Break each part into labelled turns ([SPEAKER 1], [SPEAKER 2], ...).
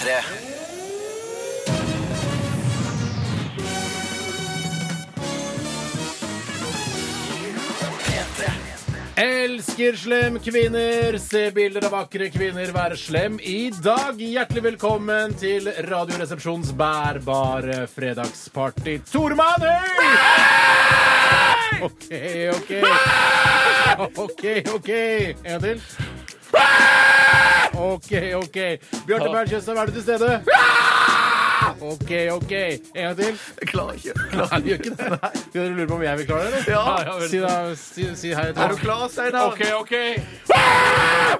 [SPEAKER 1] P3.
[SPEAKER 2] Elsker slem kvinner! Se bilder av vakre kvinner være slem i dag. Hjertelig velkommen til Radioresepsjons bærbare fredagsparty. Tore Manøy! OK, OK. OK, OK. En gang til. OK, OK. Bjarte Berg Tjøstheim, er du til stede? OK, OK. En gang til.
[SPEAKER 1] Jeg klarer ikke.
[SPEAKER 2] Nei, du gjør ikke det. Skal dere lure på om jeg vil klare det? eller?
[SPEAKER 1] Ja.
[SPEAKER 2] vel. si, da, si, si hei.
[SPEAKER 1] Er du klar, Steinar?
[SPEAKER 3] OK, OK.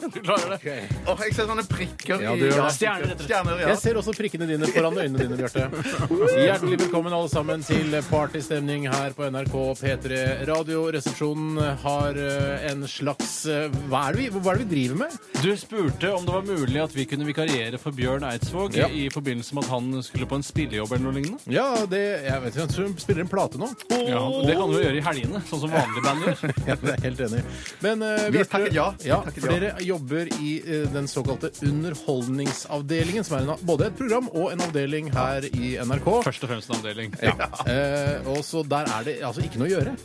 [SPEAKER 3] Du klarer det.
[SPEAKER 2] Ok.
[SPEAKER 1] Åh, jeg ser sånne prikker
[SPEAKER 2] Ja,
[SPEAKER 1] i
[SPEAKER 2] du gjør det.
[SPEAKER 3] Stjerner, rett og slett.
[SPEAKER 1] Stjerner, ja.
[SPEAKER 2] Jeg ser også prikkene dine foran øynene dine, Bjarte. Hjertelig velkommen alle sammen til partystemning her på NRK P3 Radio. Resepsjonen har eh, en slags eh, Hva er det vi, hva er det vi driver med?
[SPEAKER 3] Du spurte om det var mulig at vi kunne vikariere for Bjørn Eidsvåg
[SPEAKER 2] Ja.
[SPEAKER 3] i forbindelse med at han skulle på en spillejobb eller noe lignende.
[SPEAKER 2] Ja, det, jeg vet ikke, jeg tror hun spiller en plate nå.
[SPEAKER 3] Ja, det kan du jo gjøre i helgene, sånn som vanlige band gjør.
[SPEAKER 2] Ja, det er jeg helt enig. i. Men eh,
[SPEAKER 1] Vi
[SPEAKER 2] Bjarte,
[SPEAKER 1] takket ja. Vi takket ja.
[SPEAKER 2] for dere jobber i eh, den såkalte Underholdningsavdelingen, som er en, av- både et program og en avdeling her i NRK.
[SPEAKER 3] Først og fremst en avdeling.
[SPEAKER 2] Eh, og så der er det altså ikke noe å gjøre.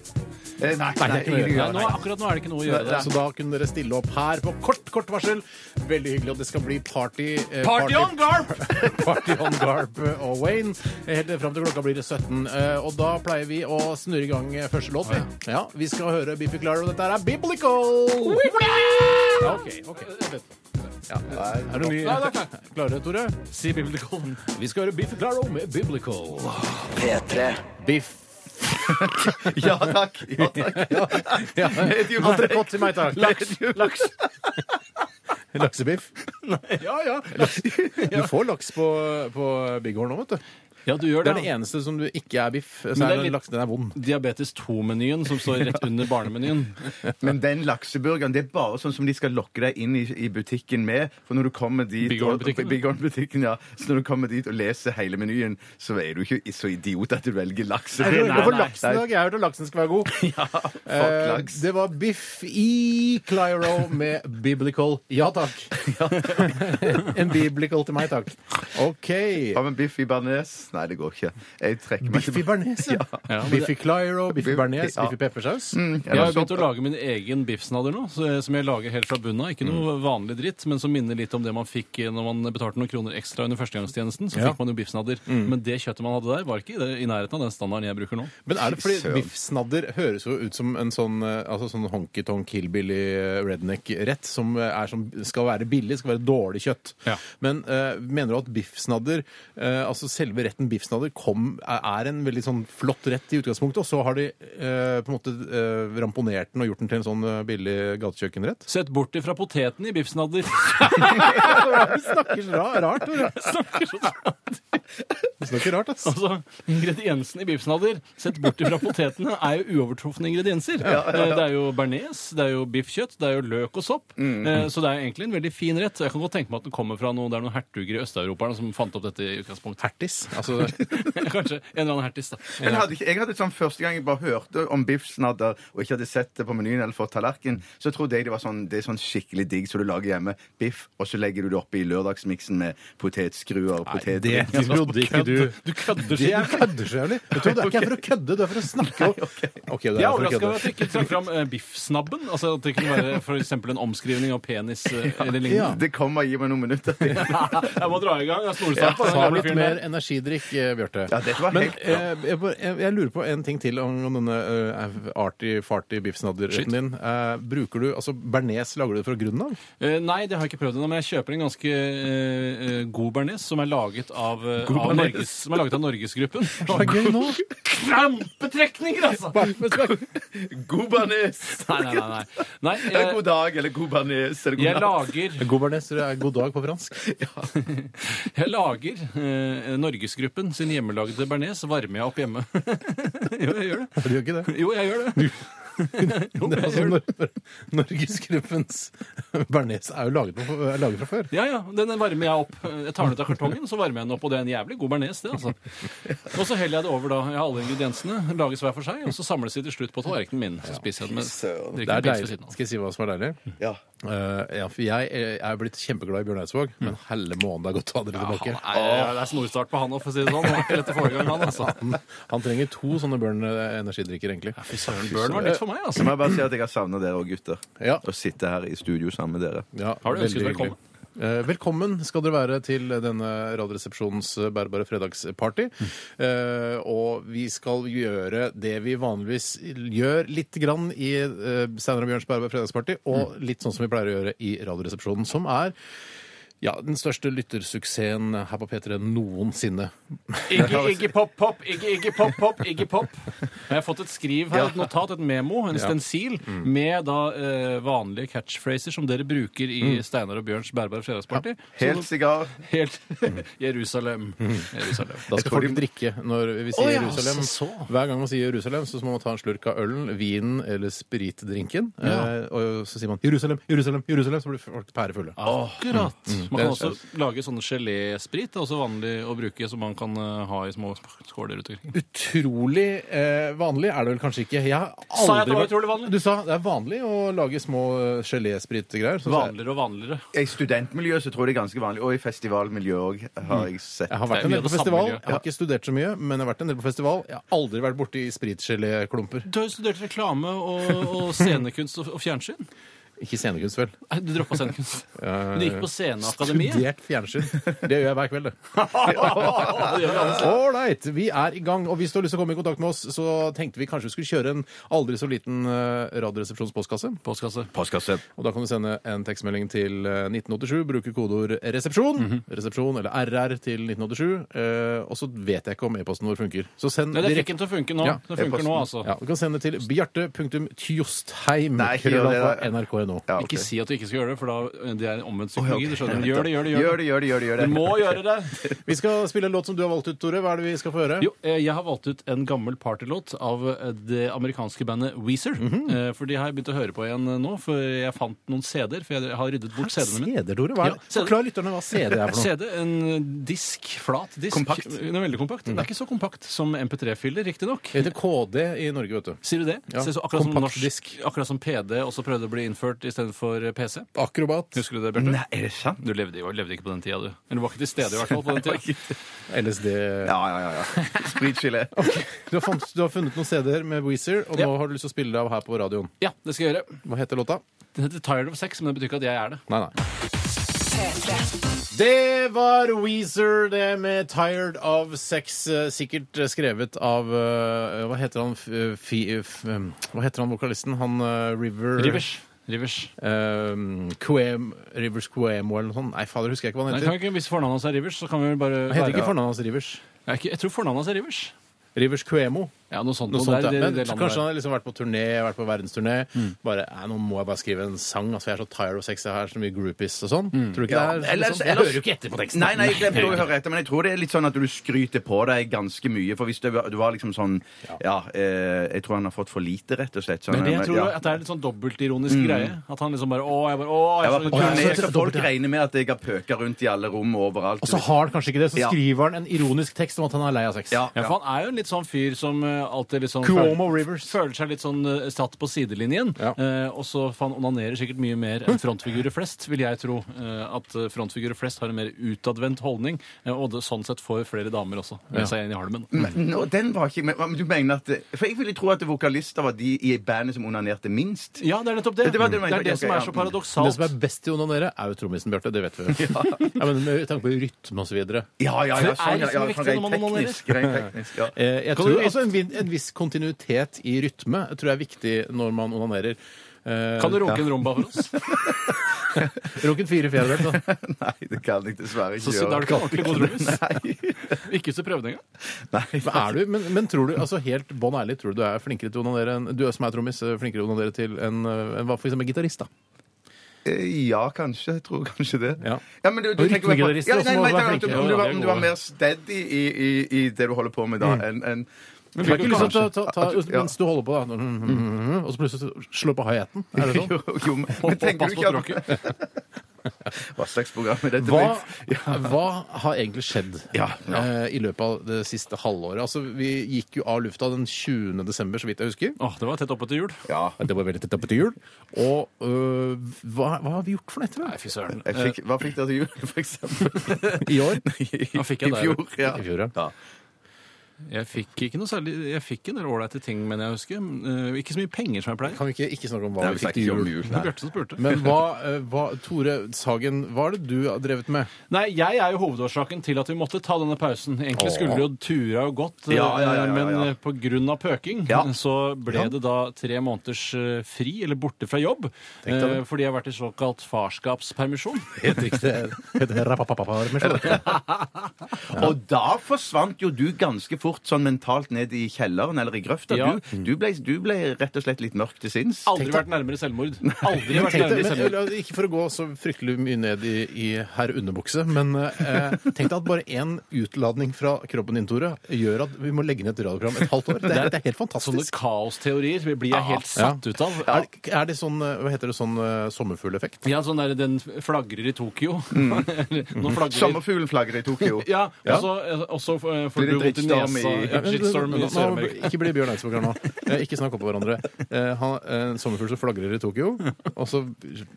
[SPEAKER 1] Eh, Nei,
[SPEAKER 2] Nei, det er ikke noe å
[SPEAKER 1] ingen
[SPEAKER 2] gjøre.
[SPEAKER 3] Nei,
[SPEAKER 1] gjør
[SPEAKER 3] nå,
[SPEAKER 1] det.
[SPEAKER 3] akkurat nå er det ikke noe å gjøre
[SPEAKER 1] Nei,
[SPEAKER 3] der.
[SPEAKER 2] Så da kunne dere stille opp her på kort, kort varsel. Veldig hyggelig, og det skal bli party. eh,
[SPEAKER 3] Party on Garp!
[SPEAKER 2] Party on Garp og Wayne. Helt fram til klokka blir det 17. Eh, Og da pleier vi å snurre i gang eh, første låt. Vi, ja, vi skal høre Biffy Clyro. Dette her er Biblical! Ja, OK. ok. Ja. Er du ny?
[SPEAKER 3] Nei, det er klart.
[SPEAKER 2] Klare, Tore?
[SPEAKER 3] Si Biblical.
[SPEAKER 2] Vi skal høre Biffy Clyro med Biblical.
[SPEAKER 1] P3.
[SPEAKER 2] Biff.
[SPEAKER 1] Ja takk. Ja takk.
[SPEAKER 2] Ja.
[SPEAKER 1] jo
[SPEAKER 2] Andre kott til meg, takk. Laks.
[SPEAKER 1] Laks.
[SPEAKER 2] Laksebiff. Ja, ja. Laks. Du får laks på, på Big Horn nå, vet du.
[SPEAKER 3] Ja, du gjør
[SPEAKER 2] Det
[SPEAKER 3] det.
[SPEAKER 2] er det eneste som du ikke er biff. Så er
[SPEAKER 3] Men det er
[SPEAKER 2] det
[SPEAKER 3] litt-
[SPEAKER 2] laks, den er vond.
[SPEAKER 3] Diabetes 2-menyen som står rett under barnemenyen.
[SPEAKER 1] Men den lakseburgeren det er bare sånn som de skal lokke deg inn i, i butikken med. For når du kommer dit
[SPEAKER 3] Big Horn-butikken?
[SPEAKER 1] Big Horn-butikken, ja. Så når du kommer dit og leser hele menyen, så er du ikke så idiot at du velger
[SPEAKER 2] Jeg
[SPEAKER 1] lakseburger.
[SPEAKER 2] går for
[SPEAKER 3] nei.
[SPEAKER 2] laksen i dag. Jeg har hørt at laksen skal være god.
[SPEAKER 1] Ja, fuck
[SPEAKER 2] Eh,
[SPEAKER 1] laks.
[SPEAKER 2] det var Biff i Clyro med Biblical. Ja takk. en Biblical til meg, takk. OK.
[SPEAKER 1] Hva med biff i bearnés? Nei, det går ikke. Jeg trekker meg
[SPEAKER 2] Biff i bearnés, ja.
[SPEAKER 3] Ja, men
[SPEAKER 2] Biff i Clyro, biff i
[SPEAKER 1] Biff-
[SPEAKER 2] bearnés,
[SPEAKER 1] ja.
[SPEAKER 2] biff i peppersaus.
[SPEAKER 3] Jeg har
[SPEAKER 1] sånn.
[SPEAKER 3] begynt å lage min egen biffsnadder nå, så- som jeg lager helt fra bunnen av. Ikke noe vanlig dritt, men som minner litt om det man fikk eh, når man betalte noen kroner ekstra under førstegangstjenesten. Så
[SPEAKER 2] Ja.
[SPEAKER 3] fikk man jo biffsnadder. Men det kjøttet man hadde der, var ikke i det- i nærheten av den standarden jeg bruker nå.
[SPEAKER 2] Men er det fordi
[SPEAKER 1] Søren.
[SPEAKER 2] biffsnadder høres jo ut som en sånn, eh, altså sånn honky-tonk hillbilly redneck-rett som, eh, er som skal være billig, skal være dårlig kjøtt.
[SPEAKER 3] Ja.
[SPEAKER 2] Men eh, mener du at biffsnadder, eh, altså selve retten biffsnadder, kom, er- er en veldig sånn flott rett i utgangspunktet, og så har de eh, på en måte eh, ramponert den og gjort den til en sånn eh, billig gatekjøkkenrett?
[SPEAKER 3] Sett bort ifra poteten i biffsnadder.
[SPEAKER 2] Du snakker så ra- rart, Tore. Du snakker rart, ass.
[SPEAKER 3] Altså, ingrediensene i biffsnadder, sett bort ifra potetene, er jo uovertrufne ingredienser. Eh, Det er jo bearnés, det er jo biffkjøtt, det er jo løk og sopp. Eh, Så det er egentlig en veldig fin rett. Jeg kan godt tenke meg at den kommer fra noen, det er noen hertuger i Øst-Europa som fant opp dette i utgangspunktet.
[SPEAKER 2] Hertis. Altså,
[SPEAKER 3] Kanskje en eller annen hertis, da.
[SPEAKER 1] Men hadde ikke, jeg hadde sånn Første gang jeg bare hørte om biffsnadder og ikke hadde sett det på menyen eller fått tallerken, så trodde jeg det var sånn, det er sånn skikkelig digg som du lager hjemme. Biff, og så legger du det oppi lørdagsmiksen med potetskruer og potetringer.
[SPEAKER 2] det trodde ikke du.
[SPEAKER 3] Du kødder
[SPEAKER 2] Det er kødder så jævlig. Vet du, det er ikke her for å kødde, det er for å snakke. Ok, det er
[SPEAKER 3] Jeg
[SPEAKER 2] for
[SPEAKER 3] er
[SPEAKER 2] å
[SPEAKER 3] overraska
[SPEAKER 2] kødde.
[SPEAKER 3] over at du ikke trakk fram eh, biffsnabben. Altså At det kunne være for eksempel en omskrivning av penis eh, eller lignende.
[SPEAKER 1] Det kommer, gi meg noen minutter.
[SPEAKER 3] Jeg må dra i gang. Jeg har snorestart på den
[SPEAKER 2] Ta
[SPEAKER 3] gamle
[SPEAKER 2] litt
[SPEAKER 3] fyren
[SPEAKER 2] mer
[SPEAKER 3] der.
[SPEAKER 2] energidrikk, eh, Bjarte.
[SPEAKER 1] Ja, dette var
[SPEAKER 2] Men
[SPEAKER 1] helt-
[SPEAKER 2] eh, jeg, bare- jeg, jeg lurer på en ting til om denne eh, arty-farty biffsnadderretten
[SPEAKER 3] Skyt.
[SPEAKER 2] din. Eh, bruker du altså bearnés lager du det fra grunnen av?
[SPEAKER 3] Eh, Nei, det har jeg ikke prøvd ennå, men jeg kjøper en ganske eh, eh, god bearnés som er laget av, eh, av,
[SPEAKER 1] bearnés.
[SPEAKER 3] Norges, som er laget av Norgesgruppen.
[SPEAKER 2] Det er gøy nå!
[SPEAKER 3] Krampetrekninger, altså!
[SPEAKER 1] God bearnés!
[SPEAKER 3] Nei, nei, nei. nei. nei
[SPEAKER 2] Eh,
[SPEAKER 1] Eller
[SPEAKER 3] jeg,
[SPEAKER 1] god dag, eller god bearnés, eller god
[SPEAKER 3] jeg
[SPEAKER 1] natt.
[SPEAKER 3] lager
[SPEAKER 2] God bearnés det er god dag på fransk.
[SPEAKER 3] Jeg lager eh, Norgesgruppen sin hjemmelagde bearnés, varmer jeg opp hjemme. jo, jeg gjør det.
[SPEAKER 2] Du gjør ikke det?
[SPEAKER 3] Jo, jeg gjør det.
[SPEAKER 2] Det er altså Nor- Norgesgruppens bearnés er jo laget, på, er laget fra før.
[SPEAKER 3] Ja, ja. Den varmer jeg opp. Jeg tar den ut av kartongen, så varmer jeg den opp, og det er en jævlig god bearnés, det, altså. Og så heller jeg det over, da. Jeg har alle ingrediensene, lages hver for seg, og så samles de til slutt på tallerkenen min. Så spiser jeg den med
[SPEAKER 1] Søren.
[SPEAKER 2] Det er
[SPEAKER 3] drikker en pils ved
[SPEAKER 2] deilig.
[SPEAKER 3] siden av.
[SPEAKER 2] Skal jeg si hva som er deilig?
[SPEAKER 1] Ja.
[SPEAKER 2] Eh, ja, for jeg, eh, er blitt kjempeglad i Bjørn Eidsvåg, men helle måned det er godt å ha dere tilbake.
[SPEAKER 3] Mm. Han er, det er snorstart på han òg, for å si det sånn. Han er ikke lett å få i gang, han, altså.
[SPEAKER 2] Han, han trenger to sånne Bjørn eh, energidrikker, egentlig.
[SPEAKER 3] Fy søren, Børn var nytt for meg,
[SPEAKER 1] Så
[SPEAKER 3] altså.
[SPEAKER 1] må jeg bare si at jeg har savna dere òg, gutter.
[SPEAKER 2] Ja.
[SPEAKER 1] Å sitte her i studio sammen med dere.
[SPEAKER 2] Ja,
[SPEAKER 3] Har du ønsket
[SPEAKER 2] veldig hyggelig.
[SPEAKER 3] velkommen?
[SPEAKER 2] Eh, velkommen skal dere være til denne Radioresepsjonens eh, bærbare fredagsparty. Eh, og vi skal gjøre det vi vanligvis gjør litt grann i eh, Steinar og Bjørns bærbare fredagsparty, og
[SPEAKER 3] Mm.
[SPEAKER 2] litt sånn som vi pleier å gjøre i Radioresepsjonen, som er ja, den største lyttersuksessen her på P3 noensinne.
[SPEAKER 3] Iggy, Iggy Pop Pop, Iggy, Iggy Pop Pop, Iggy Pop. Jeg har fått et skriv her, et notat, et memo, en stensil, med da eh, vanlige catchphraser som dere bruker i Steinar og Bjørns bærbare fredagsparty.
[SPEAKER 1] Helt
[SPEAKER 3] Så-
[SPEAKER 1] sigar.
[SPEAKER 3] Mm. Helt Mm. Jerusalem. Jerusalem.
[SPEAKER 2] Da skal
[SPEAKER 1] tror
[SPEAKER 2] folk
[SPEAKER 1] de-
[SPEAKER 2] drikke når vi sier
[SPEAKER 3] Å ja,
[SPEAKER 2] Jerusalem.
[SPEAKER 3] så- så.
[SPEAKER 2] Hver gang man sier Jerusalem, så må man ta en slurk av ølen, vinen eller spritdrinken. Eh, og så sier man Jerusalem, Jerusalem, Jerusalem, så blir folk pærefulle.
[SPEAKER 3] Akkurat. Ah, mm. Man
[SPEAKER 2] Det
[SPEAKER 3] kan
[SPEAKER 2] er
[SPEAKER 3] også lage sånne gelésprit. Det er også vanlig å bruke, som man kan eh, ha i små skåler ute omkring.
[SPEAKER 2] Utrolig eh, vanlig er det vel kanskje ikke. Jeg har aldri
[SPEAKER 3] Sa jeg at det var
[SPEAKER 2] vært-
[SPEAKER 3] utrolig vanlig?
[SPEAKER 2] Du sa det er vanlig å lage små eh, geléspritgreier. så-
[SPEAKER 3] Vanligere og vanligere.
[SPEAKER 1] I studentmiljøet så tror jeg det er ganske vanlig, og i festivalmiljøet òg, har jeg sett.
[SPEAKER 2] Jeg har
[SPEAKER 3] Det
[SPEAKER 2] vært
[SPEAKER 3] er
[SPEAKER 2] en
[SPEAKER 3] mye
[SPEAKER 2] del
[SPEAKER 3] av
[SPEAKER 2] på
[SPEAKER 3] det samme
[SPEAKER 2] festival.
[SPEAKER 3] miljøet.
[SPEAKER 2] Jeg har ikke studert så mye, men jeg har vært en del på festival. Jeg har aldri vært borti spritgeléklumper.
[SPEAKER 3] Du har jo studert reklame og, og scenekunst og, og fjernsyn.
[SPEAKER 2] Ikke scenekunst, vel.
[SPEAKER 3] Nei, Du droppa scenekunst. Men Du gikk på Sceneakademiet.
[SPEAKER 2] Studert fjernsyn. Det gjør jeg hver kveld, det.
[SPEAKER 3] Det gjør vi alle.
[SPEAKER 2] Ålreit, vi er i gang. Og hvis du har lyst til å komme i kontakt med oss, så tenkte vi kanskje vi skulle kjøre en aldri så liten eh, Radioresepsjonspostkasse.
[SPEAKER 3] Postkasse.
[SPEAKER 1] Postkasse.
[SPEAKER 2] Og da kan du sende en tekstmelding til eh, 1987, bruke kodeord 'resepsjon',
[SPEAKER 1] Mhm.
[SPEAKER 2] resepsjon eller RR til 1987. eh, og så vet jeg ikke om e-posten vår funker. Så send
[SPEAKER 3] Nei, det
[SPEAKER 2] direkte
[SPEAKER 3] fikk den til å funke nå.
[SPEAKER 2] Ja,
[SPEAKER 3] Det funker nå, altså.
[SPEAKER 2] ja, Du kan sende til bjarte.tjostheim.
[SPEAKER 1] Nei, ikke gjør det,
[SPEAKER 2] krøllalfa,
[SPEAKER 1] da.
[SPEAKER 2] NRK.no.
[SPEAKER 1] Ja, ok.
[SPEAKER 3] Ikke si at du ikke skal gjøre det, for da det er omvendt psykologi.
[SPEAKER 1] ok.
[SPEAKER 3] Du skjønner. Gjør det, gjør det,
[SPEAKER 1] Gjør det, gjør det, gjør det. Gjør det.
[SPEAKER 3] Du må gjøre det.
[SPEAKER 2] Vi skal spille en låt som du har valgt ut, Tore. Hva er det vi skal få høre?
[SPEAKER 3] Jo, eh, jeg har valgt ut en gammel partylåt av eh, det amerikanske bandet Weezer.
[SPEAKER 2] Mhm.
[SPEAKER 3] Eh, For de har jeg begynt å høre på igjen eh, nå, for jeg fant noen CD-er, for jeg har ryddet bort CD-ene mine.
[SPEAKER 2] CD-er, Tore. Hva er
[SPEAKER 3] Ja,
[SPEAKER 2] det?
[SPEAKER 3] CD.
[SPEAKER 2] Forklar lytterne hva CD er for noe.
[SPEAKER 3] CD, en disk, flat disk.
[SPEAKER 1] Kompakt.
[SPEAKER 3] Den er veldig kompakt.
[SPEAKER 2] Mhm.
[SPEAKER 3] Den er ikke så kompakt som MP3-fyller, riktignok.
[SPEAKER 2] Det heter KD i Norge, vet du.
[SPEAKER 3] Sier du det?
[SPEAKER 2] Ja,
[SPEAKER 3] Ser så akkurat, som
[SPEAKER 2] kompakt
[SPEAKER 3] norsk,
[SPEAKER 2] disk.
[SPEAKER 3] akkurat som PD også prøvde å bli innført istedenfor PC.
[SPEAKER 2] Akrobat.
[SPEAKER 3] Husker du det, Bjarte?
[SPEAKER 1] Nei, er det sant?
[SPEAKER 3] Du levde, jo- levde ikke på den tida, du. Eller du var ikke til stede i hvert fall på den tida.
[SPEAKER 2] LSD
[SPEAKER 1] Ja, ja, ja. ja. Spritgelé.
[SPEAKER 2] du, har fant, du har funnet noen CD-er med Weezer, og
[SPEAKER 3] Ja.
[SPEAKER 2] nå har du lyst til å spille det av her på radioen.
[SPEAKER 3] Ja, det skal jeg gjøre.
[SPEAKER 2] Hva heter låta?
[SPEAKER 3] Den heter Tired of Sex, men det betyr ikke at jeg er det.
[SPEAKER 2] Nei, nei. Det var Weezer, det med 'Tired of Sex'. eh, Sikkert eh, skrevet av eh, Hva heter han f- eh, fi, eh, f, eh, Hva heter han vokalisten? Han eh, River
[SPEAKER 3] Rivers. Rivers.
[SPEAKER 2] eh, Cuem, Rivers Cuemo eller noe sånt. Nei, fader, husker jeg ikke hva han
[SPEAKER 3] Nei,
[SPEAKER 2] heter.
[SPEAKER 3] kan vi ikke, hvis fornavnet hans er Rivers, så kan vi vel bare
[SPEAKER 2] Han heter
[SPEAKER 3] være-
[SPEAKER 2] ikke fornavnet hans Rivers.
[SPEAKER 3] Jeg, er ikke- jeg tror fornavnet hans er Rivers.
[SPEAKER 2] Rivers Cuemo.
[SPEAKER 3] Ja, noe sånt.
[SPEAKER 2] Noe
[SPEAKER 3] noe
[SPEAKER 2] sånt,
[SPEAKER 3] der,
[SPEAKER 2] ja.
[SPEAKER 3] det,
[SPEAKER 2] Men
[SPEAKER 3] det landet
[SPEAKER 2] kanskje han
[SPEAKER 3] der.
[SPEAKER 2] har liksom vært på turné, vært på verdensturné. Bare «Nei, nå må jeg bare skrive en sang, altså jeg er så tired of sex, det her, så mye groupies og sånn. Tror du ikke
[SPEAKER 1] Ja,
[SPEAKER 2] det er
[SPEAKER 1] ellers-
[SPEAKER 2] sånn?
[SPEAKER 1] ellers-
[SPEAKER 2] etter på
[SPEAKER 1] Nei, nei, jeg glemte å høre etter, men jeg tror det er litt sånn at du skryter på deg ganske mye. For hvis du, var- du var liksom sånn Ja, eh, jeg tror han har fått for lite, rett og slett. Sånn,
[SPEAKER 3] Men det, jeg tror
[SPEAKER 1] ja.
[SPEAKER 3] at det er litt sånn dobbeltironisk
[SPEAKER 2] Mm.
[SPEAKER 3] greie. At han liksom bare Å, jeg bare
[SPEAKER 1] Jeg
[SPEAKER 3] Å, jeg
[SPEAKER 1] var på
[SPEAKER 3] så-
[SPEAKER 2] Å, ja,
[SPEAKER 1] turné, så
[SPEAKER 2] så-
[SPEAKER 1] folk regner med at jeg har pøka rundt i alle rom og overalt.
[SPEAKER 2] Og så har han kanskje ikke det, så
[SPEAKER 1] Ja.
[SPEAKER 2] skriver han en ironisk tekst om at han er lei av sex.
[SPEAKER 1] Ja.
[SPEAKER 3] Ja, for han er jo en litt sånn fyr som eh, alltid liksom
[SPEAKER 2] Cuomo
[SPEAKER 3] føler-
[SPEAKER 2] Rivers.
[SPEAKER 3] føler seg litt sånn eh, satt på sidelinjen.
[SPEAKER 2] Ja.
[SPEAKER 3] Eh, og så for han onanerer sikkert mye mer enn frontfigurer flest, vil jeg tro. Eh, at eh, frontfigurer flest har en mer utadvendt holdning, eh, og det, sånn sett får flere damer også med seg inn i halmen.
[SPEAKER 1] Men, nå, den var ikke men, men Du mener at For jeg ville tro at vokalister var de i bandet som onanerte minst.
[SPEAKER 3] Ja, det er nettopp det.
[SPEAKER 1] Det var det du
[SPEAKER 3] det
[SPEAKER 1] mente.
[SPEAKER 3] er det
[SPEAKER 1] Ok,
[SPEAKER 3] som er
[SPEAKER 1] ja. Mm.
[SPEAKER 3] så
[SPEAKER 2] Det som
[SPEAKER 3] paradoksalt.
[SPEAKER 2] er best til å onanere, er jo trommisen, Bjarte. Det vet vi. jo. ja, men med tanke på rytme og så videre.
[SPEAKER 1] Ja, ja,
[SPEAKER 3] Det
[SPEAKER 1] ja.
[SPEAKER 3] er
[SPEAKER 1] Sånn, ja,
[SPEAKER 3] liksom
[SPEAKER 1] ja
[SPEAKER 3] viktig
[SPEAKER 1] sånn
[SPEAKER 3] når
[SPEAKER 1] rent
[SPEAKER 3] man
[SPEAKER 1] teknisk. Rent teknisk ja.
[SPEAKER 2] Eh, Jeg
[SPEAKER 3] Kan
[SPEAKER 2] tror
[SPEAKER 3] du-
[SPEAKER 2] altså en, vin- en viss kontinuitet i rytme tror jeg er viktig når man onanerer. Eh,
[SPEAKER 3] Kan du runke en rumba for oss?
[SPEAKER 2] Runken Eh, fire fjerdedels, da.
[SPEAKER 1] Nei, det kan jeg dessverre
[SPEAKER 3] Så,
[SPEAKER 1] ikke
[SPEAKER 3] så da er
[SPEAKER 1] gjøre.
[SPEAKER 3] du ikke ordentlig god trommis.
[SPEAKER 1] Nei.
[SPEAKER 3] Ikke hvis du prøvde engang.
[SPEAKER 1] Nei.
[SPEAKER 2] Men, er du, men, men tror du, altså helt bånn ærlig, tror du du er flinkere til å onanere enn du som er trommis, er flinkere til å onanere til enn eh, enn hva for eksempel gitarist, da?
[SPEAKER 1] Eh, Ja, kanskje. Jeg tror kanskje det.
[SPEAKER 2] Ja.
[SPEAKER 1] men du, du
[SPEAKER 2] Og
[SPEAKER 1] tenker bare på-
[SPEAKER 2] rytmegitarister
[SPEAKER 1] ja,
[SPEAKER 2] også
[SPEAKER 1] nei,
[SPEAKER 2] må
[SPEAKER 1] men jeg
[SPEAKER 2] være
[SPEAKER 1] tenker at
[SPEAKER 2] flinke.
[SPEAKER 1] Om du,
[SPEAKER 3] Ja,
[SPEAKER 1] var-
[SPEAKER 3] de er
[SPEAKER 1] om du var
[SPEAKER 3] gode.
[SPEAKER 1] mer steady i, i, i det du holder på med da, enn enn-
[SPEAKER 2] Mm. Men vil du
[SPEAKER 1] Kan
[SPEAKER 2] ikke liksom ta,
[SPEAKER 1] kanskje-
[SPEAKER 2] ta, ta,
[SPEAKER 1] at du- ja.
[SPEAKER 2] Mens du holder på, da, mm, mm, mm, mm, og så plutselig så slå på high-haten? Er det sånn?
[SPEAKER 1] Jo, jo, men men tenker du
[SPEAKER 3] pass på
[SPEAKER 1] ikke at Hva slags program er dette?
[SPEAKER 2] Hva,
[SPEAKER 1] Blitz? Ja.
[SPEAKER 2] hva har egentlig skjedd
[SPEAKER 1] Ja, ja.
[SPEAKER 2] eh, i løpet av det siste halvåret? Altså, Vi gikk jo av lufta den 20. desember, så vidt jeg husker.
[SPEAKER 3] Åh, det var tett oppe til jul.
[SPEAKER 1] ja.
[SPEAKER 2] Det var veldig tett oppe til jul. Og øh, hva, hva har vi gjort for noe etter det?
[SPEAKER 3] Fy søren.
[SPEAKER 1] Jeg fikk, hva fikk dere til jul, for eksempel?
[SPEAKER 2] I år?
[SPEAKER 1] I,
[SPEAKER 3] Hva fikk
[SPEAKER 1] i
[SPEAKER 3] jeg der?
[SPEAKER 1] fjor? Ja.
[SPEAKER 2] I fjor, ja.
[SPEAKER 3] Jeg fikk ikke noe særlig Jeg fikk en del ålreite ting, men jeg husker. Eh, Ikke så mye penger som jeg pleier.
[SPEAKER 2] Kan vi ikke, ikke snakke om hva
[SPEAKER 1] Nei, vi
[SPEAKER 2] vi fikk
[SPEAKER 1] snakker
[SPEAKER 2] til
[SPEAKER 1] ikke om
[SPEAKER 2] jul?
[SPEAKER 1] jul.
[SPEAKER 3] Det var Bjarte som spurte.
[SPEAKER 2] Men hva, øh, hva Tore Sagen, hva er det du har drevet med?
[SPEAKER 3] Nei, jeg er jo hovedårsaken til at vi måtte ta denne pausen. Egentlig skulle det jo tura og gått,
[SPEAKER 1] Ja, ja, ja, ja, ja.
[SPEAKER 3] men eh, på grunn av pøking
[SPEAKER 1] Ja.
[SPEAKER 3] så ble det da tre måneders eh, fri, eller borte fra jobb,
[SPEAKER 2] Tenk deg det.
[SPEAKER 3] eh, fordi jeg har vært i såkalt farskapspermisjon.
[SPEAKER 2] Helt riktig. Heter rapapapamisjon.
[SPEAKER 1] Og da forsvant jo du ganske fort sånn mentalt ned i kjelleren eller i grøfta.
[SPEAKER 3] Ja.
[SPEAKER 1] Du, du, ble, du ble rett og slett litt mørk til sinns.
[SPEAKER 3] Aldri vært nærmere selvmord. Aldri
[SPEAKER 2] Tenk deg,
[SPEAKER 3] vært nærmere
[SPEAKER 2] men,
[SPEAKER 3] selvmord.
[SPEAKER 2] eller, ikke for å gå så fryktelig mye ned i, i herr underbukse, men eh, tenk deg at bare én utladning fra kroppen din, Tore, gjør at vi må legge ned et radioprogram et halvt år. Det er, det er helt
[SPEAKER 3] Sånne
[SPEAKER 2] fantastisk.
[SPEAKER 3] kaosteorier blir jeg helt
[SPEAKER 2] Ja.
[SPEAKER 3] satt ut av.
[SPEAKER 2] Er, det- er det sånn eh, Hva heter det sånn eh, sommerfugleffekt?
[SPEAKER 3] Ja, sånn der den flagrer i Tokyo. Nå flagrer
[SPEAKER 1] Sommerfuglen flagrer i Tokyo.
[SPEAKER 3] Ja, og så- og så eh, får
[SPEAKER 1] Blir
[SPEAKER 3] du
[SPEAKER 1] det
[SPEAKER 3] vondt i
[SPEAKER 1] drittstorm
[SPEAKER 3] nesa.
[SPEAKER 1] i-
[SPEAKER 3] Ja, Shitstorm i
[SPEAKER 2] Nå- nå-
[SPEAKER 3] Sør-Amerika.
[SPEAKER 2] Ikke bli Bjørn Eidsvåg her nå. Eh, Ikke snakk oppå hverandre. Eh, han, en sommerfugl som flagrer i Tokyo, og så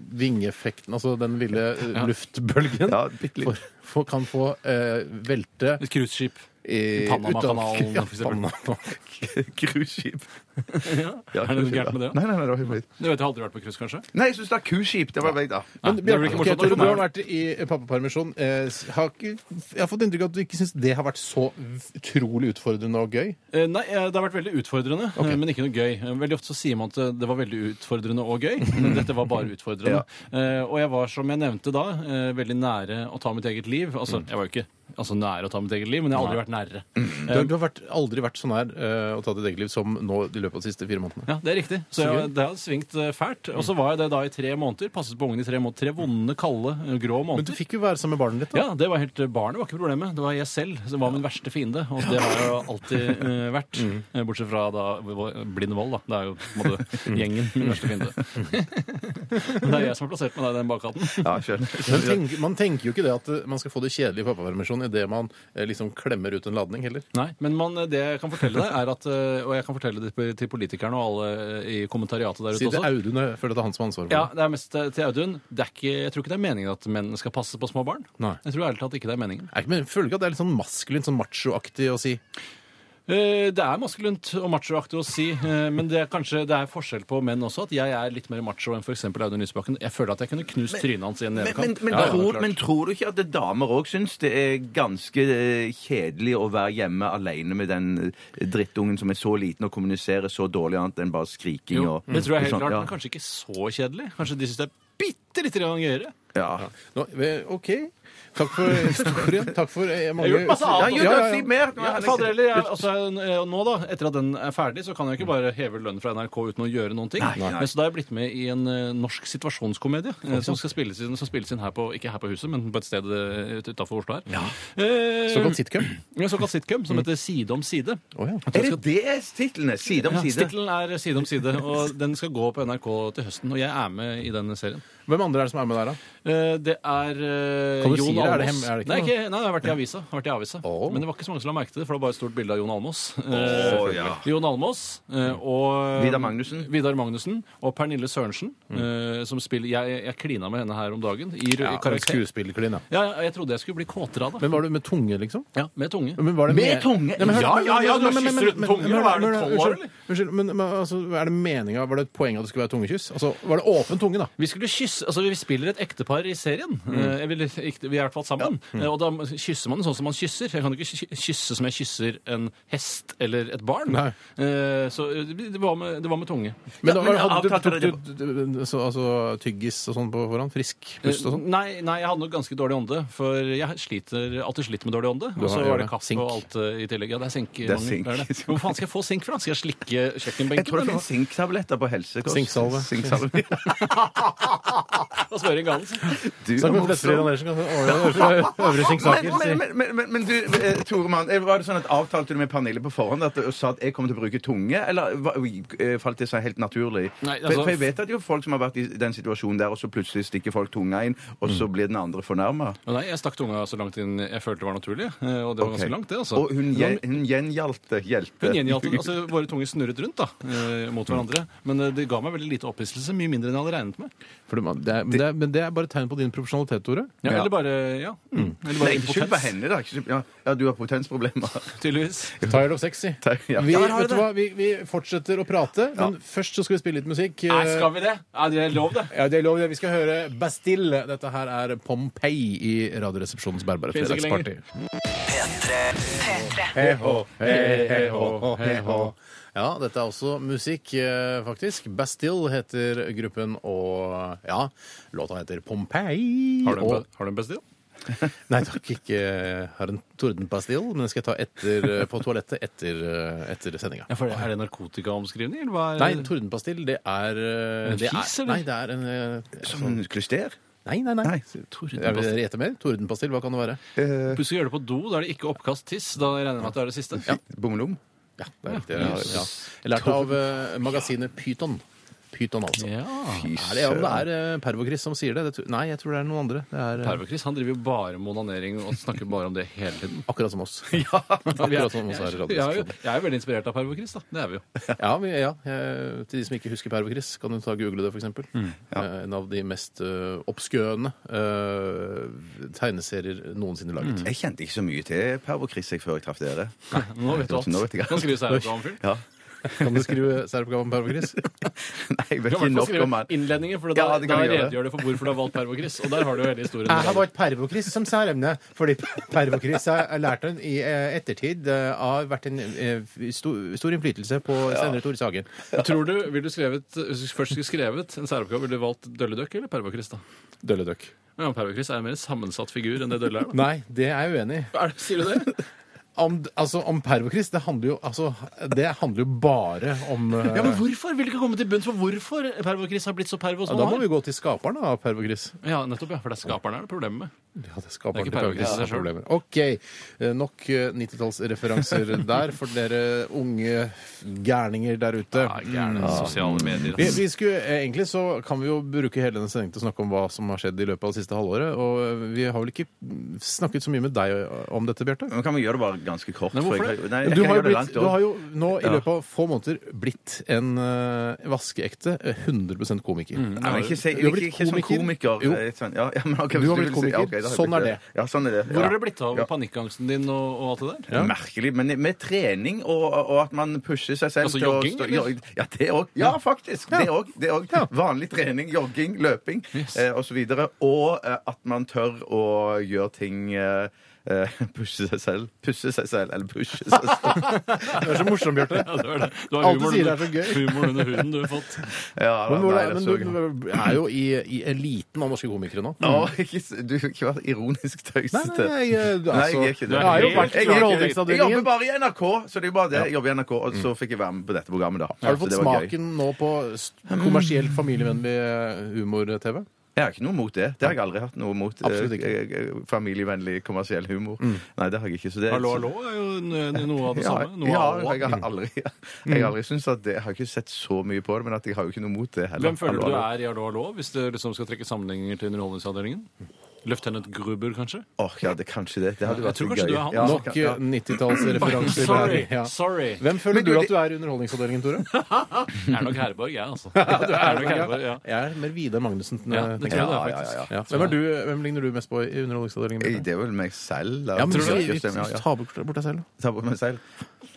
[SPEAKER 2] vingeffekten, altså den lille eh, luftbølgen,
[SPEAKER 1] Ja, bitte litt.
[SPEAKER 2] får- får- kan få eh, velte
[SPEAKER 3] Et cruiseskip.
[SPEAKER 2] i
[SPEAKER 3] Panamakanalen,
[SPEAKER 2] utenfor- Ja,
[SPEAKER 3] for eksempel.
[SPEAKER 2] Panama-
[SPEAKER 1] Cruiseskip.
[SPEAKER 3] Er det noe
[SPEAKER 1] cruiseskip,
[SPEAKER 3] gærent med det?
[SPEAKER 1] Nei, nei, nei, det var helt fint.
[SPEAKER 3] Du vet, jeg har aldri vært på cruise, kanskje?
[SPEAKER 1] Nei, jeg syns det er kuskip. Det var vei, da.
[SPEAKER 3] Nei,
[SPEAKER 2] Men
[SPEAKER 3] det blir
[SPEAKER 2] Bjarte,
[SPEAKER 3] ikke
[SPEAKER 2] ok,
[SPEAKER 3] morsomt.
[SPEAKER 2] Tore, du har vært i pappapermisjon. Eh, s- har ikke, jeg har fått inntrykk av at du ikke syns det har vært så utrolig utfordrende og gøy.
[SPEAKER 3] Eh, Nei, eh, det har vært veldig utfordrende, eh, men ikke noe gøy. Eh, Veldig ofte så sier man at eh, det var veldig utfordrende og gøy, men dette var bare utfordrende. Eh, Og jeg var, som jeg nevnte da, eh, veldig nære å ta mitt eget liv. Altså, jeg var jo ikke altså, nære å ta mitt eget liv, men jeg har aldri vært nærere.
[SPEAKER 2] Du har, du har vært, aldri vært så nær eh, å ta ditt eget liv som nå i løpet av de siste fire månedene.
[SPEAKER 3] Ja, det er riktig. Så jeg, det har svingt eh, fælt. Og så var jeg det da i tre måneder. Passet på ungen i tre måneder. Tre vonde, kalde, eh, grå
[SPEAKER 2] Men du
[SPEAKER 3] måneder.
[SPEAKER 2] fikk jo være sammen med barnet ditt, da.
[SPEAKER 3] Ja, det var helt, eh, Barnet var ikke problemet. Det var jeg selv som var min verste fiende. Og det har jeg jo alltid eh, vært. Eh, Bortsett fra da blind vold, da. Det er jo på en måte gjengen min verste fiende. Men det er jeg som har plassert meg der i den bakhatten.
[SPEAKER 1] Ja, skjønner.
[SPEAKER 2] Men tenk, man tenker jo ikke det at eh, man skal få det kjedelig i pappapermisjon idet man eh, liksom klemmer ut en ladning, heller.
[SPEAKER 3] Nei, men man, eh, det jeg kan fortelle deg, er at eh, Og jeg kan fortelle det til- til politikerne og alle eh, i kommentariatet der ute
[SPEAKER 2] Si
[SPEAKER 3] også.
[SPEAKER 2] det Audun, jeg føler det er han som har ansvaret for
[SPEAKER 3] Ja,
[SPEAKER 2] det.
[SPEAKER 3] det er mest eh, til Audun. Det er ikke, jeg tror ikke det er meningen at menn skal passe på små barn.
[SPEAKER 2] Nei.
[SPEAKER 3] Jeg tror ærlig talt ikke det er meningen.
[SPEAKER 2] Er ikke- Men jeg føler ikke at det er litt sånn maskulint, sånn machoaktig å si
[SPEAKER 3] Eh, Det er maskulint og machoaktig å si, eh, men det er kanskje det er forskjell på menn også. At jeg er litt mer macho enn f.eks. Audun Lysbakken. Jeg føler at jeg kunne knust trynet hans i en
[SPEAKER 1] Men, men,
[SPEAKER 3] nevekant.
[SPEAKER 1] men, tror, men tror du ikke at det damer òg syns det er ganske eh, kjedelig å være hjemme alene med den eh, drittungen som er så liten og kommuniserer så dårlig annet enn bare skriking
[SPEAKER 3] Jo,
[SPEAKER 1] og
[SPEAKER 3] det tror jeg helt
[SPEAKER 1] og sånt,
[SPEAKER 3] klart,
[SPEAKER 1] ja.
[SPEAKER 3] men kanskje ikke så kjedelig. Kanskje de syns det er bitte lite grann gøyere.
[SPEAKER 1] Ja.
[SPEAKER 2] Nå, ve- OK. Takk for historien. Takk for eh, mange
[SPEAKER 3] Jeg har gjort masse
[SPEAKER 1] Ja,
[SPEAKER 3] annet.
[SPEAKER 1] jo,
[SPEAKER 2] Ja, ja,
[SPEAKER 1] da,
[SPEAKER 2] ja.
[SPEAKER 1] si mer! Nå
[SPEAKER 3] Ja,
[SPEAKER 1] er
[SPEAKER 3] fader
[SPEAKER 1] Henrik-
[SPEAKER 3] heller, jeg, altså, eh, nå da, Etter at den er ferdig, så kan jeg jo ikke bare heve lønnen fra NRK uten å gjøre noen ting.
[SPEAKER 1] Nei, nei.
[SPEAKER 3] Men Så da har jeg blitt med i en eh, norsk situasjonskomedie eh, som skal spilles inn, som spilles inn her på, ikke her på huset, men på et sted utafor Oslo her. Eh,
[SPEAKER 2] Såkalt sitcom.
[SPEAKER 3] ja, såkalt sitcom som heter Side om side.
[SPEAKER 2] Å ja.
[SPEAKER 1] Er det det titlene? Side om
[SPEAKER 3] Ja,
[SPEAKER 1] side?
[SPEAKER 3] Tittelen er Side om side, og den skal gå på NRK til høsten. Og jeg er med i den serien.
[SPEAKER 2] Hvem andre er det som er med der, da?
[SPEAKER 3] Eh, Det er eh,
[SPEAKER 2] Kan du
[SPEAKER 3] Jon
[SPEAKER 2] si det? Er det
[SPEAKER 3] Almaas.
[SPEAKER 2] hem- er det ikke
[SPEAKER 3] nei,
[SPEAKER 2] noe?
[SPEAKER 3] ikke, nei, det har vært i avisa. Har vært i avisa.
[SPEAKER 2] Å.
[SPEAKER 3] Men det var ikke så mange som la merke til det, for det var bare et stort bilde av Jon Almaas.
[SPEAKER 1] Å,
[SPEAKER 3] Eh,
[SPEAKER 1] ja.
[SPEAKER 3] Jon Almaas eh, og
[SPEAKER 1] Vidar Magnussen.
[SPEAKER 3] Vidar Magnussen og Pernille Sørensen,
[SPEAKER 2] Mm.
[SPEAKER 3] eh, som spiller Jeg, jeg klina med henne her om dagen. I, ja, i karakter.
[SPEAKER 2] Skuespillerklin, ja.
[SPEAKER 3] Ja, ja, jeg trodde jeg skulle bli kåtere av det.
[SPEAKER 2] Men var du med tunge, liksom?
[SPEAKER 3] Ja, med tunge.
[SPEAKER 2] Men var det
[SPEAKER 1] Med
[SPEAKER 2] me-
[SPEAKER 1] tunge?
[SPEAKER 2] Nei, men hør-
[SPEAKER 1] Ja, ja, ja, du
[SPEAKER 2] men-
[SPEAKER 1] har
[SPEAKER 2] men-
[SPEAKER 1] kysset uten
[SPEAKER 2] men-
[SPEAKER 1] tunge,
[SPEAKER 2] men-
[SPEAKER 1] hva er det,
[SPEAKER 2] men- men-
[SPEAKER 1] tolv år,
[SPEAKER 2] unnskyld, Unnskyld, men men, altså, er det meninga Var det et poeng at det skulle være tungekyss? Altså, var det åpen tunge, da?
[SPEAKER 3] Vi skulle kysse, altså vi spiller et ektepar i serien.
[SPEAKER 2] Mm.
[SPEAKER 3] Eh, Vi, vi er i hvert fall sammen. Eh, Og da kysser man sånn som man kysser. Jeg kan jo ikke ky- kysse som jeg kysser en hest eller et barn.
[SPEAKER 2] Nei.
[SPEAKER 3] Eh, Så det var med, det var med tunge.
[SPEAKER 2] Men,
[SPEAKER 1] Ja, men
[SPEAKER 2] da- hadde, du,
[SPEAKER 1] avtalte
[SPEAKER 2] tok
[SPEAKER 1] dere
[SPEAKER 2] du, du- så, altså, tyggis og sånn på forhånd? Frisk pust og
[SPEAKER 3] Eh,
[SPEAKER 2] sånn?
[SPEAKER 3] Nei, nei, jeg hadde nok ganske dårlig ånde, for jeg sliter, alltid sliter med dårlig ånde.
[SPEAKER 2] Du
[SPEAKER 3] Og så
[SPEAKER 2] har-
[SPEAKER 3] var
[SPEAKER 2] gjør
[SPEAKER 3] det
[SPEAKER 2] det.
[SPEAKER 3] kaffe
[SPEAKER 2] Sink.
[SPEAKER 3] og alt eh, i tillegg. Ja, det er sink.
[SPEAKER 1] er
[SPEAKER 3] Magnus,
[SPEAKER 1] sink.
[SPEAKER 3] det. Hvor faen skal jeg få sink fra? Skal jeg slikke
[SPEAKER 1] Jeg tror det
[SPEAKER 3] kjøkkenbenken?
[SPEAKER 1] finnes sinktabletter på helsekost.
[SPEAKER 2] Sinksalve.
[SPEAKER 1] Sinksalve.
[SPEAKER 3] Og spørre en galen?
[SPEAKER 1] Du er
[SPEAKER 2] Snakk med
[SPEAKER 1] morsom.
[SPEAKER 2] Eh, Flettfrid Andersen. kan du- Å, Øvre Singsaker.
[SPEAKER 1] Men, men, men, men, men du, eh, Tore Mann, eh, var det sånn at avtalte du med Pernille på forhånd at du sa at jeg kommer til å bruke tunge, eller hva- eh, falt det seg helt naturlig?
[SPEAKER 3] Nei,
[SPEAKER 1] For-
[SPEAKER 3] altså-
[SPEAKER 1] For jeg vet at det er jo folk som har vært i den situasjonen der, og så plutselig stikker folk tunga inn, og
[SPEAKER 3] Mm.
[SPEAKER 1] så blir den andre fornærma.
[SPEAKER 3] Men Nei, jeg stakk tunga så langt inn jeg følte det var naturlig. eh, Og det var ganske langt, det, altså.
[SPEAKER 1] Og hun, gjen- hun gjengjaldt det. Hjelpe.
[SPEAKER 3] Hun gjengjaldt den. Altså, våre tunger snurret rundt da, eh, mot hverandre. Men eh, det ga meg veldig lite opphisselse. Mye mindre enn jeg hadde regnet med.
[SPEAKER 2] For det, det er, men, det er, men det er bare et tegn på din profesjonalitet, Tore.
[SPEAKER 3] Ja,
[SPEAKER 1] Ja.
[SPEAKER 3] Eller bare ja. Mm. Eller
[SPEAKER 1] Nei,
[SPEAKER 3] bare
[SPEAKER 1] ikke skyld på
[SPEAKER 3] impotens,
[SPEAKER 1] henne, da. Ikke skyld- Ja, ja, du har potensproblemer.
[SPEAKER 3] tydeligvis.
[SPEAKER 2] Tired of sexy.
[SPEAKER 1] Ja.
[SPEAKER 2] Vi,
[SPEAKER 1] Ja,
[SPEAKER 3] har
[SPEAKER 2] vet du
[SPEAKER 3] det.
[SPEAKER 2] hva? Vi, vi fortsetter å prate, men først så skal vi spille litt musikk.
[SPEAKER 3] Nei, skal vi det? Ja, det er lov, det.
[SPEAKER 2] Ja, det er lov. Vi skal høre Bastille. Dette her er Pompeii i Radioresepsjonens bærbare
[SPEAKER 3] Finnes ikke
[SPEAKER 2] fredagsparty.
[SPEAKER 4] P3.
[SPEAKER 2] Ja, dette er også musikk, eh, faktisk. Bastille heter gruppen, og ja, låta heter Pompeii.
[SPEAKER 3] Har du en,
[SPEAKER 2] og,
[SPEAKER 3] ba- har du en Bastille?
[SPEAKER 2] Nei takk, ikke eh, har en tordenpastille, men den skal jeg ta etter, eh, på toalettet etter, eh, etter sendinga.
[SPEAKER 3] Ja, for det, er det narkotikaomskrivning, eller hva? er-
[SPEAKER 2] Nei, tordenpastill, det er eh,
[SPEAKER 3] En
[SPEAKER 2] det er-
[SPEAKER 3] fis, eller?
[SPEAKER 2] Nei, det er en eh,
[SPEAKER 1] Som klyster?
[SPEAKER 2] Nei, nei, nei.
[SPEAKER 1] Nei. Eh,
[SPEAKER 2] Jeg vil gjette mer. Tordenpastill, hva kan det være?
[SPEAKER 3] Plutselig gjør det på do, da er det ikke oppkast tiss. Da regner jeg med at det er det siste.
[SPEAKER 1] Bommelom?
[SPEAKER 2] Ja, det er riktig. Ja, ja. Jeg lærte av eh, magasinet Pyton. Pyton, altså.
[SPEAKER 3] Ja.
[SPEAKER 2] Er det, om det er eh, Pervo-Chris som sier det? det tro- nei, jeg tror det er noen andre. Det er eh,
[SPEAKER 3] Pervo-Chris han driver jo bare med onanering og snakker bare om det hele tiden.
[SPEAKER 2] akkurat som oss. Ja, akkurat som oss her i
[SPEAKER 3] Jeg, jeg, er jo,
[SPEAKER 2] Radioresepsjonen.
[SPEAKER 3] jeg er jo veldig inspirert av Pervo-Chris, da. Det er vi jo.
[SPEAKER 2] Ja, vi, ja, eh, til de som ikke husker Pervo-Chris, kan du ta og google det, f.eks. eksempel Eh, En av de mest eh, obskøne eh, tegneserier noensinne laget.
[SPEAKER 1] Jeg kjente ikke så mye til Per og Chris jeg før jeg traff dere.
[SPEAKER 3] Nå vet du alt.
[SPEAKER 1] Nå vet jeg alt.
[SPEAKER 3] Nå skriver jeg seg om fyren.
[SPEAKER 1] Ja.
[SPEAKER 2] Kan du skrive særoppgave om Pervo-Chris?
[SPEAKER 1] Nei, jeg vet ikke
[SPEAKER 3] Du kan i hvert fall
[SPEAKER 1] nok om
[SPEAKER 3] skrive
[SPEAKER 1] han.
[SPEAKER 3] innledningen, for da,
[SPEAKER 1] Ja, det
[SPEAKER 3] da
[SPEAKER 1] kan jeg gjøre.
[SPEAKER 3] redegjør du for hvorfor du har valgt Pervo-Chris. Og der har du jo hele historien.
[SPEAKER 2] Jeg har valgt Pervokris som særemne, fordi Pervokris har lært den i eh, ettertid eh, har vært en eh, stor, stor innflytelse på senere Tore Sagen.
[SPEAKER 3] Tror du, vil du skrevet, Hvis du først skulle skrevet en særoppgave, ville du valgt Dølledøkk eller Pervo-Chris? da?
[SPEAKER 2] Dølledøkk.
[SPEAKER 3] Ja, Pervo-Chris er en mer sammensatt figur enn det Dølle er. da.
[SPEAKER 2] Nei, det er jeg uenig i.
[SPEAKER 3] Er det, sier du det?
[SPEAKER 2] Om, altså, om Pervokris, det handler jo altså, Det handler jo bare om eh,
[SPEAKER 3] Ja, men hvorfor? Vil du ikke komme til bunns for hvorfor Pervo-Chris har blitt så pervo
[SPEAKER 2] ja,
[SPEAKER 3] som
[SPEAKER 2] Da
[SPEAKER 3] han
[SPEAKER 2] må
[SPEAKER 3] er?
[SPEAKER 2] vi gå til skaperen av Pervokris.
[SPEAKER 3] Ja, nettopp, ja. For det er skaperen er det problemet med.
[SPEAKER 2] Ja, det er skaperen til
[SPEAKER 3] Det er ikke
[SPEAKER 2] Pervokris.
[SPEAKER 3] Pervokris,
[SPEAKER 2] som
[SPEAKER 3] det er
[SPEAKER 2] er
[SPEAKER 3] selv.
[SPEAKER 2] problemet. OK. eh, Nok eh, 90-tallsreferanser der for dere unge gærninger der ute.
[SPEAKER 3] Ja, gjerne sosiale medier.
[SPEAKER 2] Vi,
[SPEAKER 3] ass.
[SPEAKER 2] vi skulle, eh, egentlig så kan vi jo bruke hele denne sendingen til å snakke om hva som har skjedd i løpet av det siste halvåret. Og eh, vi har vel ikke snakket så mye med deg eh, om dette, Bjarte?
[SPEAKER 1] Men kan vi gjøre det bare ganske kort?
[SPEAKER 3] Nei, hvorfor
[SPEAKER 1] for jeg,
[SPEAKER 3] det?
[SPEAKER 1] nei, jeg
[SPEAKER 2] Du
[SPEAKER 1] kan
[SPEAKER 2] har, jo
[SPEAKER 1] gjøre det
[SPEAKER 2] blitt,
[SPEAKER 1] langt
[SPEAKER 2] du
[SPEAKER 1] også.
[SPEAKER 2] har jo nå i
[SPEAKER 1] Ja.
[SPEAKER 2] løpet av få måneder blitt en eh, vaskeekte eh, 100 komiker.
[SPEAKER 1] Nei, men ikke, si-
[SPEAKER 2] Du har
[SPEAKER 1] ikke,
[SPEAKER 2] blitt
[SPEAKER 1] ikke som komiker.
[SPEAKER 2] komiker. Jo.
[SPEAKER 1] eh, Sånn, ja, ja, men, ok,
[SPEAKER 2] Du
[SPEAKER 1] hvis
[SPEAKER 2] har blitt
[SPEAKER 1] vil si- ja, ok,
[SPEAKER 2] komiker.
[SPEAKER 1] da har jeg
[SPEAKER 2] Sånn
[SPEAKER 1] blitt
[SPEAKER 2] er det.
[SPEAKER 1] Ja, sånn er det.
[SPEAKER 3] Hvor
[SPEAKER 1] ja.
[SPEAKER 3] har det blitt av
[SPEAKER 1] Ja.
[SPEAKER 3] panikkangsten din og, og alt det der?
[SPEAKER 1] Ja. Merkelig. Men med trening og, og at man pusher seg selv
[SPEAKER 3] Altså
[SPEAKER 1] til å
[SPEAKER 3] jogging,
[SPEAKER 1] stå-
[SPEAKER 3] eller?
[SPEAKER 1] jog- Ja, det òg. Ja, faktisk. Det òg. Det òg. Vanlig trening, jogging, løping eh, osv. Og, så videre. og eh, at man tør å gjøre ting eh, eh, Pushe seg selv. Pusse seg selv, eller pushe seg selv.
[SPEAKER 2] Det er så morsomt, Bjarte.
[SPEAKER 3] Ja, det var det. Du
[SPEAKER 2] Alt du
[SPEAKER 3] humoren
[SPEAKER 2] sier er
[SPEAKER 3] under-
[SPEAKER 2] så gøy.
[SPEAKER 3] Humoren under huden du har fått.
[SPEAKER 1] Ja, nei,
[SPEAKER 2] Men, hvordan-
[SPEAKER 1] det er
[SPEAKER 2] men
[SPEAKER 1] så gøy.
[SPEAKER 2] du du er jo i, i eliten av norske komikere nå.
[SPEAKER 1] Å, ikke, s- du har ikke vært ironisk
[SPEAKER 2] Nei,
[SPEAKER 1] tøysete.
[SPEAKER 2] nei, nei, eh, du-
[SPEAKER 1] Nei,
[SPEAKER 2] altså,
[SPEAKER 1] jeg er ikke det.
[SPEAKER 2] Jeg har jo
[SPEAKER 3] helt-
[SPEAKER 1] Jeg er ikke det.
[SPEAKER 2] vært i
[SPEAKER 1] Jeg jobber
[SPEAKER 2] Underholdningsavdelingen. Mm.
[SPEAKER 1] bare i NRK, så det er jo bare det. Jeg jobber i NRK, og så fikk jeg være med på dette programmet, da.
[SPEAKER 2] Har du
[SPEAKER 1] Så
[SPEAKER 2] fått
[SPEAKER 1] det var gøy.
[SPEAKER 2] smaken nå på st- kommersielt familievennlig eh, humor-TV?
[SPEAKER 1] Jeg har ikke noe mot det. Det har jeg aldri hatt noe mot.
[SPEAKER 2] Absolutt ikke. Mm.
[SPEAKER 1] Eh, eh, Familievennlig kommersiell humor. Nei, det har jeg ikke. Så det,
[SPEAKER 3] Hallo, hallo er jo n- n- noe av det
[SPEAKER 1] Ja,
[SPEAKER 3] samme. Noe
[SPEAKER 1] ja,
[SPEAKER 3] av Mm.
[SPEAKER 1] jeg har aldri,
[SPEAKER 2] Mm.
[SPEAKER 1] jeg har aldri syntes at det Jeg har ikke sett så mye på det, men at jeg har jo ikke noe mot det heller.
[SPEAKER 3] Hvem føler
[SPEAKER 1] Hallo,
[SPEAKER 3] du
[SPEAKER 1] hallo.
[SPEAKER 3] er i Hallo, hallo, hvis du liksom skal trekke sammenligninger til Underholdningsavdelingen? Løftenant Gruber, kanskje?
[SPEAKER 1] Åh, ja, det, kanskje det. Det hadde
[SPEAKER 3] Jeg
[SPEAKER 1] vært
[SPEAKER 3] tror
[SPEAKER 1] litt
[SPEAKER 3] kanskje
[SPEAKER 1] gøy.
[SPEAKER 3] du er han. eh,
[SPEAKER 1] Ja,
[SPEAKER 2] Nok
[SPEAKER 1] kan- ja.
[SPEAKER 2] 90-tallsreferanser.
[SPEAKER 3] Sorry!
[SPEAKER 2] Ja.
[SPEAKER 3] sorry.
[SPEAKER 2] Hvem føler
[SPEAKER 1] Men du,
[SPEAKER 2] du at
[SPEAKER 1] det-
[SPEAKER 2] du er i Underholdningsavdelingen, Tore?
[SPEAKER 3] Jeg er nok Herborg, jeg, altså. Jeg er nok Herborg, ja.
[SPEAKER 2] Jeg er mer Vidar Magnussen. eh,
[SPEAKER 3] Ja, det
[SPEAKER 2] tenker
[SPEAKER 3] tror jeg
[SPEAKER 2] jeg.
[SPEAKER 1] Ja, ja, ja,
[SPEAKER 3] det er,
[SPEAKER 1] ja.
[SPEAKER 3] faktisk.
[SPEAKER 2] Ja. Hvem, er du, hvem ligner du mest på i Underholdningsavdelingen?
[SPEAKER 1] Jeg-
[SPEAKER 2] Bjarte?
[SPEAKER 1] Det er vel meg selv, da.
[SPEAKER 2] Ja, men
[SPEAKER 1] Tror du
[SPEAKER 2] vi-
[SPEAKER 1] det?
[SPEAKER 2] vi-
[SPEAKER 1] Ja, ja.
[SPEAKER 2] Ta bort bort deg selv.
[SPEAKER 1] Ta på meg selv.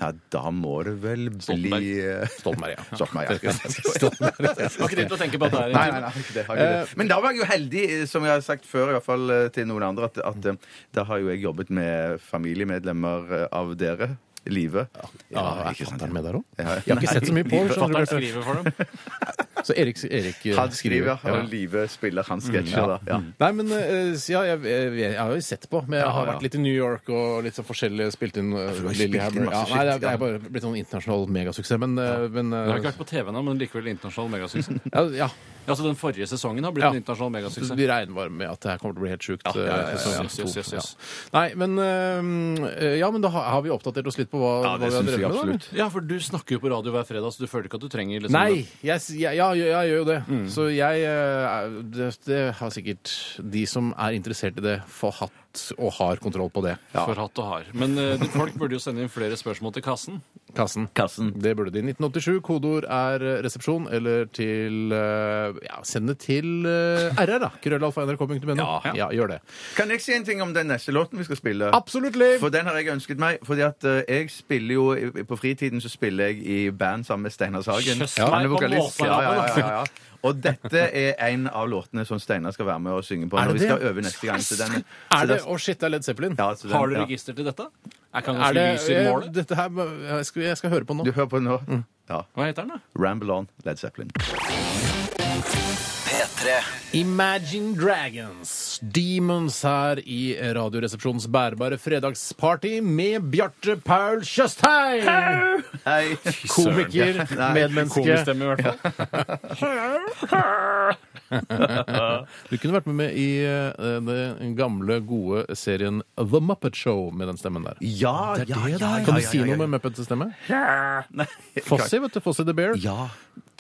[SPEAKER 1] Ja, da må det vel bli eh,
[SPEAKER 2] Stoltenberg, ja.
[SPEAKER 1] Stoltenberg. ja.
[SPEAKER 3] Har ikke tid til å tenke på at det er
[SPEAKER 1] Nei,
[SPEAKER 3] en
[SPEAKER 1] nei, nei, det har jeg ikke det. Men da var jeg jo heldig, eh, som jeg har sagt før, i hvert fall eh, til noen andre, at, at eh, da har jo jeg jobbet med familiemedlemmer eh, av dere. Live.
[SPEAKER 2] Ja, er fatteren med der òg?
[SPEAKER 1] Ja,
[SPEAKER 2] Jeg har ikke
[SPEAKER 1] nei,
[SPEAKER 2] sett så mye på.
[SPEAKER 1] Live.
[SPEAKER 2] skjønner du,
[SPEAKER 3] Fatter'n
[SPEAKER 2] Bjarte.
[SPEAKER 3] skriver for dem.
[SPEAKER 2] Så Erik, Erik eh,
[SPEAKER 1] Han skriver,
[SPEAKER 2] Ja. Mm,
[SPEAKER 1] han live spiller hans sketsjer, da. Ja.
[SPEAKER 2] Nei, men eh, ja, jeg, jeg, jeg har jo sett på, men jeg har
[SPEAKER 1] ja.
[SPEAKER 2] vært litt i New York og litt sånn forskjellig spilt inn
[SPEAKER 1] du
[SPEAKER 2] uh,
[SPEAKER 1] har spilt inn
[SPEAKER 2] Lillehammer. Ja,
[SPEAKER 1] masse
[SPEAKER 2] nei,
[SPEAKER 1] shit,
[SPEAKER 2] det er, det er bare blitt sånn internasjonal megasuksess, men, eh, men eh,
[SPEAKER 3] Den har ikke vært på TV nå, men likevel internasjonal megasuksess.
[SPEAKER 2] ja, ja,
[SPEAKER 3] Altså, den forrige sesongen har blitt
[SPEAKER 2] Ja.
[SPEAKER 3] en internasjonal megasuksess.
[SPEAKER 2] Vi regner bare med at det her kommer til å bli helt sjukt.
[SPEAKER 3] ja, ja,
[SPEAKER 2] eh,
[SPEAKER 3] ja,
[SPEAKER 2] sesong
[SPEAKER 3] yes, yes,
[SPEAKER 2] to.
[SPEAKER 3] yes, yes.
[SPEAKER 2] Ja. Nei, men eh, Ja, men da har har vi oppdatert oss litt på hva,
[SPEAKER 1] Ja,
[SPEAKER 2] hva
[SPEAKER 1] det
[SPEAKER 2] vi har
[SPEAKER 1] syns jeg
[SPEAKER 2] drevet med? da, eller?
[SPEAKER 1] absolutt.
[SPEAKER 3] Ja, for du snakker jo på radio hver fredag, så du føler ikke at du trenger liksom,
[SPEAKER 2] Nei, jeg, s- jeg, ja, jeg, jeg gjør jo det.
[SPEAKER 3] Mm.
[SPEAKER 2] Så jeg eh, er- det, det har sikkert de som er interessert i det, forhatt og har kontroll på det.
[SPEAKER 3] det for hatt og har. Men eh, de- folk burde jo sende inn flere spørsmål til kassen.
[SPEAKER 2] Kassen.
[SPEAKER 1] Kassen.
[SPEAKER 2] Det burde de. 1987, kodeord er eh, resepsjon, eller til eh, Ja, send det til eh, RR, da. Krøllalfa.nrk.no.
[SPEAKER 1] Ja.
[SPEAKER 2] ja, gjør det.
[SPEAKER 1] Kan jeg si en ting om den neste låten vi skal spille?
[SPEAKER 2] Absolutt liv!
[SPEAKER 1] For den har jeg ønsket meg. Fordi at eh, jeg spiller jo i- På fritiden så spiller jeg i band sammen med Steinar Sagen.
[SPEAKER 3] Kjøss
[SPEAKER 1] Han
[SPEAKER 3] meg
[SPEAKER 1] er
[SPEAKER 3] på
[SPEAKER 1] vokalist.
[SPEAKER 3] måsen,
[SPEAKER 1] Ja, ja, ja, ja, ja. Og dette er en av låtene som Steinar skal være med og synge på
[SPEAKER 2] Er
[SPEAKER 1] når
[SPEAKER 2] det
[SPEAKER 1] vi skal
[SPEAKER 2] det?
[SPEAKER 1] øve neste gang. Så den, så
[SPEAKER 2] Er det
[SPEAKER 1] den-
[SPEAKER 2] Å, shit, det er Led Zeppelin.
[SPEAKER 1] ja, så den,
[SPEAKER 3] Har du
[SPEAKER 1] ja.
[SPEAKER 3] register til dette? Jeg kan
[SPEAKER 2] Er
[SPEAKER 3] ganske
[SPEAKER 2] det, eh,
[SPEAKER 3] lys i
[SPEAKER 2] jeg,
[SPEAKER 3] målet.
[SPEAKER 2] dette her, jeg, skal, jeg skal høre på nå.
[SPEAKER 1] Du hører på den nå? Ja.
[SPEAKER 3] Hva heter den, da?
[SPEAKER 1] Ramble On, Led Zeppelin.
[SPEAKER 4] P3
[SPEAKER 2] Imagine Dragons, Demons her i Radioresepsjonens bærbare fredagsparty med Bjarte Paul Tjøstheim!
[SPEAKER 1] Hei.
[SPEAKER 2] Komiker,
[SPEAKER 1] Nei,
[SPEAKER 2] medmenneske.
[SPEAKER 3] Komistemme, i hvert fall.
[SPEAKER 2] Du kunne vært med, med i eh, den gamle, gode serien The Muppet Show med den stemmen der.
[SPEAKER 1] Ja, ja, ja, ja, ja,
[SPEAKER 2] Kan du si
[SPEAKER 1] ja, ja.
[SPEAKER 2] noe med Muppets stemme?
[SPEAKER 1] Nei.
[SPEAKER 2] Fossi, vet du. Fossi the Bear.
[SPEAKER 1] Ja.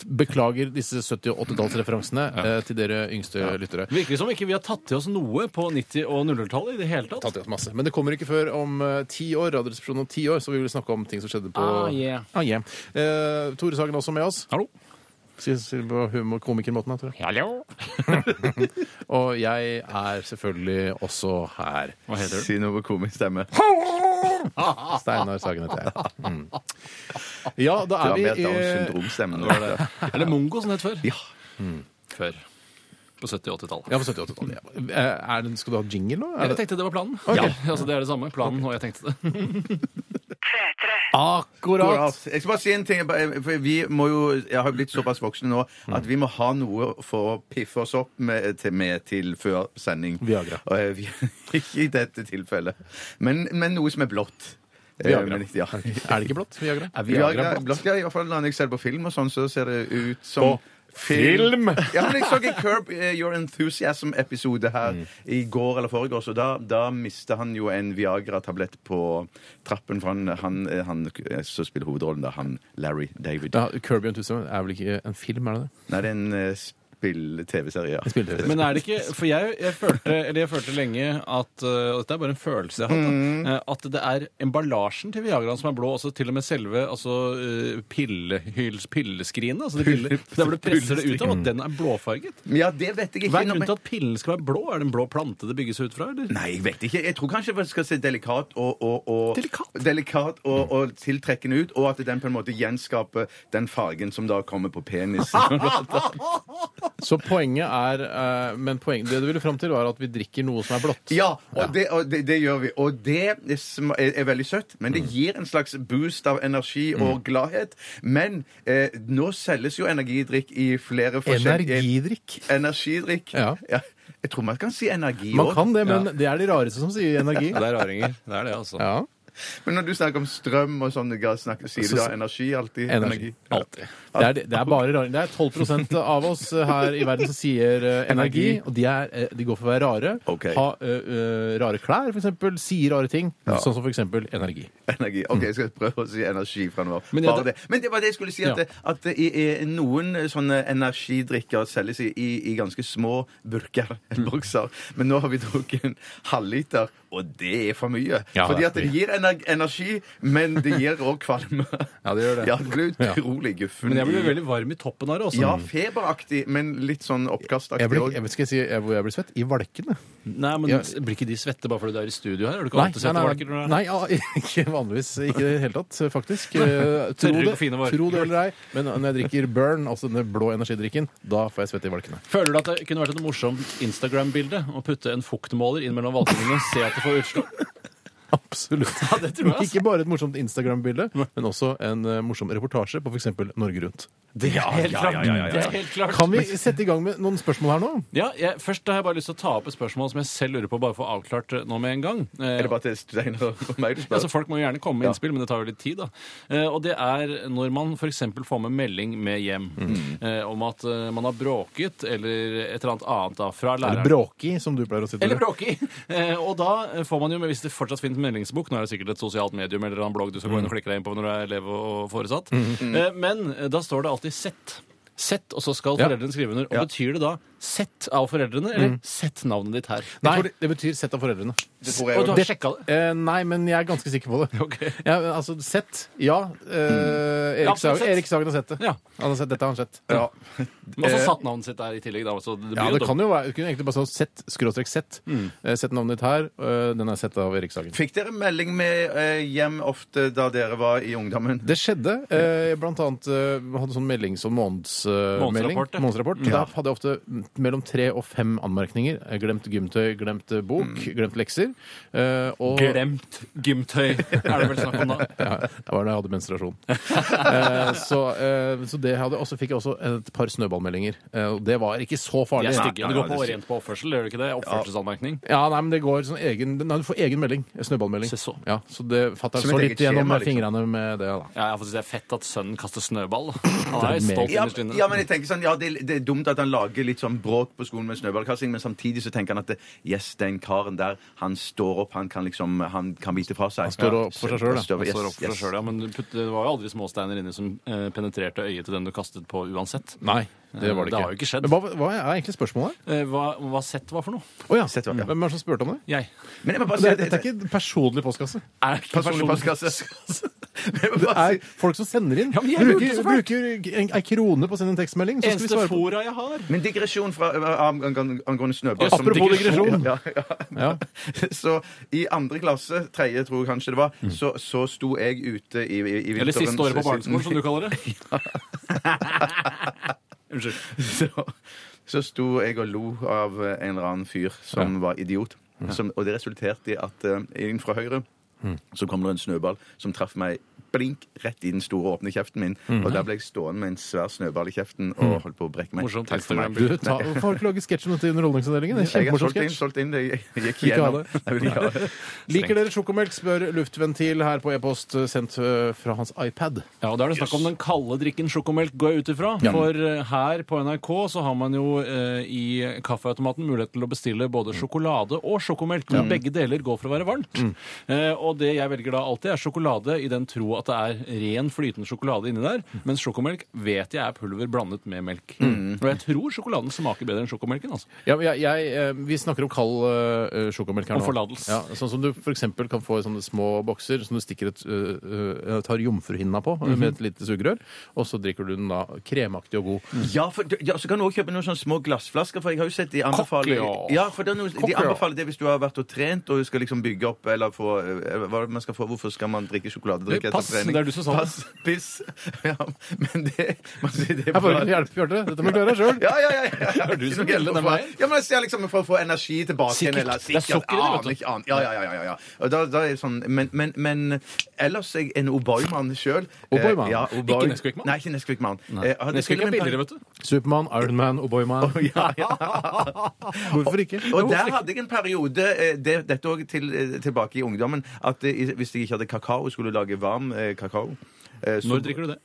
[SPEAKER 2] Beklager disse 70- og 80-tallsreferansene eh, til dere yngste lyttere.
[SPEAKER 3] Virker som ikke vi har tatt til oss noe på 90- og 00-tallet i det hele tatt.
[SPEAKER 2] tatt i oss masse. Men det kommer ikke før om eh, ti år. Radioresepsjonen om ti år, så vi vil snakke om ting som skjedde på
[SPEAKER 3] Ah, yeah.
[SPEAKER 2] Ah, yeah. Eh, Tore Sagen er også med oss.
[SPEAKER 3] Hallo.
[SPEAKER 2] Si- si det på humorkomikermåten, da, tror jeg.
[SPEAKER 3] Hallo.
[SPEAKER 2] Og jeg er selvfølgelig også her.
[SPEAKER 3] Hva heter du?
[SPEAKER 1] Si noe med komisk stemme.
[SPEAKER 2] Steinar Sagen heter jeg. Mm. Ja, da
[SPEAKER 1] Du
[SPEAKER 2] er
[SPEAKER 1] har
[SPEAKER 2] vi eh,
[SPEAKER 1] mer Downs
[SPEAKER 2] i
[SPEAKER 1] syndrom-stemme nå.
[SPEAKER 3] Eller Mongo, som det het før.
[SPEAKER 1] Ja.
[SPEAKER 3] Før. På 70- og 80-tallet.
[SPEAKER 2] ja, på 70-80-tallet. Eh, er det- Skal du ha jingle nå? Er
[SPEAKER 3] Jeg
[SPEAKER 2] det-
[SPEAKER 3] tenkte det var planen. Ja, altså Det er det samme. Planen, og jeg tenkte det.
[SPEAKER 2] Akkurat!
[SPEAKER 1] Jeg skal bare si en ting. jeg bare- For vi må jo, jeg har blitt såpass voksen nå
[SPEAKER 2] Mm.
[SPEAKER 1] at vi må ha noe for å piffe oss opp med til, med til før sending.
[SPEAKER 2] Viagra.
[SPEAKER 1] Og, eh, vi, ikke i dette tilfellet. Men, men noe som er blått. Eh,
[SPEAKER 2] Viagra.
[SPEAKER 1] men ikke- ja.
[SPEAKER 2] Er det ikke blått? Viagra?
[SPEAKER 1] Viagra er blått. Ja, i hvert fall når jeg ser på film og sånn, så ser det ut som
[SPEAKER 2] På film?
[SPEAKER 1] Ja, men jeg så en Curb eh, Your Enthusiasm-episode her
[SPEAKER 3] Mm.
[SPEAKER 1] i går eller foregårs, og da, da mista han jo en Viagra-tablett på trappen, for han, han, eh, han eh, som spiller hovedrollen, da, han Larry David.
[SPEAKER 2] Ja, Kirby Enthusiasm er vel ikke en film, er det det?
[SPEAKER 1] Nei, det er en eh, spill-TV-serie, ja.
[SPEAKER 2] Spill det.
[SPEAKER 3] Men er det ikke For jeg, jeg, følte, eller jeg følte lenge at eh, Og dette er bare en følelse jeg har hatt. da, eh, At det er emballasjen til Viagraen som er blå. Altså til og med selve altså, eh, pillehyls, pilleskrinet. Altså de piller, der hvor du presser det ut av, at den er blåfarget.
[SPEAKER 1] Men ja, det vet jeg ikke.
[SPEAKER 3] Hva
[SPEAKER 1] Nå,
[SPEAKER 3] er
[SPEAKER 1] men-
[SPEAKER 3] grunnen til at pillen skal være blå? Er det en blå plante det bygges ut fra? Eller?
[SPEAKER 1] Nei, jeg vet ikke. Jeg tror kanskje man skal se delikat og, og, og
[SPEAKER 3] Delikat? Mm.
[SPEAKER 1] delikat og, og tiltrekkende ut, og at den på en måte gjenskaper den fargen som da kommer på penisen.
[SPEAKER 2] Så poenget er eh, Men poenget, det du ville fram til, var at vi drikker noe som er blått.
[SPEAKER 1] Ja, og, det, og det, det gjør vi. Og det er, sm- er er veldig søtt, men
[SPEAKER 2] Mm.
[SPEAKER 1] det gir en slags boost av energi og gladhet. Men eh, nå selges jo energidrikk i flere forskjellige
[SPEAKER 2] Energidrikk.
[SPEAKER 1] Energidrikk.
[SPEAKER 2] Ja.
[SPEAKER 1] Jeg tror man kan si energi
[SPEAKER 2] Man
[SPEAKER 1] også.
[SPEAKER 2] kan det, men det er de rareste som sier energi.
[SPEAKER 3] Det er raringer. Det er det, altså.
[SPEAKER 2] Ja,
[SPEAKER 1] Men når du snakker om strøm og sånn, ga- snakker- sier du da energi alltid?
[SPEAKER 2] energi.
[SPEAKER 1] Ja.
[SPEAKER 2] Alltid. Det er, det er bare rare. Det er 12 av oss her i verden som sier eh, energi,
[SPEAKER 1] Energi.
[SPEAKER 2] og de, er, eh, de går for å være rare.
[SPEAKER 1] Ok.
[SPEAKER 2] Ha eh, eh, rare klær, for eksempel. Sier rare ting. Sånn som for eksempel energi.
[SPEAKER 1] Energi. OK, jeg skal prøve å si energi fra nå av.
[SPEAKER 3] Men jeg-
[SPEAKER 1] Bare det. Men det var det jeg skulle si, at,
[SPEAKER 2] Ja.
[SPEAKER 1] at i, i noen sånne energidrikker selges i, i, i ganske små burker,
[SPEAKER 2] Mm.
[SPEAKER 1] bokser. Men nå har vi drukket en halvliter, og det er for mye.
[SPEAKER 2] Ja, det
[SPEAKER 1] Fordi
[SPEAKER 2] er
[SPEAKER 1] at det gir ener- energi, men det gir òg kvalme.
[SPEAKER 2] Ja, det gjør det.
[SPEAKER 1] Ja, det blir utrolig guffen.
[SPEAKER 3] Men jeg blir
[SPEAKER 1] i-
[SPEAKER 3] veldig varm i toppen av det også.
[SPEAKER 1] Ja, feberaktig, men litt sånn oppkastaktig
[SPEAKER 2] Jeg blir,
[SPEAKER 1] også.
[SPEAKER 2] jeg, skal jeg si eh, hvor jeg blir svett? I valkene.
[SPEAKER 3] Nei, men Blir ikke de svette bare fordi du er i studio her? Har du ikke alltid sett valker? når du er-
[SPEAKER 2] nei, ja, ikke vanligvis. Ikke i det hele tatt, faktisk. Eh, Tro
[SPEAKER 3] Tørre
[SPEAKER 2] det,
[SPEAKER 3] på fine varer.
[SPEAKER 2] tro det eller ei, men når jeg drikker Burn, altså denne blå energidrikken, da får jeg svette i valkene.
[SPEAKER 3] Føler du at det kunne vært et morsomt Instagram-bilde å putte en fuktmåler inn mellom valpene og se at det får utslag?
[SPEAKER 2] Absolutt.
[SPEAKER 3] Ja, det tror jeg, altså.
[SPEAKER 2] Ikke bare et morsomt Instagram-bilde, men også en eh, morsom reportasje på f.eks. Norge Rundt.
[SPEAKER 3] Det er helt klart.
[SPEAKER 1] ja, ja, ja, ja.
[SPEAKER 3] Det er helt klart.
[SPEAKER 2] Kan vi sette i gang med noen spørsmål her nå?
[SPEAKER 3] Ja, jeg, Først har jeg bare lyst til å ta opp et spørsmål som jeg selv lurer på, bare for å få avklart eh, nå med en gang. Eh,
[SPEAKER 1] Er det bare til Steinar og meg du
[SPEAKER 3] Altså,
[SPEAKER 1] spør?
[SPEAKER 3] folk må jo gjerne komme med innspill, men det tar jo litt tid. da. Eh, og det er når man f.eks. får med melding med hjem
[SPEAKER 1] Mm.
[SPEAKER 3] eh, om at eh, man har bråket eller et eller annet annet da, fra
[SPEAKER 2] Eller
[SPEAKER 3] læreren.
[SPEAKER 2] Bråki, som du pleier å si. Tore.
[SPEAKER 3] Eller bråki! Eh, og da eh, får man jo, men hvis det fortsatt finnes meldingsbok Nå er det sikkert et sosialt medium eller en blogg du skal gå inn
[SPEAKER 1] Mm.
[SPEAKER 3] og klikke deg inn på når du er elev og foresatt. Eh, men eh, da står det alltid sett. Sett, og så skal
[SPEAKER 2] Ja.
[SPEAKER 3] foreldrene skrive under. Og
[SPEAKER 1] Ja. Mm.
[SPEAKER 3] Betyr det da sett av foreldrene, eller sett navnet ditt her?
[SPEAKER 2] Nei, det betyr sett av foreldrene.
[SPEAKER 1] Det tror
[SPEAKER 3] Og
[SPEAKER 1] jeg
[SPEAKER 3] du
[SPEAKER 1] jo.
[SPEAKER 3] har sjekka det?
[SPEAKER 2] Eh, nei, men jeg er ganske sikker på det.
[SPEAKER 3] Ok.
[SPEAKER 2] Ja, altså, sett. Ja. Eh,
[SPEAKER 3] Ja,
[SPEAKER 2] Erik, Sagen,
[SPEAKER 3] sett.
[SPEAKER 2] Erik Sagen har sett det.
[SPEAKER 3] Ja.
[SPEAKER 2] Han har sett dette, har han sett.
[SPEAKER 1] Ja.
[SPEAKER 3] Men også satt navnet sitt der i tillegg, da. Så det blir
[SPEAKER 2] Ja,
[SPEAKER 3] jo
[SPEAKER 2] det
[SPEAKER 3] dobbelt.
[SPEAKER 2] kan jo være, du kunne egentlig bare sagt sett, skråstrek sett. Eh, Sett navnet ditt her. eh, Den er sett av Erik Sagen.
[SPEAKER 1] Fikk dere melding med eh, hjem ofte da dere var i ungdommen?
[SPEAKER 2] Det skjedde. Eh, blant annet eh, vi hadde sånn melding som månedsmelding.
[SPEAKER 3] Månedsrapport, ja.
[SPEAKER 2] Månedsrapport. Da hadde jeg ofte m- mellom tre og fem anmerkninger. Eh, Glemt gymtøy, glemt eh, bok, glemt lekser. Eh, og
[SPEAKER 3] Mm. Glemt gymtøy, er det vel snakk om da.
[SPEAKER 2] Ja, det var da jeg hadde menstruasjon. eh, så, eh, så det hadde, også fikk jeg også et par snøballmeldinger. Eh, og det var ikke så
[SPEAKER 3] De
[SPEAKER 2] farlig.
[SPEAKER 3] er
[SPEAKER 1] stygge.
[SPEAKER 3] stygge. Det går på rent på oppførsel, gjør det ikke det? Oppførselsanmerkning.
[SPEAKER 2] Ja, nei, men det går sånn egen Nei, du får egen melding. en Snøballmelding.
[SPEAKER 3] Se så.
[SPEAKER 2] Ja, så det fatter
[SPEAKER 1] Som
[SPEAKER 2] så
[SPEAKER 1] et
[SPEAKER 2] litt
[SPEAKER 1] eget skjema,
[SPEAKER 2] gjennom
[SPEAKER 1] liksom.
[SPEAKER 2] fingrene med det, da.
[SPEAKER 3] Ja, jeg synes det er fett at sønnen kaster snøball. Han er jo
[SPEAKER 2] Det er
[SPEAKER 3] stolt
[SPEAKER 1] Ja,
[SPEAKER 3] innerst inne.
[SPEAKER 1] ja, men jeg tenker sånn, ja, det, det er dumt at han lager litt sånn bråk på skolen med snøballkasting, men samtidig så tenker han at det, yes, den karen der, han står opp, han kan liksom, han kan vise fra seg. Han
[SPEAKER 2] står opp for seg selv, da.
[SPEAKER 3] Han står opp for seg selv, ja, men du putt- det var jo aldri småsteiner inni som eh, penetrerte øyet til den du kastet på uansett.
[SPEAKER 2] Nei, det var det ikke.
[SPEAKER 3] Det har jo ikke skjedd.
[SPEAKER 2] Men hva, hva er egentlig spørsmålet? her?
[SPEAKER 3] Eh, Hva, hva sett var for noe?
[SPEAKER 2] Å ja.
[SPEAKER 1] Sett hva- ja.
[SPEAKER 2] Hvem er det som spurte om det?
[SPEAKER 3] Jeg.
[SPEAKER 1] Men jeg må bare si
[SPEAKER 2] Det er,
[SPEAKER 1] at
[SPEAKER 2] dette er ikke personlig postkasse.
[SPEAKER 3] Er ikke
[SPEAKER 1] personlig
[SPEAKER 3] personlig-
[SPEAKER 1] postkasse. Men jeg må
[SPEAKER 2] Det
[SPEAKER 1] bare
[SPEAKER 2] er
[SPEAKER 1] si-
[SPEAKER 2] folk som sender inn.
[SPEAKER 3] Ja, men jeg lurte
[SPEAKER 2] bruker
[SPEAKER 3] så fælt.
[SPEAKER 2] bruker en, ei krone på å sende en tekstmelding, så skal vi
[SPEAKER 3] Eneste
[SPEAKER 2] svare på
[SPEAKER 3] fora jeg har.
[SPEAKER 1] Men digresjon fra, eh, ang- ang- angående snøball.
[SPEAKER 3] Ja, apropos digresjon.
[SPEAKER 1] Ja, ja, ja.
[SPEAKER 2] Ja.
[SPEAKER 1] Så i andre klasse, tredje tror jeg kanskje det var, så, så sto jeg ute i, i, i vinteren.
[SPEAKER 3] Mm. Eller siste året på barneskolen, som du kaller det.
[SPEAKER 1] så, så sto jeg og lo av eh, en eller annen fyr som var idiot. Som, og det resulterte i at eh, inn fra høyre
[SPEAKER 2] Mm.
[SPEAKER 1] så kom det en snøball som traff meg blink rett i den store åpne kjeften min.
[SPEAKER 2] Mm.
[SPEAKER 1] Og der ble jeg stående med en svær snøball i kjeften og holdt på å brekke meg.
[SPEAKER 3] Morsomt
[SPEAKER 1] Takk for meg.
[SPEAKER 3] Instagram-bilde.
[SPEAKER 2] du, ta, Hvorfor har du ikke laget sketsj om dette i Underholdningsavdelingen? Det er
[SPEAKER 1] Jeg har
[SPEAKER 2] Kjempemorsom
[SPEAKER 1] solgt inn,
[SPEAKER 2] sketsj.
[SPEAKER 1] solgt inn. det- Jeg jeg gikk
[SPEAKER 2] Vil ikke ha
[SPEAKER 1] igjennom.
[SPEAKER 2] det.
[SPEAKER 1] Jeg vil ikke ha det.
[SPEAKER 2] Liker dere sjokomelk? spør Luftventil her på e-post eh, sendt eh, fra hans iPad.
[SPEAKER 3] Ja, og Da er det snakk om den kalde drikken sjokomelk, går jeg ut ifra. For eh, her på NRK så har man jo eh, i kaffeautomaten mulighet til å bestille både sjokolade og sjokomelk. Men begge deler går for å være varmt. Eh, og det jeg velger da alltid, er sjokolade i den tro at det er ren flytende sjokolade inni der. Mens sjokomelk vet jeg er pulver blandet med melk. Og jeg tror sjokoladen smaker bedre enn sjokomelken. altså.
[SPEAKER 2] Ja, men jeg, jeg, eh, vi snakker om kald eh, sjokomelk her
[SPEAKER 3] Om
[SPEAKER 2] nå.
[SPEAKER 3] forlatelse.
[SPEAKER 2] Ja, sånn som du f.eks. kan få i sånne små bokser som du stikker et, eh, eh, tar jomfruhinna på med et lite sugerør, og så drikker du den da kremaktig og god.
[SPEAKER 1] Ja, for, ja, så kan du også kjøpe noen sånne små glassflasker, for jeg har jo sett de anbefaler
[SPEAKER 3] Cocktail.
[SPEAKER 1] Ja, for det er noe, de
[SPEAKER 2] Cocktail.
[SPEAKER 1] anbefaler det hvis du har vært og trent og skal liksom bygge opp eller få eh, hva er det man skal få, Hvorfor skal man drikke sjokoladedrikk etter
[SPEAKER 3] Pass,
[SPEAKER 1] trening?
[SPEAKER 3] det er du som sa det.
[SPEAKER 1] Pass, piss. Ja, men det, man sier det er
[SPEAKER 2] Jeg får
[SPEAKER 1] bra.
[SPEAKER 2] ikke hjelp, Bjarte. Dette må du klare deg sjøl.
[SPEAKER 1] ja, ja, ja, ja, ja.
[SPEAKER 3] du
[SPEAKER 1] Ikke
[SPEAKER 3] som
[SPEAKER 1] noe hjelp
[SPEAKER 3] ville den
[SPEAKER 1] fra-
[SPEAKER 3] veien.
[SPEAKER 1] Ja, men jeg ser liksom For å få energi tilbake igjen,
[SPEAKER 3] Sikkert.
[SPEAKER 1] eller
[SPEAKER 3] Det er
[SPEAKER 1] sikkert.
[SPEAKER 3] sukker i det, vet
[SPEAKER 1] aner
[SPEAKER 3] du.
[SPEAKER 1] ikke annet. Ja, ja, ja, ja, ja. Og da, da er det sånn, men, men, men ellers er jeg en O'boy-mann sjøl.
[SPEAKER 2] O'boy-mann?
[SPEAKER 1] Ja,
[SPEAKER 3] Ikke Nesquik-mann?
[SPEAKER 1] Nei, ikke Nesquik-mann. Eh,
[SPEAKER 3] Nesquik er billigere, vet du.
[SPEAKER 2] Supermann, Ironman, O'boyman.
[SPEAKER 1] Ja, ja.
[SPEAKER 2] Hvorfor ikke?
[SPEAKER 1] Og der hadde jeg en periode, eh, det, dette òg til, eh, tilbake i ungdommen, at eh, i- hvis jeg ikke hadde kakao, skulle jeg lage varm eh, kakao. Eh, så-
[SPEAKER 3] Når drikker du det?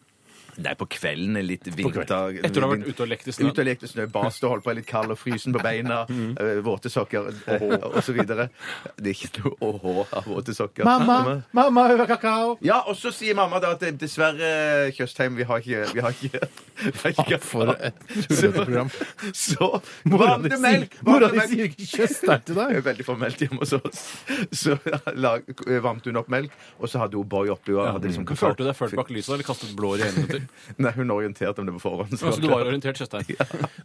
[SPEAKER 1] Nei, på kvelden. Litt vinter...
[SPEAKER 3] Etter du har vært ute og lekt i snøen.
[SPEAKER 1] Ute og lekt i snø, bast og holdt på, er litt kald og frysen på beina, eh, våte sokker eh, og så videre. Det er ikke noe åhå av våte sokker.
[SPEAKER 2] Mamma, mamma, hun har kakao!
[SPEAKER 1] Ja, og så sier mamma da at eh, dessverre, Tjøstheim, vi har ikke Vi har ikke, vi har ikke
[SPEAKER 2] Ja, for et tullete program.
[SPEAKER 1] Så
[SPEAKER 2] Mora
[SPEAKER 1] varm
[SPEAKER 2] di
[SPEAKER 1] det
[SPEAKER 2] sier-
[SPEAKER 1] melk!
[SPEAKER 2] mora
[SPEAKER 1] varm
[SPEAKER 2] di
[SPEAKER 1] det melk.
[SPEAKER 2] sier ikke 'kjøss' der
[SPEAKER 1] Det
[SPEAKER 2] til deg.
[SPEAKER 1] er veldig formelt hjemme hos oss. Så lag, varmte hun opp melk, og så hadde hun Boy oppi og hadde liksom
[SPEAKER 3] mm. Følte du deg ført bak lyset eller kastet blår i øynene? til?
[SPEAKER 1] Nei, hun orienterte om det på forhånd.
[SPEAKER 3] Så du var orientert, Tjøstheim.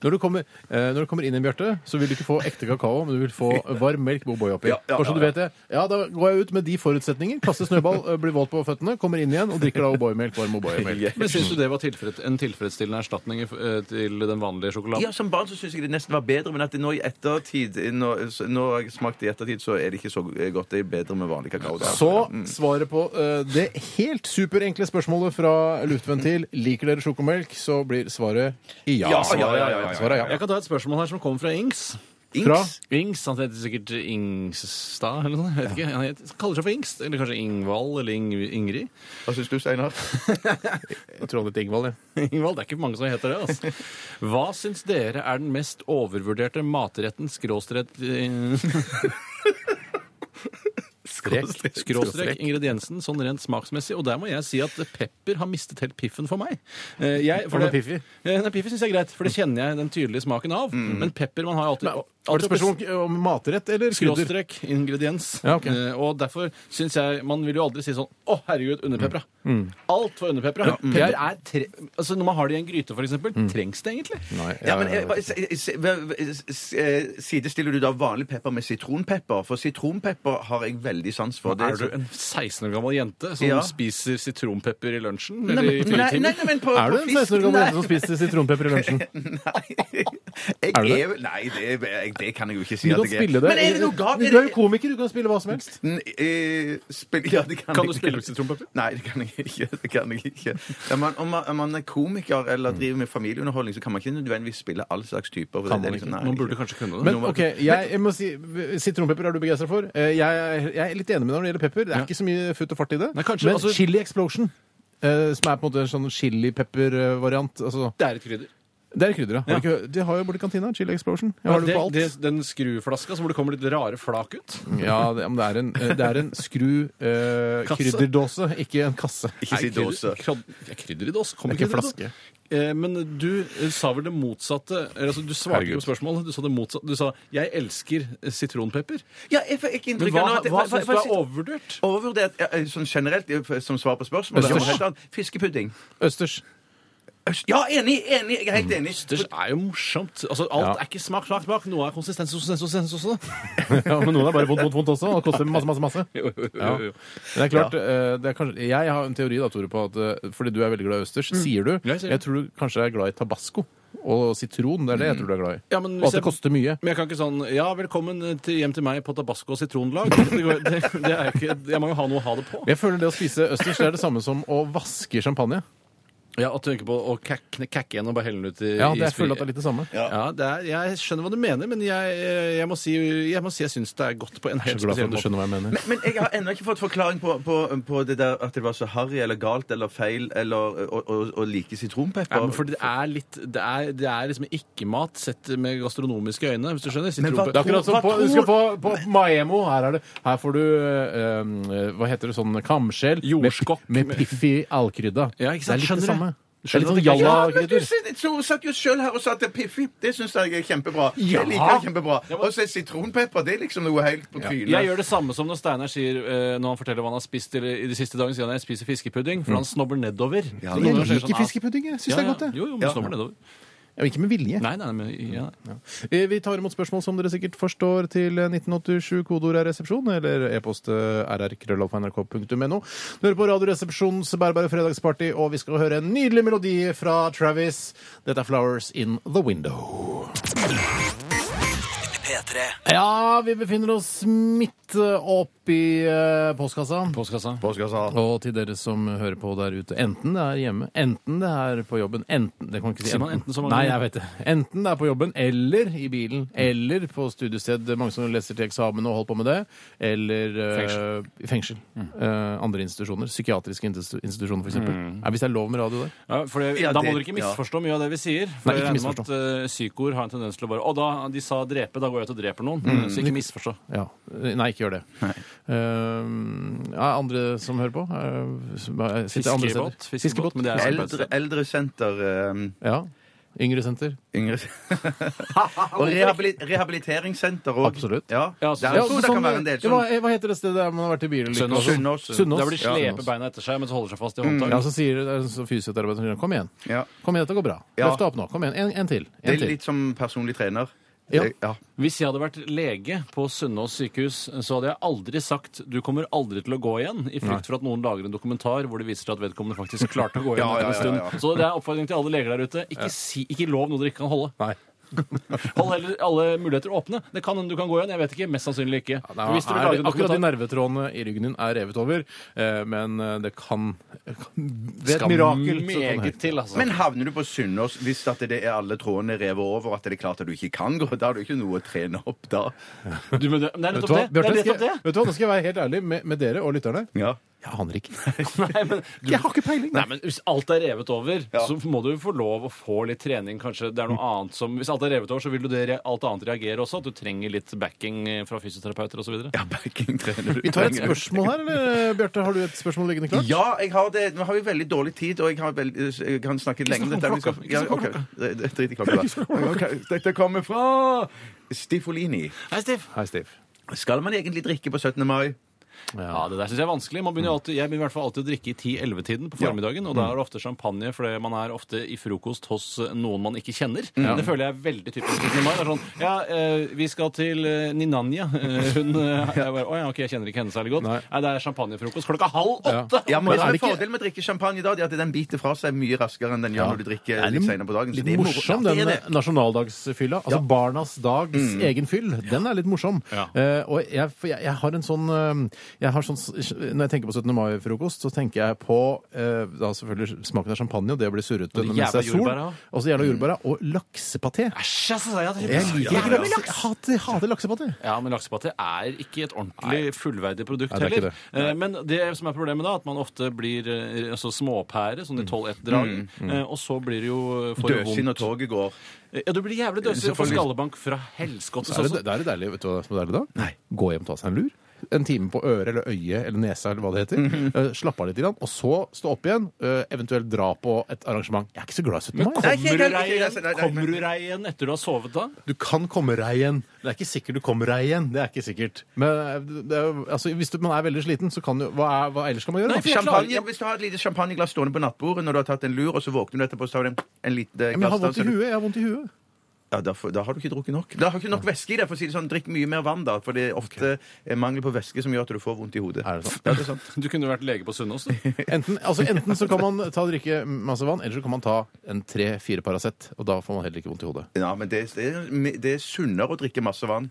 [SPEAKER 2] Når du, kommer, eh, når du kommer inn i en Bjarte, så vil du ikke få ekte kakao, men du vil få varm melk med O'boy oppi.
[SPEAKER 1] Ja, ja,
[SPEAKER 2] Bare så du
[SPEAKER 1] ja,
[SPEAKER 2] vet det. Ja, da går jeg ut med de forutsetninger. Kaster snøball, eh, blir våt på føttene, kommer inn igjen og drikker da O'boy-melk. Varm O'boy-melk.
[SPEAKER 3] Men syns du det var tilfreds en tilfredsstillende erstatning i f- eh, til den vanlige sjokoladen?
[SPEAKER 1] Ja, Som barn så syns jeg det nesten var bedre, men at det nå i ettertid Nå, nå har jeg smakt det i ettertid, så er det ikke så godt. Det er bedre med vanlig kakao. da.
[SPEAKER 2] Så svaret på eh, det helt superenkle spørsmålet fra Luftventil Liker dere sjokomelk? Så blir svaret ja.
[SPEAKER 1] Ja, ja, ja, ja, ja.
[SPEAKER 2] Svaret er ja.
[SPEAKER 3] Jeg kan ta et spørsmål her som kommer fra Ings.
[SPEAKER 1] Inks.
[SPEAKER 2] Fra
[SPEAKER 3] Ings, Han heter sikkert Ingstad eller noe sånt. jeg Vet ikke. Han heter, kaller seg for Ingst. Eller kanskje Ingvald eller Ing, Ingrid.
[SPEAKER 1] Hva syns du, Steinar?
[SPEAKER 2] Trond Litt Ingvald, ja.
[SPEAKER 3] Ingvald, Det er ikke mange som heter det. altså. Hva syns dere er den mest overvurderte matretten skråstrek eh, Skråstrek, skråstrek ingrediensen, sånn rent smaksmessig. Og der må jeg si at pepper har mistet helt piffen for meg. Eh, Jeg,
[SPEAKER 2] Hva med Piffi?
[SPEAKER 3] Eh, Nei, Piffi syns jeg er greit, for det kjenner jeg den tydelige smaken av. Men pepper man har jo alltid
[SPEAKER 2] Men, Var det spørsmål om- om matrett eller krydder?
[SPEAKER 3] Skråstrek ingrediens.
[SPEAKER 2] Ja, ok.
[SPEAKER 3] Eh, og derfor syns jeg Man vil jo aldri si sånn Å, herregud, underpepra. Alt var underpepra. Pepper er tre... Altså, når man har det i en gryte, for eksempel, trengs det egentlig?
[SPEAKER 2] Nei,
[SPEAKER 1] Ja, men
[SPEAKER 2] ja,
[SPEAKER 1] eh, bare se- se- hva- s- eh, Sidestiller du da vanlig pepper med sitronpepper? For sitronpepper har jeg veldig sans for. Det
[SPEAKER 3] Er du en 16 år gammel jente som
[SPEAKER 1] Ja.
[SPEAKER 3] spiser sitronpepper i lunsjen?
[SPEAKER 1] Nei,
[SPEAKER 3] Eller i
[SPEAKER 1] men, nei, nei,
[SPEAKER 3] fritimen?
[SPEAKER 1] nei, men på,
[SPEAKER 2] Er du
[SPEAKER 1] på
[SPEAKER 2] en
[SPEAKER 1] fisk?
[SPEAKER 2] 16 år gammel
[SPEAKER 1] Nei.
[SPEAKER 2] jente som spiser sitronpepper i lunsjen?
[SPEAKER 1] Nei. Jeg
[SPEAKER 2] Er du det?
[SPEAKER 1] er vel- Nei, det, er- jeg, det kan jeg jo ikke si
[SPEAKER 2] Du
[SPEAKER 1] at
[SPEAKER 2] kan
[SPEAKER 1] jeg
[SPEAKER 2] spille det.
[SPEAKER 1] Men er det noe galt?
[SPEAKER 2] Du er jo komiker, du kan spille hva som helst.
[SPEAKER 1] Eh, spill, ja, det kan,
[SPEAKER 3] Kan
[SPEAKER 1] jeg
[SPEAKER 3] du
[SPEAKER 1] ikke.
[SPEAKER 3] spille sitronpepper?
[SPEAKER 1] Nei, det kan jeg ikke. Det kan jeg ikke. Ja, man, om, man, om man er komiker eller driver med familieunderholdning, så kan man ikke nødvendigvis spille all slags typer. for
[SPEAKER 2] Kan
[SPEAKER 1] det er
[SPEAKER 2] man
[SPEAKER 1] liksom-
[SPEAKER 2] ikke?
[SPEAKER 1] nei,
[SPEAKER 3] Man burde kanskje kunne det.
[SPEAKER 2] Men ok, jeg, jeg må si, Sitronpepper er du begeistra for. Eh, Jeg, er- jeg er litt enig med deg når det gjelder pepper. Det er
[SPEAKER 3] Ja.
[SPEAKER 2] ikke så mye futt og fart i det.
[SPEAKER 3] Nei, kanskje,
[SPEAKER 2] Men
[SPEAKER 3] altså-
[SPEAKER 2] chili explosion, eh, som er på en måte en sånn chilipepper-variant altså,
[SPEAKER 3] det er et krydder.
[SPEAKER 2] Det er krydder, ja. Har
[SPEAKER 3] Ja.
[SPEAKER 2] du ikke- De har jo borti kantina. Chili explosion. Jeg
[SPEAKER 3] Ja,
[SPEAKER 2] har det
[SPEAKER 3] det,
[SPEAKER 2] på alt.
[SPEAKER 3] det, den skruflaska som hvor det kommer litt rare flak ut.
[SPEAKER 2] Ja, det, men det er en, eh, det er en skru eh,
[SPEAKER 3] Kasse.
[SPEAKER 2] krydderdåse, ikke en kasse.
[SPEAKER 1] Ikke si
[SPEAKER 3] Nei, krydder-
[SPEAKER 1] dåse.
[SPEAKER 3] krod- ja, Krydder i dåse. Kommer
[SPEAKER 2] Det er ikke
[SPEAKER 3] krydder i dåse. Eh, Men du eh, sa vel det motsatte eller, altså, Du svarte ikke
[SPEAKER 2] Herregud.
[SPEAKER 3] på spørsmålet. Du sa det motsatte. Du sa 'jeg elsker eh, sitronpepper'.
[SPEAKER 1] Ja, jeg får ikke
[SPEAKER 3] Men
[SPEAKER 1] inntrykk
[SPEAKER 3] hva,
[SPEAKER 1] av at-
[SPEAKER 3] hva
[SPEAKER 1] hva-
[SPEAKER 3] syns
[SPEAKER 1] hva-
[SPEAKER 3] du
[SPEAKER 1] hva-
[SPEAKER 3] er overvurdert?
[SPEAKER 1] Overvurdert ja, eh, sånn generelt eh, som svar på spørsmålet.
[SPEAKER 2] Østers.
[SPEAKER 1] Noe helt annet. Fiskepudding.
[SPEAKER 2] Østers.
[SPEAKER 1] Øst- Ja, enig! enig, Jeg er helt enig.
[SPEAKER 3] Østers er jo morsomt. Altså, alt
[SPEAKER 2] Ja.
[SPEAKER 3] er ikke smak, smak, smak. Noe er konsistens, konsistens, konsistens også.
[SPEAKER 2] Ja, men noen er bare vondt, vondt, vondt også, og det koster masse, masse, masse.
[SPEAKER 3] Jo, jo,
[SPEAKER 2] Ja.
[SPEAKER 3] jo, jo.
[SPEAKER 2] Men Det er klart, eh, det er kanskje, jeg har en teori da, Tore, på at eh, fordi du er veldig glad i østers, sier du.
[SPEAKER 3] Mm. Jeg sier det.
[SPEAKER 2] Jeg tror du kanskje er glad i tabasco og sitron. Det er det jeg tror du er glad i.
[SPEAKER 3] Mm. Ja, men
[SPEAKER 2] og
[SPEAKER 3] hvis
[SPEAKER 2] at det
[SPEAKER 3] jeg-
[SPEAKER 2] koster mye.
[SPEAKER 3] Men jeg kan ikke sånn Ja, velkommen til, hjem til meg på tabasco og sitronlag. Det, går- det, det er ikke, jeg må jo ha noe å ha det på.
[SPEAKER 2] Jeg føler det å spise østers det er det samme som å vaske champagne.
[SPEAKER 3] Ja, At du tenker på å kakke kakke igjen og bare helle den ut i
[SPEAKER 2] Ja,
[SPEAKER 3] i
[SPEAKER 2] det, jeg
[SPEAKER 3] sprit.
[SPEAKER 2] føler at det er litt det samme.
[SPEAKER 3] Ja, det er, Jeg skjønner hva du mener, men jeg, eh, jeg må si jeg, må si jeg syns det er godt på en
[SPEAKER 2] Jeg er så
[SPEAKER 3] helt
[SPEAKER 2] glad for
[SPEAKER 3] spesiell
[SPEAKER 2] at du
[SPEAKER 3] måte.
[SPEAKER 2] skjønner hva jeg mener.
[SPEAKER 1] Men, men jeg har ennå ikke fått forklaring på, på, på det der at det var så harry eller galt eller feil eller å, å, å like sitronpepper.
[SPEAKER 3] Ja, men for det er litt Det er, det er liksom ikke-mat sett med gastronomiske øyne, hvis du skjønner.
[SPEAKER 1] Men hva-
[SPEAKER 3] Sitronpe-
[SPEAKER 2] Det er akkurat som
[SPEAKER 1] Hva
[SPEAKER 2] på,
[SPEAKER 1] tror-
[SPEAKER 2] du skal på, på Maemo. Her, er det, her får du eh, eh, Hva heter det? Sånn kamskjell
[SPEAKER 3] Jordskokk
[SPEAKER 2] med,
[SPEAKER 3] med-
[SPEAKER 2] med piff i allkrydda.
[SPEAKER 3] Ja, ikke sant?
[SPEAKER 2] Det er litt det
[SPEAKER 3] Skjønner du?
[SPEAKER 2] samme. Det er
[SPEAKER 3] Skjønner
[SPEAKER 2] litt sånn
[SPEAKER 3] du?
[SPEAKER 1] Ja, men du
[SPEAKER 2] jalla-krydder.
[SPEAKER 1] sitter- så satt jo sjøl her og sa at det er piffig. Det syns jeg er kjempebra.
[SPEAKER 2] Ja.
[SPEAKER 1] Jeg liker det kjempebra. Og så er sitronpepper det er liksom noe helt på trynet.
[SPEAKER 3] Jeg gjør det samme som når Steinar sier eh, når han forteller hva han har spist eller, i de siste dagene, sier han jeg spiser fiskepudding, for han snobber nedover. Så noen ganger
[SPEAKER 2] Jeg
[SPEAKER 3] sier han sånn,
[SPEAKER 2] liker fiskepudding. Jeg syns
[SPEAKER 3] ja,
[SPEAKER 2] det er godt,
[SPEAKER 3] ja.
[SPEAKER 2] jeg.
[SPEAKER 3] Jo, jo, men
[SPEAKER 1] Ja.
[SPEAKER 3] snobber nedover.
[SPEAKER 2] Ja, Ikke med vilje.
[SPEAKER 3] Nei, nei, men ja.
[SPEAKER 2] Eh, Vi tar imot spørsmål som dere sikkert forstår til 1987 kodeord er resepsjon, eller e-post eh, rrkrøllalfa.nrk.no. Du hører på Radioresepsjonens bærbare fredagsparty, og vi skal høre en nydelig melodi fra Travis. Dette er Flowers In The Window.
[SPEAKER 4] P3
[SPEAKER 2] Ja, vi befinner oss midt eh, opp i eh, postkassa.
[SPEAKER 3] Postkassa.
[SPEAKER 2] Og til dere som hører på der ute, enten det er hjemme, enten det er på jobben enten, det kan jeg ikke si
[SPEAKER 3] Sier man enten så mange
[SPEAKER 2] Nei,
[SPEAKER 3] ganger?
[SPEAKER 2] jeg vet det. Enten det er på jobben, eller i bilen, eller på studiested. Det er Mange som leser til eksamen og holder på med det. Eller eh,
[SPEAKER 3] Fengsel. Mm.
[SPEAKER 2] i fengsel. Eh, andre institusjoner. Psykiatriske institu- institusjoner, f.eks. Mm. Hvis det er lov med radio der.
[SPEAKER 3] Ja, for det,
[SPEAKER 1] Ja,
[SPEAKER 3] da
[SPEAKER 1] det-
[SPEAKER 3] må dere ikke misforstå mye av det vi sier. For
[SPEAKER 2] Nei, ikke
[SPEAKER 3] jeg regner med at eh, psykoer har en tendens til å bare Å, da, de sa drepe, da går jeg ut og dreper noen. Så ikke misforstå.
[SPEAKER 2] Ja. Nei, ikke gjør det. Eh, ja, andre som hører på? Eh, som- sitter andre steder.
[SPEAKER 3] Fiskebåt, fiskebåt, men det er-
[SPEAKER 1] Eldre, eldresenter eh,
[SPEAKER 2] Ja. Yngre senter.
[SPEAKER 1] Yngre Og rehabilit rehabiliteringssenter òg.
[SPEAKER 2] Absolutt.
[SPEAKER 1] Ja.
[SPEAKER 3] Ja,
[SPEAKER 1] det, er,
[SPEAKER 3] Ja,
[SPEAKER 1] jeg tror det kan være en del.
[SPEAKER 2] ja, hva,
[SPEAKER 1] Sånn,
[SPEAKER 2] hva heter det stedet der man har vært i bilen? like-
[SPEAKER 3] Sunnaas.
[SPEAKER 1] Sunnaas.
[SPEAKER 2] Sunnaas.
[SPEAKER 3] Der hvor de
[SPEAKER 2] Ja.
[SPEAKER 3] sleper beina etter seg, men så holder seg fast i håndtaket.
[SPEAKER 2] Ja, så sier det en sånn fysioterapeut som sier, Kom igjen.
[SPEAKER 1] ja.
[SPEAKER 2] Kom igjen, dette går bra.
[SPEAKER 1] Ja.
[SPEAKER 2] Løft deg opp nå. Kom igjen. En, en til. En
[SPEAKER 1] Det er
[SPEAKER 2] til.
[SPEAKER 1] litt som personlig trener.
[SPEAKER 2] Ja.
[SPEAKER 1] Det- ja.
[SPEAKER 3] Hvis jeg hadde vært lege på Sunnaas sykehus, så hadde jeg aldri sagt 'du kommer aldri til å gå igjen', i frykt for at noen lager en dokumentar hvor det viser seg at vedkommende faktisk klarte å gå igjen
[SPEAKER 1] Ja, ja,
[SPEAKER 3] etter en
[SPEAKER 1] ja,
[SPEAKER 3] stund.
[SPEAKER 1] ja.
[SPEAKER 3] Så det er oppfordring til alle leger der ute. Ikke, si, ikke lov noe dere ikke kan holde.
[SPEAKER 2] Nei.
[SPEAKER 3] Hold heller alle muligheter åpne. Det kan hende du kan gå igjen. Jeg vet ikke. Mest sannsynlig ikke.
[SPEAKER 2] Nei,
[SPEAKER 3] Men hvis dere
[SPEAKER 2] er,
[SPEAKER 3] lager en
[SPEAKER 2] akkurat de
[SPEAKER 3] dokumentar
[SPEAKER 2] nervetrådene i ryggen din er revet over, eh, men eh, det kan, kan Ved et
[SPEAKER 3] skal
[SPEAKER 2] mirakel så kan det-
[SPEAKER 3] meget til, altså.
[SPEAKER 1] Men havner du på Sunnaas hvis at det er alle trådene revet over, at det er klart at du ikke kan gå? Da har du ikke noe å trene opp da.
[SPEAKER 3] du, men det, det
[SPEAKER 2] Vet
[SPEAKER 3] er nettopp
[SPEAKER 2] du hva,
[SPEAKER 3] det. Det
[SPEAKER 2] Bjarte, skal,
[SPEAKER 3] er nettopp det.
[SPEAKER 2] vet du hva, nå skal jeg være helt ærlig med, med dere og lytterne.
[SPEAKER 1] Ja.
[SPEAKER 2] Jeg aner ikke.
[SPEAKER 3] Nei, men du,
[SPEAKER 2] Jeg har ikke peiling.
[SPEAKER 3] Nei, men Hvis alt er revet over,
[SPEAKER 1] Ja.
[SPEAKER 3] så må du få lov å få litt trening. kanskje det er noe annet som, Hvis alt er revet over, så vil du det, re- alt annet reagere også. At du trenger litt backing eh, fra fysioterapeuter osv.
[SPEAKER 1] Ja, backing trener du.
[SPEAKER 2] Vi tar et spørsmål her, eller Bjarte? Har du et spørsmål liggende klart?
[SPEAKER 1] Ja, jeg har det. Nå har vi veldig dårlig tid, og jeg, har veldig, jeg kan snakke lenge om
[SPEAKER 3] snakk om
[SPEAKER 1] dette. men vi skal-
[SPEAKER 3] klokka. Ikke
[SPEAKER 1] Ja,
[SPEAKER 3] snakk om
[SPEAKER 1] ok. Det- det- Drit i klokka. da. Ok, Dette kommer fra Stifolini.
[SPEAKER 3] Hei, Stiv.
[SPEAKER 2] Hei, Steve.
[SPEAKER 1] Skal man egentlig drikke på 17. mai?
[SPEAKER 3] Ja, Det der syns jeg er vanskelig. Man begynner jo alltid, jeg begynner i hvert fall alltid å drikke i 10-11-tiden på formiddagen. Og da er det ofte champagne, fordi man er ofte i frokost hos eh, noen man ikke kjenner. Det føler jeg er veldig typisk. for meg. Det er sånn, ja, eh, Vi skal til eh, Ninanya. Eh, Hun eh, jeg bare, Å ja, ok, jeg kjenner ikke henne særlig godt.
[SPEAKER 2] Nei.
[SPEAKER 3] Nei, det er champagnefrokost klokka halv åtte!
[SPEAKER 1] Ja, men
[SPEAKER 2] Men
[SPEAKER 1] det som er
[SPEAKER 2] er det ikke-
[SPEAKER 1] Fordelen med å drikke champagne i dag er at den biter fra seg mye raskere enn den gjør når du drikker
[SPEAKER 2] Er det
[SPEAKER 1] litt senere på dagen. så det
[SPEAKER 2] Litt
[SPEAKER 1] er moro.
[SPEAKER 2] morsom,
[SPEAKER 1] Ja,
[SPEAKER 2] den
[SPEAKER 1] det er det. Mm.
[SPEAKER 2] nasjonaldagsfylla. Altså barnas dags egen fyll. Den er litt morsom.
[SPEAKER 3] Ja.
[SPEAKER 2] Eh, og jeg, for jeg, jeg har en sånn eh, jeg har sånn, Når jeg tenker på 17. mai-frokost, så tenker jeg på eh, da selvfølgelig smaken av champagne og det å bli surrete
[SPEAKER 3] Og de
[SPEAKER 2] mens det er
[SPEAKER 3] jævla
[SPEAKER 2] sol.
[SPEAKER 3] jordbæra.
[SPEAKER 2] Og så jævla
[SPEAKER 1] Mm.
[SPEAKER 2] jordbæra. Og laksepaté.
[SPEAKER 3] Æsj, altså! Jeg hadde
[SPEAKER 2] Jeg liker
[SPEAKER 3] Ja,
[SPEAKER 2] ikke
[SPEAKER 3] ja, ja.
[SPEAKER 2] lakse. Jeg hater, hater laksepaté.
[SPEAKER 3] Ja, men laksepaté er ikke et ordentlig fullverdig produkt
[SPEAKER 2] Nei, det er
[SPEAKER 3] heller.
[SPEAKER 2] ikke
[SPEAKER 3] Eh, Men det som er problemet da, at man ofte blir eh, altså, småpære, sånn i 12-1-drag, eh, og så blir det jo for
[SPEAKER 1] Dødsinn når toget går.
[SPEAKER 3] Ja, du blir jævlig døsig og får skallebank fra helskotte.
[SPEAKER 2] Da er
[SPEAKER 3] Sånn,
[SPEAKER 2] det,
[SPEAKER 3] som-
[SPEAKER 2] da er det deilig, vet du hva som er deilig da? Gå hjem og ta seg en lur. En time på øret eller øyet eller nesa eller hva det heter. Eh, Slappe av litt, grann, og så stå opp igjen. eh, Eventuelt dra på et arrangement. Jeg er ikke så glad i 17. mai.
[SPEAKER 1] Nei,
[SPEAKER 2] jeg.
[SPEAKER 1] ikke
[SPEAKER 3] Kommer du
[SPEAKER 1] helt, ikke helt,
[SPEAKER 3] deg
[SPEAKER 1] nei,
[SPEAKER 3] igjen?
[SPEAKER 1] nei,
[SPEAKER 3] Kommer
[SPEAKER 1] men-
[SPEAKER 3] du deg igjen etter du har sovet da?
[SPEAKER 2] Du kan komme deg igjen. Det er ikke sikkert du kommer deg igjen. Det er ikke sikkert. Men eh, det er, jo- altså, hvis du, man er veldig sliten, så kan du Hva, er, hva ellers skal man gjøre?
[SPEAKER 3] Nei,
[SPEAKER 2] da?
[SPEAKER 3] for jeg klarer-
[SPEAKER 1] Champagne, hvis du har et lite champagneglass stående på nattbordet når du har tatt en lur, og så våkner du etterpå, så har du en, en liten eh, glass
[SPEAKER 2] Ja, Men jeg har
[SPEAKER 1] der,
[SPEAKER 2] vondt
[SPEAKER 1] så
[SPEAKER 2] i
[SPEAKER 1] du-
[SPEAKER 2] huet. Jeg har vondt i huet.
[SPEAKER 1] Ja, da, får- da har du ikke drukket nok. Da har du ikke nok væske i deg. for å si det sånn. Drikk mye mer vann, da. For det er ofte eh, mangel på væske som gjør at du får vondt i hodet.
[SPEAKER 2] Er det sånn?
[SPEAKER 1] Ja, det er sant.
[SPEAKER 3] Du kunne vært lege på Sunnaas. du.
[SPEAKER 2] Enten, altså, enten så kan man ta og drikke masse vann, eller så kan man ta en tre-fire Paracet, og da får man heller ikke vondt i hodet.
[SPEAKER 1] Ja, men det, det, er, det er sunnere å drikke masse vann.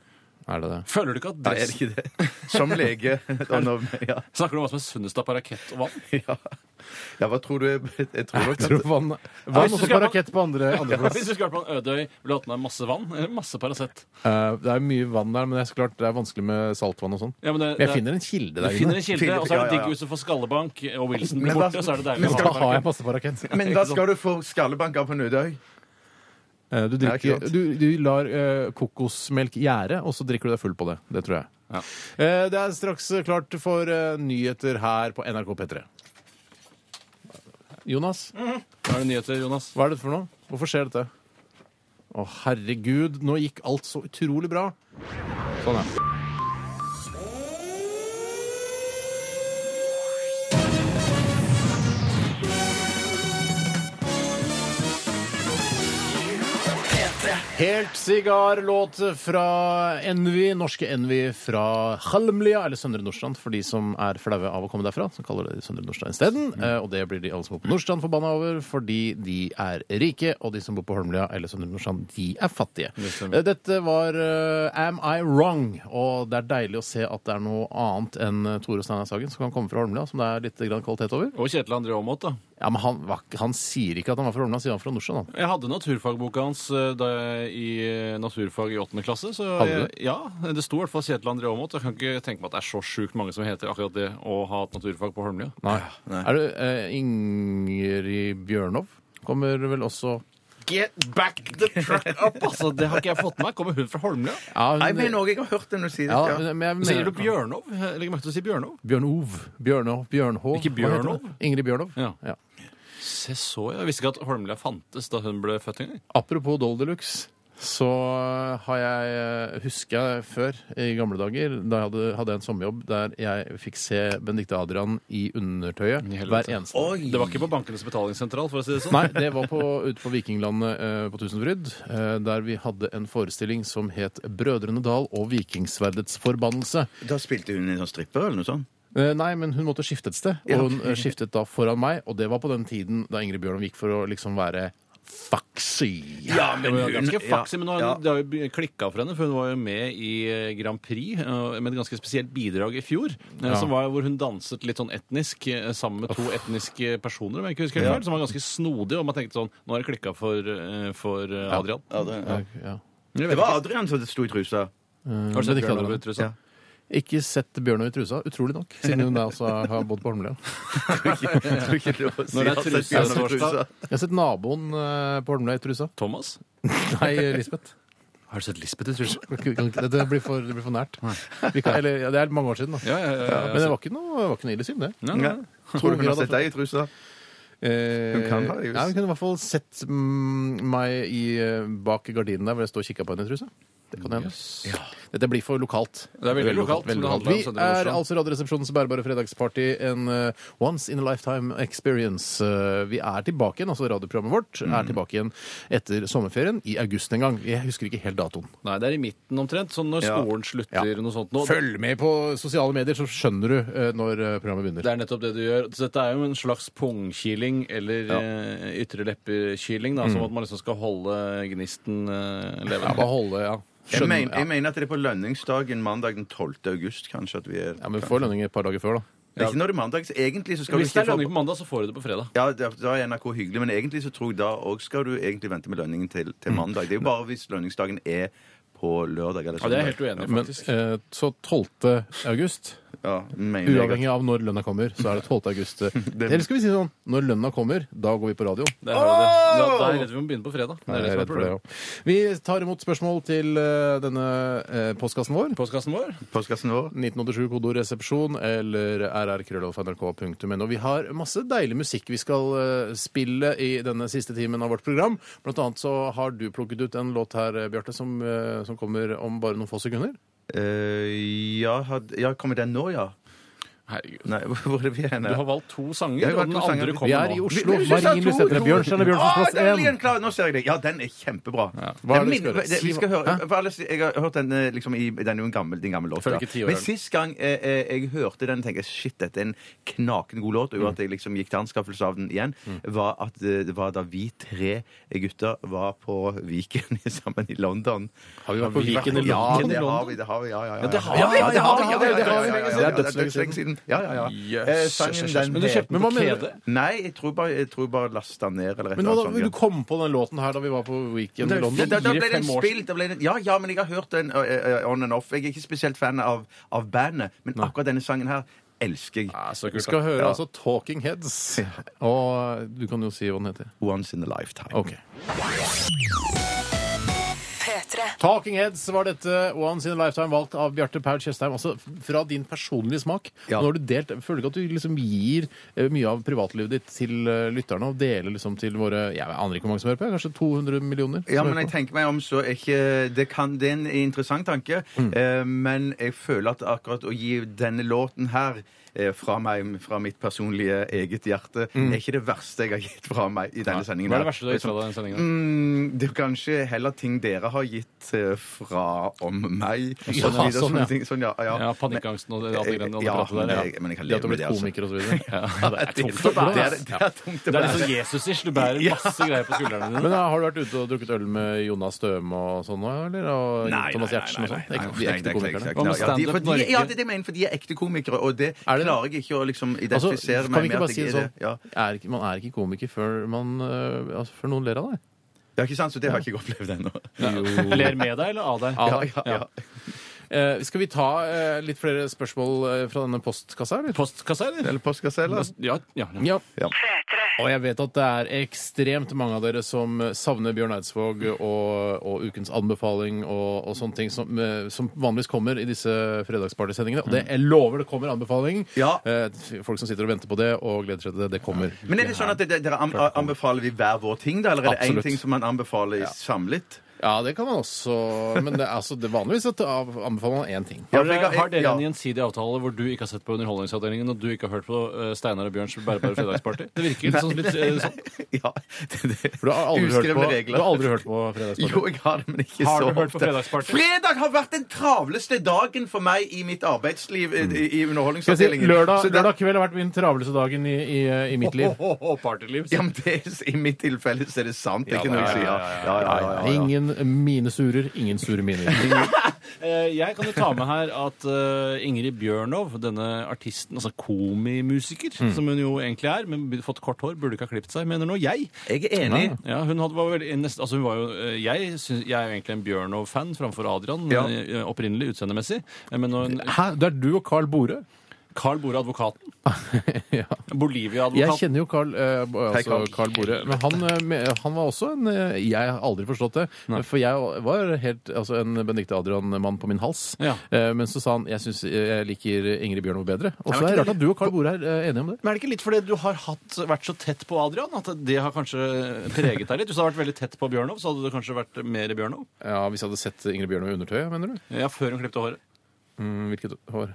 [SPEAKER 2] Er det det?
[SPEAKER 3] Føler du ikke at
[SPEAKER 1] Nei, er
[SPEAKER 3] dress
[SPEAKER 1] det ikke det? Som lege. og når- ja,
[SPEAKER 3] Snakker du om hva som er sunnest av parakett og vann?
[SPEAKER 1] ja. ja, hva tror du er- Jeg tror nok at
[SPEAKER 2] Jeg tror vann,
[SPEAKER 3] Ja,
[SPEAKER 2] vann
[SPEAKER 3] hvis du
[SPEAKER 2] og så
[SPEAKER 3] skal-
[SPEAKER 2] Paracet på andre, andre plass.
[SPEAKER 3] Hvis du skulle vært på en øde øy, ville du hatt med deg masse vann? Eller masse Paracet?
[SPEAKER 2] Eh, det er mye vann der, men det er så klart det er vanskelig med saltvann og sånn.
[SPEAKER 3] Ja, men det-
[SPEAKER 2] jeg
[SPEAKER 3] det-
[SPEAKER 2] finner en kilde
[SPEAKER 3] Du
[SPEAKER 2] der
[SPEAKER 3] finner
[SPEAKER 2] inne.
[SPEAKER 3] en kilde,
[SPEAKER 1] Finner-
[SPEAKER 3] og så er
[SPEAKER 1] ja,
[SPEAKER 3] det
[SPEAKER 1] ja,
[SPEAKER 3] digg
[SPEAKER 1] ja.
[SPEAKER 3] hvis du får skallebank, og Wilson
[SPEAKER 1] Men
[SPEAKER 3] blir
[SPEAKER 1] hva-
[SPEAKER 3] borte, og så er det deilig
[SPEAKER 1] men
[SPEAKER 3] å
[SPEAKER 2] Da
[SPEAKER 3] ha
[SPEAKER 1] skal-
[SPEAKER 2] har jeg
[SPEAKER 3] parakett.
[SPEAKER 2] masse parakett.
[SPEAKER 1] Men da skal du få skallebank av på Nødøy.
[SPEAKER 2] Eh, Du,
[SPEAKER 1] ikke
[SPEAKER 2] drikker,
[SPEAKER 1] sant.
[SPEAKER 2] du, du lar eh, kokosmelk gjære, og så drikker du deg full på det. Det tror jeg.
[SPEAKER 3] Ja.
[SPEAKER 2] Eh, det er straks klart for eh, nyheter her på NRK P3. Jonas,
[SPEAKER 3] Da er det nyheter, Jonas.
[SPEAKER 2] hva er dette for noe? Hvorfor skjer dette? Å, herregud, nå gikk alt så utrolig bra. Sånn, ja. Helt sigarlåt fra Envy, norske Envy fra Halmlia, eller Søndre Nordstrand, for de som er flaue av å komme derfra, som kaller det Søndre Nordstrand isteden. Eh, Og det blir de alle som bor på Nordstrand forbanna over, fordi de er rike, og de som bor på Holmlia eller Søndre Nordstrand, de er fattige. Eh, Dette var eh, Am I Wrong, og det er deilig å se at det er noe annet enn eh, Tore Steinar Sagen som kan komme fra Holmlia, som det er litt grann kvalitet over.
[SPEAKER 3] Og Kjetil André Aamodt, da.
[SPEAKER 2] Ja, men han, var ikke- han sier ikke at han var fra Holmlia, han sier han er fra Nordstrand, han.
[SPEAKER 3] Jeg hadde naturfagboka hans eh, da jeg, i eh, naturfag i åttende klasse. Så
[SPEAKER 2] Hadde
[SPEAKER 3] jeg,
[SPEAKER 2] du?
[SPEAKER 3] ja, det sto i hvert fall Kjetil André Aamodt. Jeg kan ikke tenke meg at det er så sjukt mange som heter akkurat det å ha hatt naturfag på Holmlia.
[SPEAKER 2] Nei. Er du eh, Ingrid Bjørnov? Kommer vel også
[SPEAKER 3] Get back the truck up! Altså, det har ikke jeg fått med meg. Kommer hun fra Holmlia?
[SPEAKER 2] ja, hun,
[SPEAKER 1] Nei, men Norge, jeg har hørt den du sier det.
[SPEAKER 2] ja,
[SPEAKER 1] ja.
[SPEAKER 2] men- men jeg mener-
[SPEAKER 3] Sier du Bjørnov? Jeg Legger merke til å si Bjørnov.
[SPEAKER 2] Bjørnov. Bjørnov. Bjørnhov.
[SPEAKER 3] Ikke
[SPEAKER 2] hva heter hun?
[SPEAKER 3] Bjørnov?
[SPEAKER 2] Ingrid Bjørnov.
[SPEAKER 3] Ja. Se så, ja. Jeg visste ikke at Holmlia fantes da hun ble født engang.
[SPEAKER 2] Apropos Dole Deluxe, så eh, har jeg husker jeg før, i gamle dager, da jeg hadde, hadde en sommerjobb der jeg fikk se Benedicte Adrian i undertøyet
[SPEAKER 3] I helvete.
[SPEAKER 2] hver eneste
[SPEAKER 3] Det var ikke på Bankenes betalingssentral, for å si det sånn.
[SPEAKER 2] Nei, det var på, ute på Vikinglandet eh, på Tusenfryd, eh, der vi hadde en forestilling som het Brødrene Dal og Vikingsverdets forbannelse.
[SPEAKER 1] Da spilte hun en sånn stripper eller noe sånt.
[SPEAKER 2] Eh, Nei, men hun måtte skifte et sted,
[SPEAKER 1] Ja.
[SPEAKER 2] og hun eh, skiftet da foran meg. Og det var på den tiden da Ingrid Bjørnov gikk for å liksom være faxy.
[SPEAKER 1] Ja,
[SPEAKER 3] Det var jo ganske
[SPEAKER 1] ja,
[SPEAKER 3] faxy, men nå, har
[SPEAKER 1] ja.
[SPEAKER 3] hun- det har jo klikka for henne, for hun var jo med i eh, Grand Prix eh, med et ganske spesielt bidrag i fjor, eh,
[SPEAKER 2] Ja.
[SPEAKER 3] som var hvor hun danset litt sånn etnisk eh, sammen med to etniske personer, om jeg ikke husker helt feil, som var ganske snodig, og man tenkte sånn Nå har det klikka for, eh, for eh, Adrian.
[SPEAKER 1] Ja, det, ja.
[SPEAKER 2] Ja. Eh,
[SPEAKER 3] Jeg
[SPEAKER 1] det
[SPEAKER 3] vet
[SPEAKER 1] var Adrian som sto i trusa.
[SPEAKER 3] ikke. Har du sett
[SPEAKER 2] Benedicte
[SPEAKER 3] Bjørn Ove
[SPEAKER 2] Adrian.
[SPEAKER 3] Trusa?
[SPEAKER 2] Ikke sett Bjørnov i trusa, utrolig nok, siden hun da altså har bodd på Holmlia.
[SPEAKER 1] Tror ikke- tror ikke det er lov å si.
[SPEAKER 3] Når det
[SPEAKER 1] Har
[SPEAKER 3] er
[SPEAKER 1] sett
[SPEAKER 3] trusa,
[SPEAKER 1] Bjørn Ove
[SPEAKER 3] så er det torsdag.
[SPEAKER 2] Jeg har sett naboen eh, på Holmlia i trusa.
[SPEAKER 3] Thomas?
[SPEAKER 2] Nei, Lisbeth.
[SPEAKER 3] Har du sett Lisbeth i trusa?
[SPEAKER 2] Kan ikke- Det blir for, det blir for nært. Vi kan, eller, ja, det er mange år siden, da.
[SPEAKER 3] Ja, ja, ja. ja, altså-
[SPEAKER 2] Men det var ikke noe, det var ikke noe ille syn, det.
[SPEAKER 3] Nei,
[SPEAKER 1] Ja.
[SPEAKER 3] nei.
[SPEAKER 1] Tror du hun har sett deg i trusa?
[SPEAKER 2] Eh,
[SPEAKER 1] Hun kan ha det, just.
[SPEAKER 2] ja, hun kunne i hvert fall sett mm, meg i, eh, bak gardinen der hvor jeg står og kikker på henne i truse. Det kan hende. Dette blir for lokalt.
[SPEAKER 3] Det er veldig lokalt, men det handler om sånn-
[SPEAKER 2] Vi
[SPEAKER 3] Søndre
[SPEAKER 2] er
[SPEAKER 3] Nordstrand.
[SPEAKER 2] altså Radioresepsjonens bærbare fredagsparty. En eh, once in a lifetime experience. Eh, vi er tilbake igjen, altså radioprogrammet vårt
[SPEAKER 3] Mm.
[SPEAKER 2] er tilbake igjen etter sommerferien i august en gang. Jeg husker ikke helt datoen.
[SPEAKER 3] Nei, det er i midten omtrent, sånn når
[SPEAKER 1] Ja.
[SPEAKER 3] skolen slutter, noe sånt nå.
[SPEAKER 2] Følg med på sosiale medier, så skjønner du eh, når eh, programmet begynner.
[SPEAKER 3] Det er nettopp det du gjør. Så dette er jo en slags pungkiling eller eh, ytre leppekiling, da, som at man liksom skal holde gnisten
[SPEAKER 2] Ja,
[SPEAKER 3] eh, levende.
[SPEAKER 2] bare holde, ja.
[SPEAKER 1] Jeg,
[SPEAKER 2] Skjønner-
[SPEAKER 1] men, jeg mener at det er på lønningsdagen mandag den 12. august, kanskje. at vi er...
[SPEAKER 2] ja, men vi får lønning et par dager før, da.
[SPEAKER 1] Det er ikke når det er mandag, så egentlig så skal
[SPEAKER 3] Hvis
[SPEAKER 1] du ikke
[SPEAKER 3] det er
[SPEAKER 1] få-
[SPEAKER 3] lønning på mandag, så får du det på fredag.
[SPEAKER 1] Ja, da da er NRK hyggelig, men egentlig så tror jeg da òg skal du egentlig vente med lønningen til,
[SPEAKER 3] Mm.
[SPEAKER 1] til mandag. Det er jo bare hvis lønningsdagen er på lørdag eller
[SPEAKER 3] Ja, det er
[SPEAKER 1] søndag.
[SPEAKER 3] jeg helt uenig i,
[SPEAKER 2] Men
[SPEAKER 3] faktisk.
[SPEAKER 2] eh, så 12. august,
[SPEAKER 1] Ja, mener jeg at-
[SPEAKER 2] uavhengig av når lønna kommer, så er det 12. august. Eller skal vi si sånn, når lønna kommer, da går vi på radio.
[SPEAKER 3] Der har du det. Da, da er jeg redd vi må begynne på fredag. Det er
[SPEAKER 2] Jeg er
[SPEAKER 3] det som er
[SPEAKER 2] redd for det,
[SPEAKER 3] problemet.
[SPEAKER 2] ja. Vi tar imot spørsmål til eh, denne eh, postkassen vår.
[SPEAKER 3] Postkassen vår?
[SPEAKER 1] Postkassen vår.
[SPEAKER 2] 1987 kodeord resepsjon eller rrkrøllalfa.nrk.no. Vi har masse deilig musikk vi skal eh, spille i denne siste timen av vårt program. Blant annet så har du plukket ut en låt her, eh, Bjarte, som, eh, som kommer om bare noen få sekunder.
[SPEAKER 1] Eh, ja, had, ja, kommer den nå, ja?
[SPEAKER 3] Herregud.
[SPEAKER 1] Nei, hvor er det vi er
[SPEAKER 3] Du
[SPEAKER 1] nå?
[SPEAKER 3] har valgt to sanger,
[SPEAKER 1] Jeg har
[SPEAKER 3] og
[SPEAKER 1] valgt to
[SPEAKER 3] den
[SPEAKER 1] sanger.
[SPEAKER 3] andre
[SPEAKER 2] Vi
[SPEAKER 3] kommer
[SPEAKER 2] er i
[SPEAKER 3] nå.
[SPEAKER 2] Oslo. Marinus heter det. Bjørnstjerne Bjørnsons
[SPEAKER 1] Ah, der
[SPEAKER 2] plass
[SPEAKER 1] ligger
[SPEAKER 2] 1.
[SPEAKER 1] den klar! Nå ser jeg det. Ja, den er kjempebra.
[SPEAKER 2] Hva er det
[SPEAKER 1] Den
[SPEAKER 2] vi skal
[SPEAKER 1] minner-
[SPEAKER 2] høre?
[SPEAKER 1] det- vi
[SPEAKER 2] Si
[SPEAKER 1] skal
[SPEAKER 2] hva-
[SPEAKER 1] høre
[SPEAKER 2] Hæ?
[SPEAKER 1] hva ellers- Jeg har hørt den eh, liksom i Den er jo en gammel, det er en gammel låt. da.
[SPEAKER 3] Føler ikke tiåren.
[SPEAKER 1] Men sist gang eh, eh, jeg hørte den, tenkte jeg shit, dette er en knakende god låt. Og at jeg liksom gikk til anskaffelse av den igjen, var at eh, det var da vi tre gutter var på Viken sammen i London.
[SPEAKER 2] Har vi vært på Viken i
[SPEAKER 1] Ja,
[SPEAKER 2] London?
[SPEAKER 1] det har vi. det har vi, Ja, ja, ja.
[SPEAKER 3] det har vi,
[SPEAKER 1] Ja,
[SPEAKER 3] ja,
[SPEAKER 2] det
[SPEAKER 1] ja,
[SPEAKER 2] har vi, det har vi,
[SPEAKER 1] ja, ja, ja, ja, ja,
[SPEAKER 2] det
[SPEAKER 1] ja,
[SPEAKER 2] er
[SPEAKER 1] ja,
[SPEAKER 2] dødslenge siden.
[SPEAKER 1] siden. Ja, ja, ja.
[SPEAKER 3] Yes,
[SPEAKER 1] Eh,
[SPEAKER 3] yes,
[SPEAKER 1] sangen,
[SPEAKER 3] yes, yes.
[SPEAKER 1] den
[SPEAKER 3] Men du kjøpte den
[SPEAKER 2] Men
[SPEAKER 3] på
[SPEAKER 2] hva mener du?
[SPEAKER 3] kjede?
[SPEAKER 1] Nei, jeg tror bare, jeg tror bare lasta ned eller et
[SPEAKER 2] Men
[SPEAKER 1] eller
[SPEAKER 2] hva
[SPEAKER 1] annet.
[SPEAKER 2] da,
[SPEAKER 1] sånt.
[SPEAKER 2] sånn, du kom på den låten her da vi var på Weekend i
[SPEAKER 1] Ja,
[SPEAKER 2] London?
[SPEAKER 1] da, da ble den
[SPEAKER 3] fire-fem år
[SPEAKER 1] spilt. Da ble den, ja, ja, men jeg har hørt den ø, ø, ø, on and off. Jeg er ikke spesielt fan av, av bandet, men akkurat denne sangen her elsker jeg.
[SPEAKER 3] Ja, så
[SPEAKER 2] Vi
[SPEAKER 3] kult,
[SPEAKER 2] skal
[SPEAKER 3] da.
[SPEAKER 2] høre
[SPEAKER 1] Ja.
[SPEAKER 2] altså Talking Heads. Og eh, du kan jo si hva den heter.
[SPEAKER 1] Once in a lifetime.
[SPEAKER 2] Ok.
[SPEAKER 4] P3.
[SPEAKER 2] Talking Heads var dette Once in a Lifetime valgt av Bjarte Paul Tjøstheim. Altså fra din personlige smak.
[SPEAKER 1] Ja.
[SPEAKER 2] Nå har du delt, jeg Føler du ikke at du liksom gir eh, mye av privatlivet ditt til eh, lytterne? Og deler liksom til våre Jeg aner ikke hvor mange som hører på. Kanskje 200 millioner? som
[SPEAKER 1] Ja,
[SPEAKER 2] hører
[SPEAKER 1] men jeg
[SPEAKER 2] på.
[SPEAKER 1] tenker meg om så er ikke Det, kan, det er en interessant tanke,
[SPEAKER 3] Mm.
[SPEAKER 1] eh, men jeg føler at akkurat å gi denne låten her eh, fra meg, fra mitt personlige eget hjerte, er ikke det verste jeg har gitt fra meg i denne sendingen.
[SPEAKER 3] Mm. Hva er
[SPEAKER 1] her.
[SPEAKER 3] det verste du har gitt fra deg i den sendingen?
[SPEAKER 1] Mm, det er jo kanskje heller ting dere har gitt eh, fra om meg. og
[SPEAKER 2] Ja,
[SPEAKER 1] så videre,
[SPEAKER 2] sånn,
[SPEAKER 1] sånne
[SPEAKER 2] ja.
[SPEAKER 1] ting. Sånn, ja, ja.
[SPEAKER 3] Ja, panikkangsten og det- alt det greiene og det
[SPEAKER 1] Ja,
[SPEAKER 3] pratet der,
[SPEAKER 1] men
[SPEAKER 3] ja.
[SPEAKER 1] jeg, men jeg kan
[SPEAKER 2] Det at
[SPEAKER 1] leve
[SPEAKER 2] du har
[SPEAKER 1] med det,
[SPEAKER 2] blitt
[SPEAKER 1] altså.
[SPEAKER 2] komiker og så videre.
[SPEAKER 3] Ja, det er tungt å
[SPEAKER 1] Det
[SPEAKER 3] bære.
[SPEAKER 1] er,
[SPEAKER 3] ass.
[SPEAKER 1] det er tungt å
[SPEAKER 3] Det er
[SPEAKER 2] liksom
[SPEAKER 3] litt
[SPEAKER 1] bære.
[SPEAKER 3] sånn Jesus-ish. Du bærer masse greier på skuldrene dine.
[SPEAKER 2] Men ja, Har du vært ute og drukket øl med Jonas Støme og sånn nå, eller? Og Thomas Giertsen og sånn?
[SPEAKER 1] nei,
[SPEAKER 2] Ekte- De
[SPEAKER 1] nei,
[SPEAKER 2] ekte
[SPEAKER 1] nei, nei,
[SPEAKER 2] komikerne.
[SPEAKER 1] nei, nei,
[SPEAKER 3] Hva med
[SPEAKER 1] ja, de- for
[SPEAKER 3] Standup
[SPEAKER 1] de-
[SPEAKER 3] Norge?
[SPEAKER 1] Ja, det er det jeg mener, for de er ekte komikere, og det,
[SPEAKER 2] Er det det?
[SPEAKER 1] klarer jeg ikke å liksom
[SPEAKER 2] Altså,
[SPEAKER 1] identifisere
[SPEAKER 2] kan vi
[SPEAKER 1] meg med.
[SPEAKER 2] ikke bare
[SPEAKER 1] at
[SPEAKER 2] si det
[SPEAKER 1] jeg er
[SPEAKER 2] sånn?
[SPEAKER 1] det. Ja.
[SPEAKER 2] Er ikke, man er ikke komiker før, man, øh, altså, før noen ler av deg.
[SPEAKER 1] ja, ikke sant? Så det har jeg ikke opplevd ennå.
[SPEAKER 3] Ler med deg eller av deg?
[SPEAKER 1] Ja, ja, ja.
[SPEAKER 2] Eh, skal vi ta eh, litt flere spørsmål eh, fra denne postkassa, eller?
[SPEAKER 3] Postkassa, eller?
[SPEAKER 1] Eller postkasse, eller?
[SPEAKER 3] Ja, ja, ja.
[SPEAKER 2] Ja.
[SPEAKER 1] Ja.
[SPEAKER 2] Og jeg vet at det er ekstremt mange av dere som savner Bjørn Eidsvåg og, og ukens anbefaling og, og sånne ting som, eh, som vanligvis kommer i disse fredagspartysendingene.
[SPEAKER 1] Mm.
[SPEAKER 2] Og det, jeg lover det kommer anbefaling.
[SPEAKER 1] Ja.
[SPEAKER 2] Eh, folk som sitter og venter på det og gleder seg til det. Det kommer.
[SPEAKER 1] Men er det sånn at det- det- dere an- anbefaler vi hver vår ting, da? Eller er det én
[SPEAKER 2] Absolutt.
[SPEAKER 1] ting som man anbefaler samlet?
[SPEAKER 2] Ja, det kan man også. Men det, er altså, det er vanligvis at av- anbefaler man én ting.
[SPEAKER 1] Ja,
[SPEAKER 3] Har
[SPEAKER 1] for jeg
[SPEAKER 3] dere,
[SPEAKER 1] kan-
[SPEAKER 3] har dere
[SPEAKER 1] ja.
[SPEAKER 3] en gjensidig avtale hvor du ikke har sett på Underholdningsavdelingen og du ikke har hørt på eh, Steinar og Bjørns bærbare fredagsparty? Det virker litt sånn. Litt, eh, sånn.
[SPEAKER 1] Ja. Det, det.
[SPEAKER 2] For du har aldri hørt
[SPEAKER 1] Uskrevne
[SPEAKER 2] på,
[SPEAKER 1] regler.
[SPEAKER 2] du har aldri hørt på Fredagsparty.
[SPEAKER 1] Jo, jeg har det, men ikke
[SPEAKER 3] Har
[SPEAKER 1] så
[SPEAKER 3] du hørt på
[SPEAKER 1] ofte.
[SPEAKER 3] Fredagsparty?
[SPEAKER 1] Fredag har vært den travleste dagen for meg i mitt arbeidsliv i, i- i
[SPEAKER 2] Skal jeg si,
[SPEAKER 1] Underholdningsavdelingen.
[SPEAKER 2] lørdag,
[SPEAKER 1] Så det-
[SPEAKER 2] lørdag kveld har vært min travleste dagen i, i, i mitt liv.
[SPEAKER 3] Ho, ho, ho, partyliv.
[SPEAKER 1] Ja, men det, er- I mitt tilfelle så er det sant. Det er
[SPEAKER 3] Ja,
[SPEAKER 1] ikke noe å
[SPEAKER 3] ja,
[SPEAKER 1] si. Ja, ja,
[SPEAKER 3] ja, ja,
[SPEAKER 1] ja, ja, ja, ja.
[SPEAKER 2] Ingen mine surer, ingen sure miner.
[SPEAKER 3] Eh, Jeg kan jo ta med her at eh, Ingrid Bjørnov, denne artisten, altså komimusiker, som hun jo egentlig er, men burde fått kort hår, burde ikke ha klippet seg, mener nå jeg.
[SPEAKER 1] Jeg er enig.
[SPEAKER 3] Ja, hun hadde, var veldig, nest, altså hun var jo, eh, jeg, syns- jeg er jo egentlig en Bjørnov-fan framfor Adrian,
[SPEAKER 1] Ja.
[SPEAKER 3] eh, opprinnelig utseendemessig. Eh, Men når hun,
[SPEAKER 2] Hæ? Det er du og Carl Borø?
[SPEAKER 3] Carl Bore, advokaten.
[SPEAKER 2] ja. Jeg
[SPEAKER 3] Bolivia-advokaten.
[SPEAKER 2] kjenner jo Carl, eh,
[SPEAKER 1] Hei,
[SPEAKER 2] altså
[SPEAKER 1] Carl.
[SPEAKER 2] Carl Borø. Men han, eh, me- han var også en eh, Jeg har aldri forstått det. For jeg var helt altså en Benedicte Adrian-mann på min hals.
[SPEAKER 3] Ja.
[SPEAKER 2] Eh, Men så sa han jeg syns jeg liker Ingrid Bjørnov bedre. Og så
[SPEAKER 3] men
[SPEAKER 2] er
[SPEAKER 3] ikke
[SPEAKER 2] det rart at du og Carl Borø er eh, enige om det.
[SPEAKER 3] Men er det ikke litt fordi du har hatt, vært så tett på Adrian at det har kanskje preget deg litt? Hvis du hadde vært veldig tett på Bjørnov, så hadde du kanskje vært mer Bjørnov?
[SPEAKER 2] Ja, Hvis jeg hadde sett Ingrid Bjørnov i undertøyet, mener du?
[SPEAKER 3] Ja, før hun klippte håret.
[SPEAKER 2] Mm, Hvilket hår?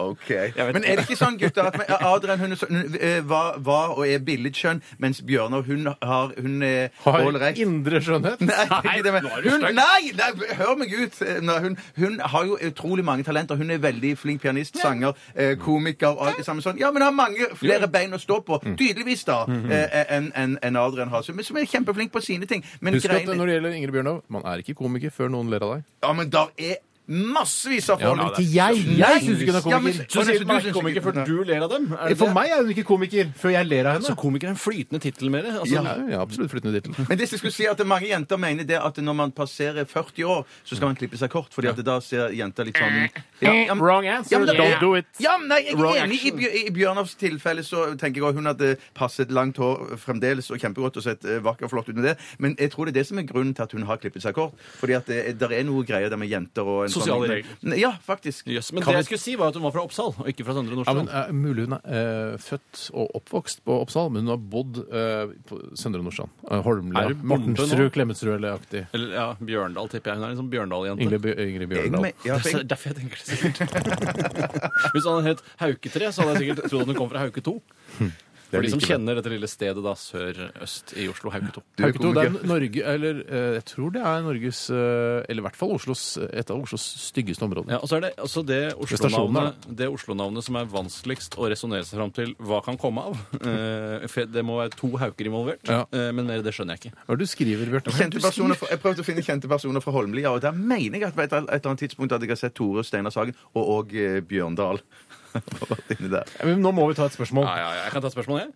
[SPEAKER 1] Ok.
[SPEAKER 3] vet
[SPEAKER 1] Men er det ikke sånn, gutter, at med- Adrian hun, er så- hun eh, var, var og er billedskjønn, mens Bjørnar hun har Hun er
[SPEAKER 2] Har
[SPEAKER 1] ålreit?
[SPEAKER 2] indre skjønnhet?
[SPEAKER 1] Nei, det er ikke det, men
[SPEAKER 3] nå er du
[SPEAKER 1] hun,
[SPEAKER 3] stygg.
[SPEAKER 1] nei, nei, hør meg ut! Nei, hun, hun har jo utrolig mange talenter. Hun er veldig flink pianist, sanger, eh, komiker og alt det samme sånn. Ja, men har mange flere bein å stå på,
[SPEAKER 2] Mm.
[SPEAKER 1] tydeligvis, da, eh, enn enn- enn Adrian har. Som, som er kjempeflink på sine ting. Men
[SPEAKER 2] Husk at
[SPEAKER 1] greiene
[SPEAKER 2] når det gjelder Ingrid Bjørnov, man er ikke komiker før noen ler av deg.
[SPEAKER 1] Ja, men der er massevis av folk
[SPEAKER 2] men ikke jeg. Jeg synes ikke hun er
[SPEAKER 1] Ja, men-
[SPEAKER 2] komiker.
[SPEAKER 1] Så sier du- du synes
[SPEAKER 3] komiker
[SPEAKER 1] ikke-
[SPEAKER 3] før du ler av dem? Er det
[SPEAKER 2] For
[SPEAKER 3] det?
[SPEAKER 2] meg er hun ikke komiker før jeg ler av henne.
[SPEAKER 3] Så komiker er en flytende tittel mer? Altså,
[SPEAKER 2] Ja, ja, absolutt flyttende tittel.
[SPEAKER 1] Men det jeg skulle si er at mange jenter mener det at når man passerer 40 år, så skal man klippe seg kort, fordi at da ser jenter litt
[SPEAKER 2] Eh.
[SPEAKER 1] sånn
[SPEAKER 3] Eh.
[SPEAKER 1] ja, ja, men-
[SPEAKER 2] Wrong answer.
[SPEAKER 1] Ja, men da-
[SPEAKER 2] Don't do it.
[SPEAKER 1] Ja, men nei, jeg
[SPEAKER 2] Wrong
[SPEAKER 1] er enig. I,
[SPEAKER 2] action.
[SPEAKER 1] Bjør- I Bjørnars tilfelle så tenker jeg også hun hadde passet langt hår fremdeles og kjempegodt og sett eh, vakker og flott ut med det, men jeg tror det er det som er grunnen til at hun har klippet seg kort. Fordi at det, der er noe greier der med jenter og en
[SPEAKER 3] Sosiale
[SPEAKER 1] sånn,
[SPEAKER 3] regler.
[SPEAKER 1] Ja, faktisk.
[SPEAKER 3] Jøss, men
[SPEAKER 2] Kan
[SPEAKER 3] det
[SPEAKER 2] vi-
[SPEAKER 3] jeg skulle si, var at hun var fra Oppsal, og ikke fra Søndre
[SPEAKER 2] Ja, men
[SPEAKER 3] Nordstrand.
[SPEAKER 2] eh, Mulig hun er eh, født og oppvokst på Oppsal, men hun har bodd eh, på Søndre Nordstrand. Eh, Holmlia.
[SPEAKER 3] Er du bonde nå?
[SPEAKER 2] Mortensrud, Klemetsrud eller aktig.
[SPEAKER 3] Eller ja, Bjørndal, tipper jeg. Hun er liksom Bjørndal-jente.
[SPEAKER 2] Ingrid, Bjø- Ingrid
[SPEAKER 1] Jeg
[SPEAKER 2] Bjørndal.
[SPEAKER 1] men- ja, for
[SPEAKER 3] Derfor
[SPEAKER 1] jeg-
[SPEAKER 3] derfor jeg tenker det sikkert. Hvis han het Hauketre, så hadde jeg sikkert trodd at hun kom fra Hauke 2.
[SPEAKER 2] Hm.
[SPEAKER 3] For de som kjenner dette lille stedet da sør-øst i Oslo, Hauke 2.
[SPEAKER 1] Du er
[SPEAKER 2] Hauketo, det er
[SPEAKER 1] komiker.
[SPEAKER 2] Norge, eller eh, jeg tror det er Norges eh, Eller i hvert fall Oslos, et av Oslos styggeste områder.
[SPEAKER 3] Ja, og så er det også det
[SPEAKER 2] Stasjonen,
[SPEAKER 3] Oslo-navnet det Oslo-navnet som er vanskeligst å resonnere seg fram til hva kan komme av. Eh, for det må være to hauker involvert,
[SPEAKER 2] Ja.
[SPEAKER 3] eh, men mer det skjønner jeg ikke.
[SPEAKER 2] Hva er det du skriver, Bjarte?
[SPEAKER 1] Kjente personer fra, jeg prøvde å finne kjente personer fra Holmlia, og der mener jeg at på et eller et eller annet tidspunkt hadde jeg sett Tore Steinar Sagen og, og eh, Bjørndal. Vært inne der.
[SPEAKER 2] Ja, men Nå må vi ta et spørsmål.
[SPEAKER 3] Ja, ja, ja, jeg kan ta spørsmålet, jeg.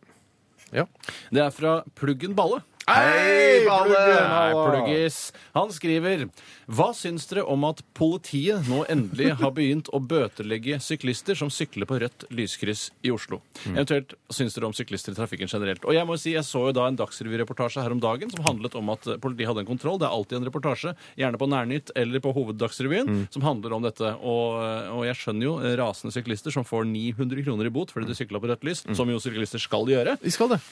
[SPEAKER 2] Ja.
[SPEAKER 3] Det er fra Pluggen Balle.
[SPEAKER 1] Hei, Balle!
[SPEAKER 3] Nei, pluggis. Han skriver Hva syns dere om at politiet nå endelig har begynt å bøtelegge syklister som sykler på rødt lyskryss i Oslo? Eventuelt syns dere om syklister i trafikken generelt? Og jeg må jo si, jeg så jo da en Dagsrevy-reportasje her om dagen som handlet om at eh, politiet hadde en kontroll. Det er alltid en reportasje, gjerne på Nærnytt eller på Hoveddagsrevyen, som handler om dette. Og, og jeg skjønner jo eh, rasende syklister som får 900 kroner i bot fordi de sykla på rødt lys, som jo syklister skal gjøre.
[SPEAKER 2] Vi skal det.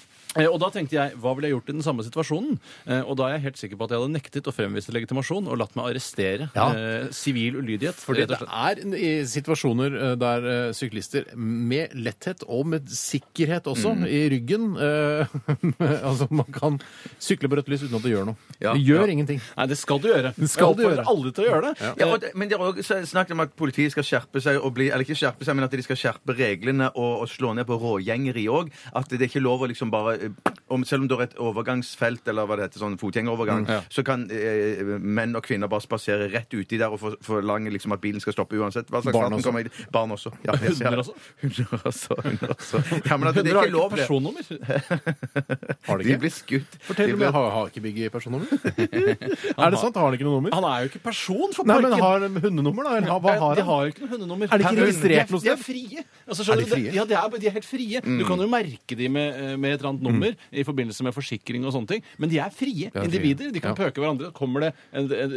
[SPEAKER 3] Eh, Og da tenkte jeg, hva ville jeg gjort i den samme situasjonen? Eh, Og da er jeg helt sikker på at jeg hadde nektet å fremvise legitimasjon og latt meg arrestere.
[SPEAKER 2] Ja.
[SPEAKER 3] Eh, Sivil ulydighet.
[SPEAKER 2] Fordi
[SPEAKER 3] rett
[SPEAKER 2] Eh, det
[SPEAKER 3] og slett.
[SPEAKER 2] er i situasjoner eh, der eh, syklister med letthet og med sikkerhet også i ryggen eh, Altså, man kan sykle på rødt lys uten at det gjør noe.
[SPEAKER 1] Ja,
[SPEAKER 2] det gjør
[SPEAKER 1] ja.
[SPEAKER 2] ingenting.
[SPEAKER 3] Nei, det skal du gjøre.
[SPEAKER 2] Det skal
[SPEAKER 3] jeg
[SPEAKER 2] du
[SPEAKER 3] oppfordrer
[SPEAKER 2] gjøre.
[SPEAKER 3] alle til å gjøre det.
[SPEAKER 1] Ja,
[SPEAKER 2] Eh,
[SPEAKER 1] og det, men det er også snakket om at politiet skal skjerpe seg og bli, eller ikke skjerpe seg, men at de skal skjerpe reglene og, og slå ned på rågjengeri òg. At det er ikke lov å liksom bare eh, om, selv om det er et overgangsfelt, eller hva det heter, sånn fotgjengerovergang,
[SPEAKER 2] Mm,
[SPEAKER 3] ja.
[SPEAKER 1] så kan eh, menn og kvinner bare spasere rett uti der og for- forlange liksom at bilen skal stoppe uansett hva slags
[SPEAKER 2] Barn
[SPEAKER 1] fart den
[SPEAKER 2] også.
[SPEAKER 1] kommer i. Barn også. Ja, jeg ser
[SPEAKER 3] Hunder
[SPEAKER 1] det.
[SPEAKER 3] også?
[SPEAKER 1] Hunder også. Hunder også. Ja, men at det
[SPEAKER 3] Dere
[SPEAKER 1] ikke
[SPEAKER 3] altså. har
[SPEAKER 1] er lov, det.
[SPEAKER 3] ikke personnummer.
[SPEAKER 2] Har det
[SPEAKER 1] De
[SPEAKER 2] ikke?
[SPEAKER 1] blir skutt.
[SPEAKER 2] Fortell
[SPEAKER 1] De
[SPEAKER 2] om jeg
[SPEAKER 1] blir...
[SPEAKER 2] har, har ikke Biggie personnummer. er det sant? Har han ikke noe nummer?
[SPEAKER 3] Han er jo ikke person for
[SPEAKER 2] Nei, men
[SPEAKER 3] parken.
[SPEAKER 2] har de hundenummer, da? Eller ha- hva har
[SPEAKER 3] Eh, de
[SPEAKER 2] han?
[SPEAKER 3] har jo ikke noe hundenummer.
[SPEAKER 2] Er de ikke
[SPEAKER 3] Per-
[SPEAKER 2] registrert
[SPEAKER 3] De er-
[SPEAKER 2] noe
[SPEAKER 3] De er
[SPEAKER 2] sted?
[SPEAKER 3] frie. Altså, skjønner
[SPEAKER 2] Er de
[SPEAKER 3] du, det-
[SPEAKER 2] frie? Mm.
[SPEAKER 3] Ja, de er, de er helt frie. Du kan jo merke de med, eh, med et eller annet nummer i forbindelse med forsikring og sånne ting, men de er frie
[SPEAKER 2] frie.
[SPEAKER 3] individer. De kan
[SPEAKER 2] Ja.
[SPEAKER 3] pøke hverandre. Kommer det en, en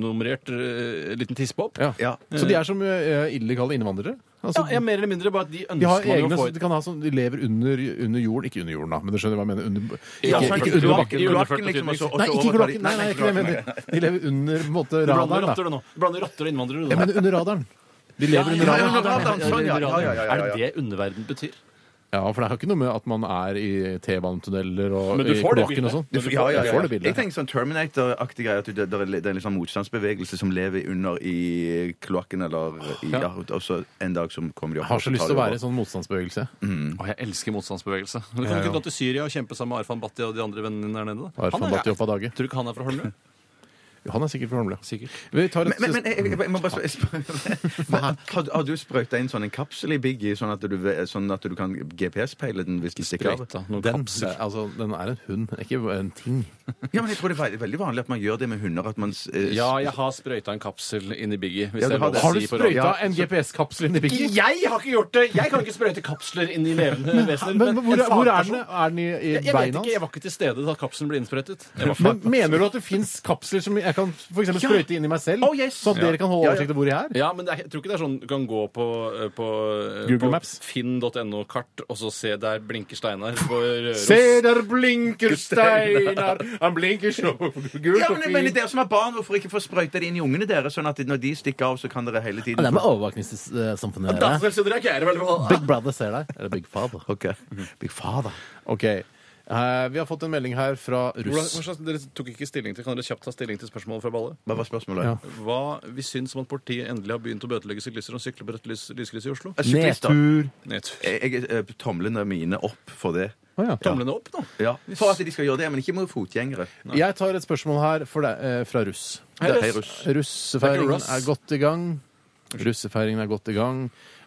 [SPEAKER 3] unummerert eh, liten tispehopp?
[SPEAKER 2] Ja.
[SPEAKER 1] Ja.
[SPEAKER 2] Så de er som eh, illegale innvandrere? Altså,
[SPEAKER 3] Ja, ja, mer eller mindre bare at de
[SPEAKER 2] de
[SPEAKER 3] ønsker
[SPEAKER 2] har
[SPEAKER 3] man jo
[SPEAKER 2] egne
[SPEAKER 3] å få
[SPEAKER 2] som de kan ha som de lever under, under jorden. Ikke under jorden, da, men du skjønner hva jeg mener. Under,
[SPEAKER 3] Ja,
[SPEAKER 2] ikke,
[SPEAKER 3] sant.
[SPEAKER 2] ikke under bakken.
[SPEAKER 1] kloakken,
[SPEAKER 3] underført
[SPEAKER 1] kloakken, liksom. og så- og
[SPEAKER 2] Nei,
[SPEAKER 1] så
[SPEAKER 2] ikke
[SPEAKER 1] overtar de-
[SPEAKER 2] kloakken. Nei, nei, ikke det jeg mener. De lever under på en måte,
[SPEAKER 3] Du blander
[SPEAKER 2] radaren.
[SPEAKER 3] rotter,
[SPEAKER 2] Da.
[SPEAKER 3] du nå. Du blander rotter og innvandrere. du
[SPEAKER 2] Jeg
[SPEAKER 3] nå.
[SPEAKER 2] mener under radaren. De
[SPEAKER 3] Ja,
[SPEAKER 2] lever
[SPEAKER 3] ja,
[SPEAKER 2] under
[SPEAKER 3] ja,
[SPEAKER 2] radaren.
[SPEAKER 1] under radaren, sånn, ja, ja, ja, ja, ja.
[SPEAKER 3] Er det det underverden betyr?
[SPEAKER 2] Ja, for det har ikke noe med at man er i T-banetunneler og
[SPEAKER 3] Men du
[SPEAKER 2] i
[SPEAKER 3] får det
[SPEAKER 2] kloakken og
[SPEAKER 3] bildet.
[SPEAKER 2] sånn.
[SPEAKER 3] Du
[SPEAKER 1] Ja, ja, ja,
[SPEAKER 2] Du
[SPEAKER 1] ja.
[SPEAKER 2] får det
[SPEAKER 1] Jeg
[SPEAKER 2] bildet.
[SPEAKER 1] tenker sånn Terminator-aktig greie. At det, det er det er en liksom motstandsbevegelse som lever under i kloakken, eller i, ja. Og så en dag som kommer de opp.
[SPEAKER 2] Jeg har så
[SPEAKER 1] og
[SPEAKER 2] lyst
[SPEAKER 1] tar
[SPEAKER 2] til å
[SPEAKER 1] de
[SPEAKER 2] være i
[SPEAKER 1] over.
[SPEAKER 2] sånn motstandsbevegelse.
[SPEAKER 3] Å, jeg elsker motstandsbevegelse. Du kan
[SPEAKER 2] Jeg
[SPEAKER 3] ikke
[SPEAKER 2] jo.
[SPEAKER 3] dra til Syria og kjempe sammen med Arfan Bhatti og de andre vennene dine der nede. da?
[SPEAKER 2] Arfan
[SPEAKER 3] Han er-
[SPEAKER 2] Bhatti opp av dage.
[SPEAKER 3] Tror du ikke han er fra Holmlia?
[SPEAKER 2] Han er sikkert fra Holmlia.
[SPEAKER 3] Sikkert.
[SPEAKER 2] Vi tar
[SPEAKER 1] Men,
[SPEAKER 2] et
[SPEAKER 1] men, men jeg, jeg, jeg må bare spørre Har, har du sprøyta inn sånn en kapsel i Biggie, sånn at du, ve- sånn at du kan GPS-peile den hvis den stikker av?
[SPEAKER 3] Sprøyta. Noen
[SPEAKER 2] den,
[SPEAKER 3] kapsel.
[SPEAKER 2] altså, den er en hund, ikke en ting.
[SPEAKER 1] Ja, men jeg tror det er ve- veldig vanlig at man gjør det med hunder. At man s- eh, s-
[SPEAKER 3] Ja, jeg har sprøyta en kapsel inn i Biggie. Hvis
[SPEAKER 1] Ja,
[SPEAKER 3] det
[SPEAKER 1] du
[SPEAKER 3] er
[SPEAKER 1] har
[SPEAKER 3] lov å
[SPEAKER 1] det.
[SPEAKER 2] Har du
[SPEAKER 3] si på radio.
[SPEAKER 2] sprøyta en GPS-kapsel inn i pikken?
[SPEAKER 3] Jeg har ikke gjort det! Jeg kan ikke sprøyte kapsler inn i levende vesener.
[SPEAKER 2] Men
[SPEAKER 3] en
[SPEAKER 2] hvor, er- hvor er
[SPEAKER 3] fagperson-
[SPEAKER 2] den? Er den i, i
[SPEAKER 3] Jeg, jeg vet
[SPEAKER 2] beina
[SPEAKER 3] ikke, jeg var ikke til stede da kapselen ble innsprøytet. Jeg var
[SPEAKER 2] Men mener du at det fins kapsler som jeg kan for eksempel sprøyte inn i meg selv?
[SPEAKER 1] Oh, yes.
[SPEAKER 2] Sånn at dere kan holde
[SPEAKER 1] Ja, ja.
[SPEAKER 2] oversikt over hvor jeg er?
[SPEAKER 3] Ja, men det er, jeg tror ikke det er sånn du kan gå på, eh, på, eh,
[SPEAKER 2] Google
[SPEAKER 3] på
[SPEAKER 2] Maps.
[SPEAKER 3] finn.no-kart og så se der blinker Steinar på Røros.
[SPEAKER 2] Se, der blinker Steinar, han blinker så gult
[SPEAKER 1] Ja,
[SPEAKER 2] og
[SPEAKER 1] men jeg mener
[SPEAKER 2] fint.
[SPEAKER 1] Dere som har barn, hvorfor ikke få sprøyta det inn i ungene deres? Sånn at når de stikker av, så kan dere hele tiden
[SPEAKER 2] overvåkningssamfunnet Big Brother ser deg. Eller Big Father.
[SPEAKER 1] Ok. Big father.
[SPEAKER 2] Ok. Eh, vi har fått en melding her fra
[SPEAKER 3] Hvordan,
[SPEAKER 2] russ.
[SPEAKER 3] hva slags- dere tok ikke stilling til, Kan dere kjapt ta stilling til spørsmålet fra Balle?
[SPEAKER 1] Hva var spørsmålet?
[SPEAKER 2] Ja.
[SPEAKER 3] Hva vi syns om at politiet endelig har begynt å bøtelegge syklister som sykler på rødt lys, lyskryss i Oslo?
[SPEAKER 1] Syklister.
[SPEAKER 2] Nedtur.
[SPEAKER 3] Nedtur.
[SPEAKER 1] Jeg, jeg eh, tomlene mine opp for det.
[SPEAKER 2] Å, ja.
[SPEAKER 3] Tomlene opp, da.
[SPEAKER 1] Ja, For at de skal gjøre det, men ikke mot fotgjengere.
[SPEAKER 2] Jeg tar et spørsmål her for deg, eh, fra russ.
[SPEAKER 1] Hei, russ. Hei, russ.
[SPEAKER 2] Russefeiringen
[SPEAKER 3] Russ.
[SPEAKER 2] er godt i gang. Russefeiringen er godt i gang.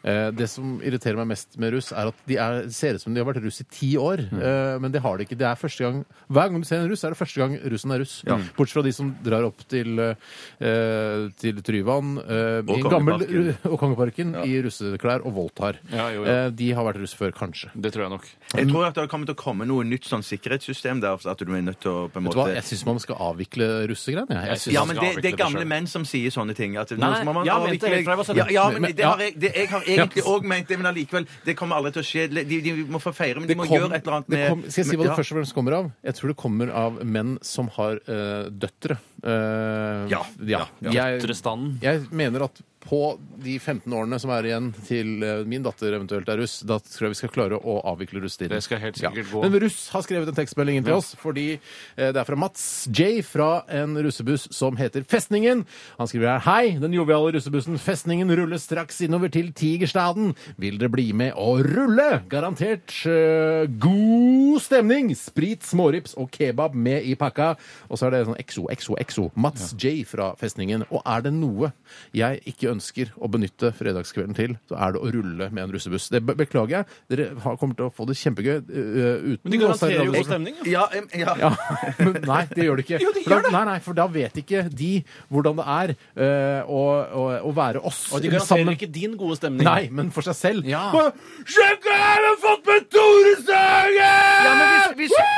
[SPEAKER 2] Eh, det som irriterer meg mest med russ, er at de er, det ser ut som de har vært russ i ti år.
[SPEAKER 3] Mm.
[SPEAKER 2] Eh, men det har de ikke. Det er første gang Hver gang du ser en russ, er det første gang russen er russ. Bortsett fra de som drar opp til, eh, til Tryvann eh, i en gammel,
[SPEAKER 1] Kongeparken.
[SPEAKER 2] og Kongeparken i russeklær og voldtar.
[SPEAKER 3] Ja, jo, ja.
[SPEAKER 2] Eh, de har vært russ før, kanskje.
[SPEAKER 3] Det tror jeg nok.
[SPEAKER 1] Jeg tror at det kommer til å komme noe nytt sånn sikkerhetssystem der. så At du er nødt til å på en
[SPEAKER 2] Vet du hva?
[SPEAKER 1] måte
[SPEAKER 2] Jeg syns man skal avvikle russegreiene. jeg. Jeg synes-
[SPEAKER 1] ja,
[SPEAKER 3] man
[SPEAKER 1] men det,
[SPEAKER 3] skal
[SPEAKER 1] det
[SPEAKER 3] avvikle
[SPEAKER 1] er
[SPEAKER 3] det
[SPEAKER 1] gamle
[SPEAKER 3] selv.
[SPEAKER 1] menn som sier sånne ting. At nå
[SPEAKER 3] Nei,
[SPEAKER 1] må man
[SPEAKER 3] jeg har ment det
[SPEAKER 1] avvikle-
[SPEAKER 3] helt fra jeg var
[SPEAKER 1] ja,
[SPEAKER 3] sytten.
[SPEAKER 1] ja, men
[SPEAKER 2] Men-
[SPEAKER 1] det har jeg, det, jeg har egentlig òg ment det, men allikevel. Det kommer aldri til å skje. De, de må få feire, men de må
[SPEAKER 2] kom-
[SPEAKER 1] gjøre et eller annet
[SPEAKER 2] det
[SPEAKER 1] med
[SPEAKER 2] kom, Skal jeg si hva
[SPEAKER 1] med-
[SPEAKER 2] det først og fremst kommer av? Jeg tror det kommer av menn som har eh, døttere. Eh,
[SPEAKER 1] Ja,
[SPEAKER 2] ja.
[SPEAKER 1] ja,
[SPEAKER 2] Jeg,
[SPEAKER 3] Døtrestanden.
[SPEAKER 2] jeg mener at på de 15 årene som er igjen til eh, min datter eventuelt er russ, da tror jeg vi skal klare å avvikle russtiden.
[SPEAKER 3] Det skal helt sikkert gå.
[SPEAKER 2] Men russ har skrevet en tekstmelding inn til oss, fordi eh, det er fra Mats J fra en russebuss som heter Festningen. Han skriver her Hei, den joviale russebussen Festningen ruller straks innover til Tigerstaden. Vil dere bli med og rulle? Garantert eh, god stemning! Sprit, smårips og kebab med i pakka. Og så er det sånn exo, exo, exo. Mats J fra Festningen. Og er det noe jeg ikke ønsker å benytte fredagskvelden til, så er det å rulle med en russebuss. Det be- beklager jeg. Dere har, kommer til å få det kjempegøy eh, uten
[SPEAKER 3] Men de
[SPEAKER 1] altså,
[SPEAKER 3] garanterer
[SPEAKER 2] noe
[SPEAKER 3] jo
[SPEAKER 2] særlig-
[SPEAKER 3] god stemning. ja.
[SPEAKER 1] Ja, em, ja.
[SPEAKER 2] ja, men nei, det gjør det ikke.
[SPEAKER 3] Jo, det
[SPEAKER 2] For da-
[SPEAKER 3] gjør det.
[SPEAKER 2] Nei, nei, for da vet ikke de hvordan det er eh, å, å, å være oss
[SPEAKER 3] Og de garanterer ikke din gode stemning.
[SPEAKER 2] Nei, men for seg selv.
[SPEAKER 3] Ja.
[SPEAKER 2] Bare, Sjekk, her har jeg fått med Tore Sagen!
[SPEAKER 1] Ja, men hvis, hvis,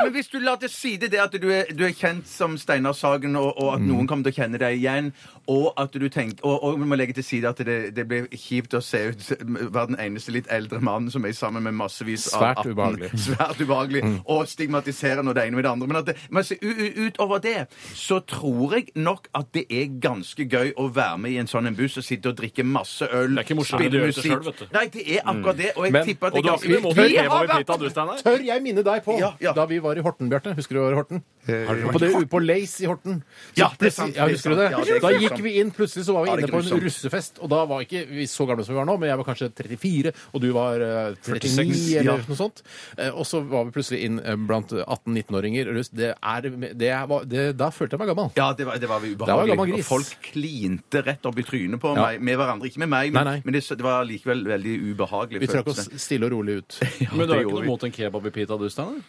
[SPEAKER 1] men hvis du la til side det at du er, du er kjent som Steinar Sagen, og, og
[SPEAKER 2] Mm.
[SPEAKER 1] at noen kommer til å kjenne deg igjen, og at du tenker Og, og vi må legge til side at det, det blir kjipt å se ut være den eneste litt eldre mannen som er sammen med massevis av
[SPEAKER 2] Svært
[SPEAKER 1] 18.
[SPEAKER 2] ubehagelig. Mm.
[SPEAKER 1] Svært ubehagelig. Og stigmatiserende og det ene med det andre. Men, at det, men se, u, u, utover det så tror jeg nok at det er ganske gøy å være med i en sånn en buss og sitte og drikke masse øl,
[SPEAKER 3] Det er ikke morsomt, men
[SPEAKER 1] spille
[SPEAKER 3] du gjør det
[SPEAKER 1] musikk
[SPEAKER 3] selv, vet du.
[SPEAKER 1] Nei, det er akkurat det. Og jeg
[SPEAKER 2] Mm. Men-
[SPEAKER 1] tipper at
[SPEAKER 3] Og
[SPEAKER 1] det
[SPEAKER 3] du
[SPEAKER 1] er
[SPEAKER 3] har
[SPEAKER 1] ganske
[SPEAKER 3] ikke vi må ikke
[SPEAKER 1] Vi
[SPEAKER 3] leve
[SPEAKER 1] har
[SPEAKER 3] over
[SPEAKER 1] vært
[SPEAKER 3] pita, du, Steinar.
[SPEAKER 2] Tør jeg minne deg på
[SPEAKER 1] Ja, ja.
[SPEAKER 2] da vi var var i Horten, Bjarte. Husker du hvor i Horten?
[SPEAKER 1] Eh,
[SPEAKER 2] Har du vært på, det, på Lace i Horten.
[SPEAKER 1] Ja, det
[SPEAKER 2] Så
[SPEAKER 1] er
[SPEAKER 2] plutselig-
[SPEAKER 1] sant,
[SPEAKER 2] Ja,
[SPEAKER 1] det er
[SPEAKER 2] husker du
[SPEAKER 1] sant.
[SPEAKER 2] det?
[SPEAKER 1] Ja, det er
[SPEAKER 2] Da
[SPEAKER 1] grusomt.
[SPEAKER 2] gikk vi inn, plutselig så var vi
[SPEAKER 1] Ja, det er
[SPEAKER 2] inne på en
[SPEAKER 1] grusomt.
[SPEAKER 2] russefest, og da var ikke vi så gamle som vi var nå, men jeg var kanskje 34, og du var eh,
[SPEAKER 3] 46,
[SPEAKER 2] 39
[SPEAKER 1] ja.
[SPEAKER 2] eller noe sånt. Eh, Og så var vi plutselig inn eh, blant 18-19-åringer. russ. Det er, det var, det, da følte jeg meg gammel.
[SPEAKER 1] Ja, det var, det var vi
[SPEAKER 2] Det var
[SPEAKER 1] ubehagelig.
[SPEAKER 2] gammel gris.
[SPEAKER 1] Og folk klinte rett opp i trynet på
[SPEAKER 2] Ja.
[SPEAKER 1] meg, med hverandre. Ikke med meg, men,
[SPEAKER 2] Nei, nei.
[SPEAKER 1] men det, det var likevel veldig ubehagelig.
[SPEAKER 2] Vi trakk oss
[SPEAKER 1] følelse.
[SPEAKER 2] stille og rolig ut,
[SPEAKER 1] Ja,
[SPEAKER 3] Men du har
[SPEAKER 1] det
[SPEAKER 3] ikke
[SPEAKER 1] gjorde
[SPEAKER 3] noe
[SPEAKER 1] vi.
[SPEAKER 3] mot en kebab i pita, du, Steinar?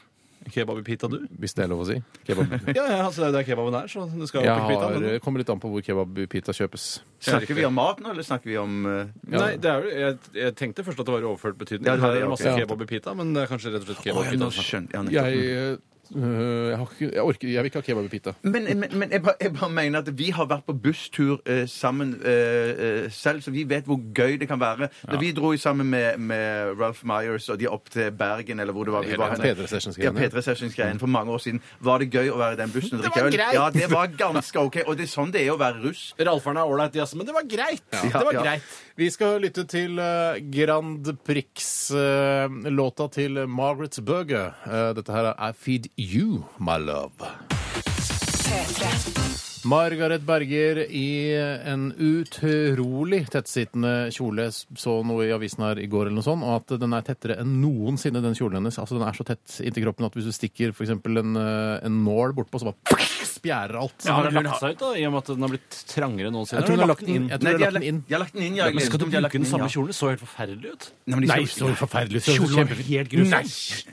[SPEAKER 3] Kebab i pita, du?
[SPEAKER 2] hvis det er lov å si. Kebab.
[SPEAKER 3] Ja, ja, altså, det er der kebaben er, så det skal
[SPEAKER 2] Jeg
[SPEAKER 3] jo på pita.
[SPEAKER 2] har, eh,
[SPEAKER 3] Men...
[SPEAKER 2] kommer litt an på hvor kebabpita kjøpes.
[SPEAKER 1] Snakker vi om mat nå, eller snakker vi om eh,
[SPEAKER 3] Nei, det er jo, jeg, jeg tenkte først at det var i overført betydning.
[SPEAKER 1] Ja, det var
[SPEAKER 3] Her er
[SPEAKER 1] det,
[SPEAKER 3] masse
[SPEAKER 1] ok.
[SPEAKER 3] kebab i pita, men det er kanskje rett og slett
[SPEAKER 1] Å,
[SPEAKER 3] kebab i
[SPEAKER 1] ja, nå
[SPEAKER 3] pita.
[SPEAKER 1] skjønte jeg nettopp.
[SPEAKER 2] Jeg, øh, jeg, har ikke, jeg orker Jeg vil ikke ha kebabpita.
[SPEAKER 1] Men, men, men jeg, bare, jeg bare mener at vi har vært på busstur eh, sammen eh, eh, selv, så vi vet hvor gøy det kan være. Når vi dro i sammen med, med Ralph Myers og de opp til Bergen, eller hvor det var vi
[SPEAKER 2] Hele
[SPEAKER 1] var
[SPEAKER 2] P3 Sessions-greiene.
[SPEAKER 1] Ja, P3 Sessions-greien for mange år siden. Var det gøy å være i den bussen og
[SPEAKER 2] Mm. Det
[SPEAKER 1] drikke
[SPEAKER 2] var
[SPEAKER 1] øl?
[SPEAKER 2] greit.
[SPEAKER 1] Ja, det var ganske OK. Og det er sånn det er å være russ.
[SPEAKER 3] Ralferne er ålreit, jazz, men det var greit. Det var
[SPEAKER 1] Ja, ja.
[SPEAKER 3] greit.
[SPEAKER 2] Vi skal lytte til eh, Grand Prix-låta til Margaret's Burger. Eh, Dette her er I Feed You, My Love.
[SPEAKER 4] P3.
[SPEAKER 2] Margaret Berger i en utrolig tettsittende kjole. Så noe i avisen her i går, eller noe sånt, og at den er tettere enn noensinne, den kjolen hennes. Altså, Den er så tett inntil kroppen at hvis du stikker for eksempel en, eh, en nål bortpå, så bare spjærer alt.
[SPEAKER 3] Ja, har den
[SPEAKER 1] men
[SPEAKER 3] lagt seg ut, da, i og med at den har blitt trangere enn noensinne?
[SPEAKER 2] Jeg tror hun har lagt den inn. Jeg
[SPEAKER 1] Nei,
[SPEAKER 2] tror hun
[SPEAKER 1] de
[SPEAKER 2] har lagt den inn.
[SPEAKER 1] de har lagt den inn, ja.
[SPEAKER 3] Men skal du
[SPEAKER 1] de har lagt
[SPEAKER 3] bruke den
[SPEAKER 1] inn,
[SPEAKER 3] samme
[SPEAKER 1] ja.
[SPEAKER 3] kjolen? Det så helt forferdelig ut.
[SPEAKER 1] Nei, men de
[SPEAKER 2] Nei,
[SPEAKER 1] skal-
[SPEAKER 2] så forferdelig. Så
[SPEAKER 3] Kjolen var
[SPEAKER 2] kjempefin.
[SPEAKER 3] helt grusom.
[SPEAKER 1] Nei,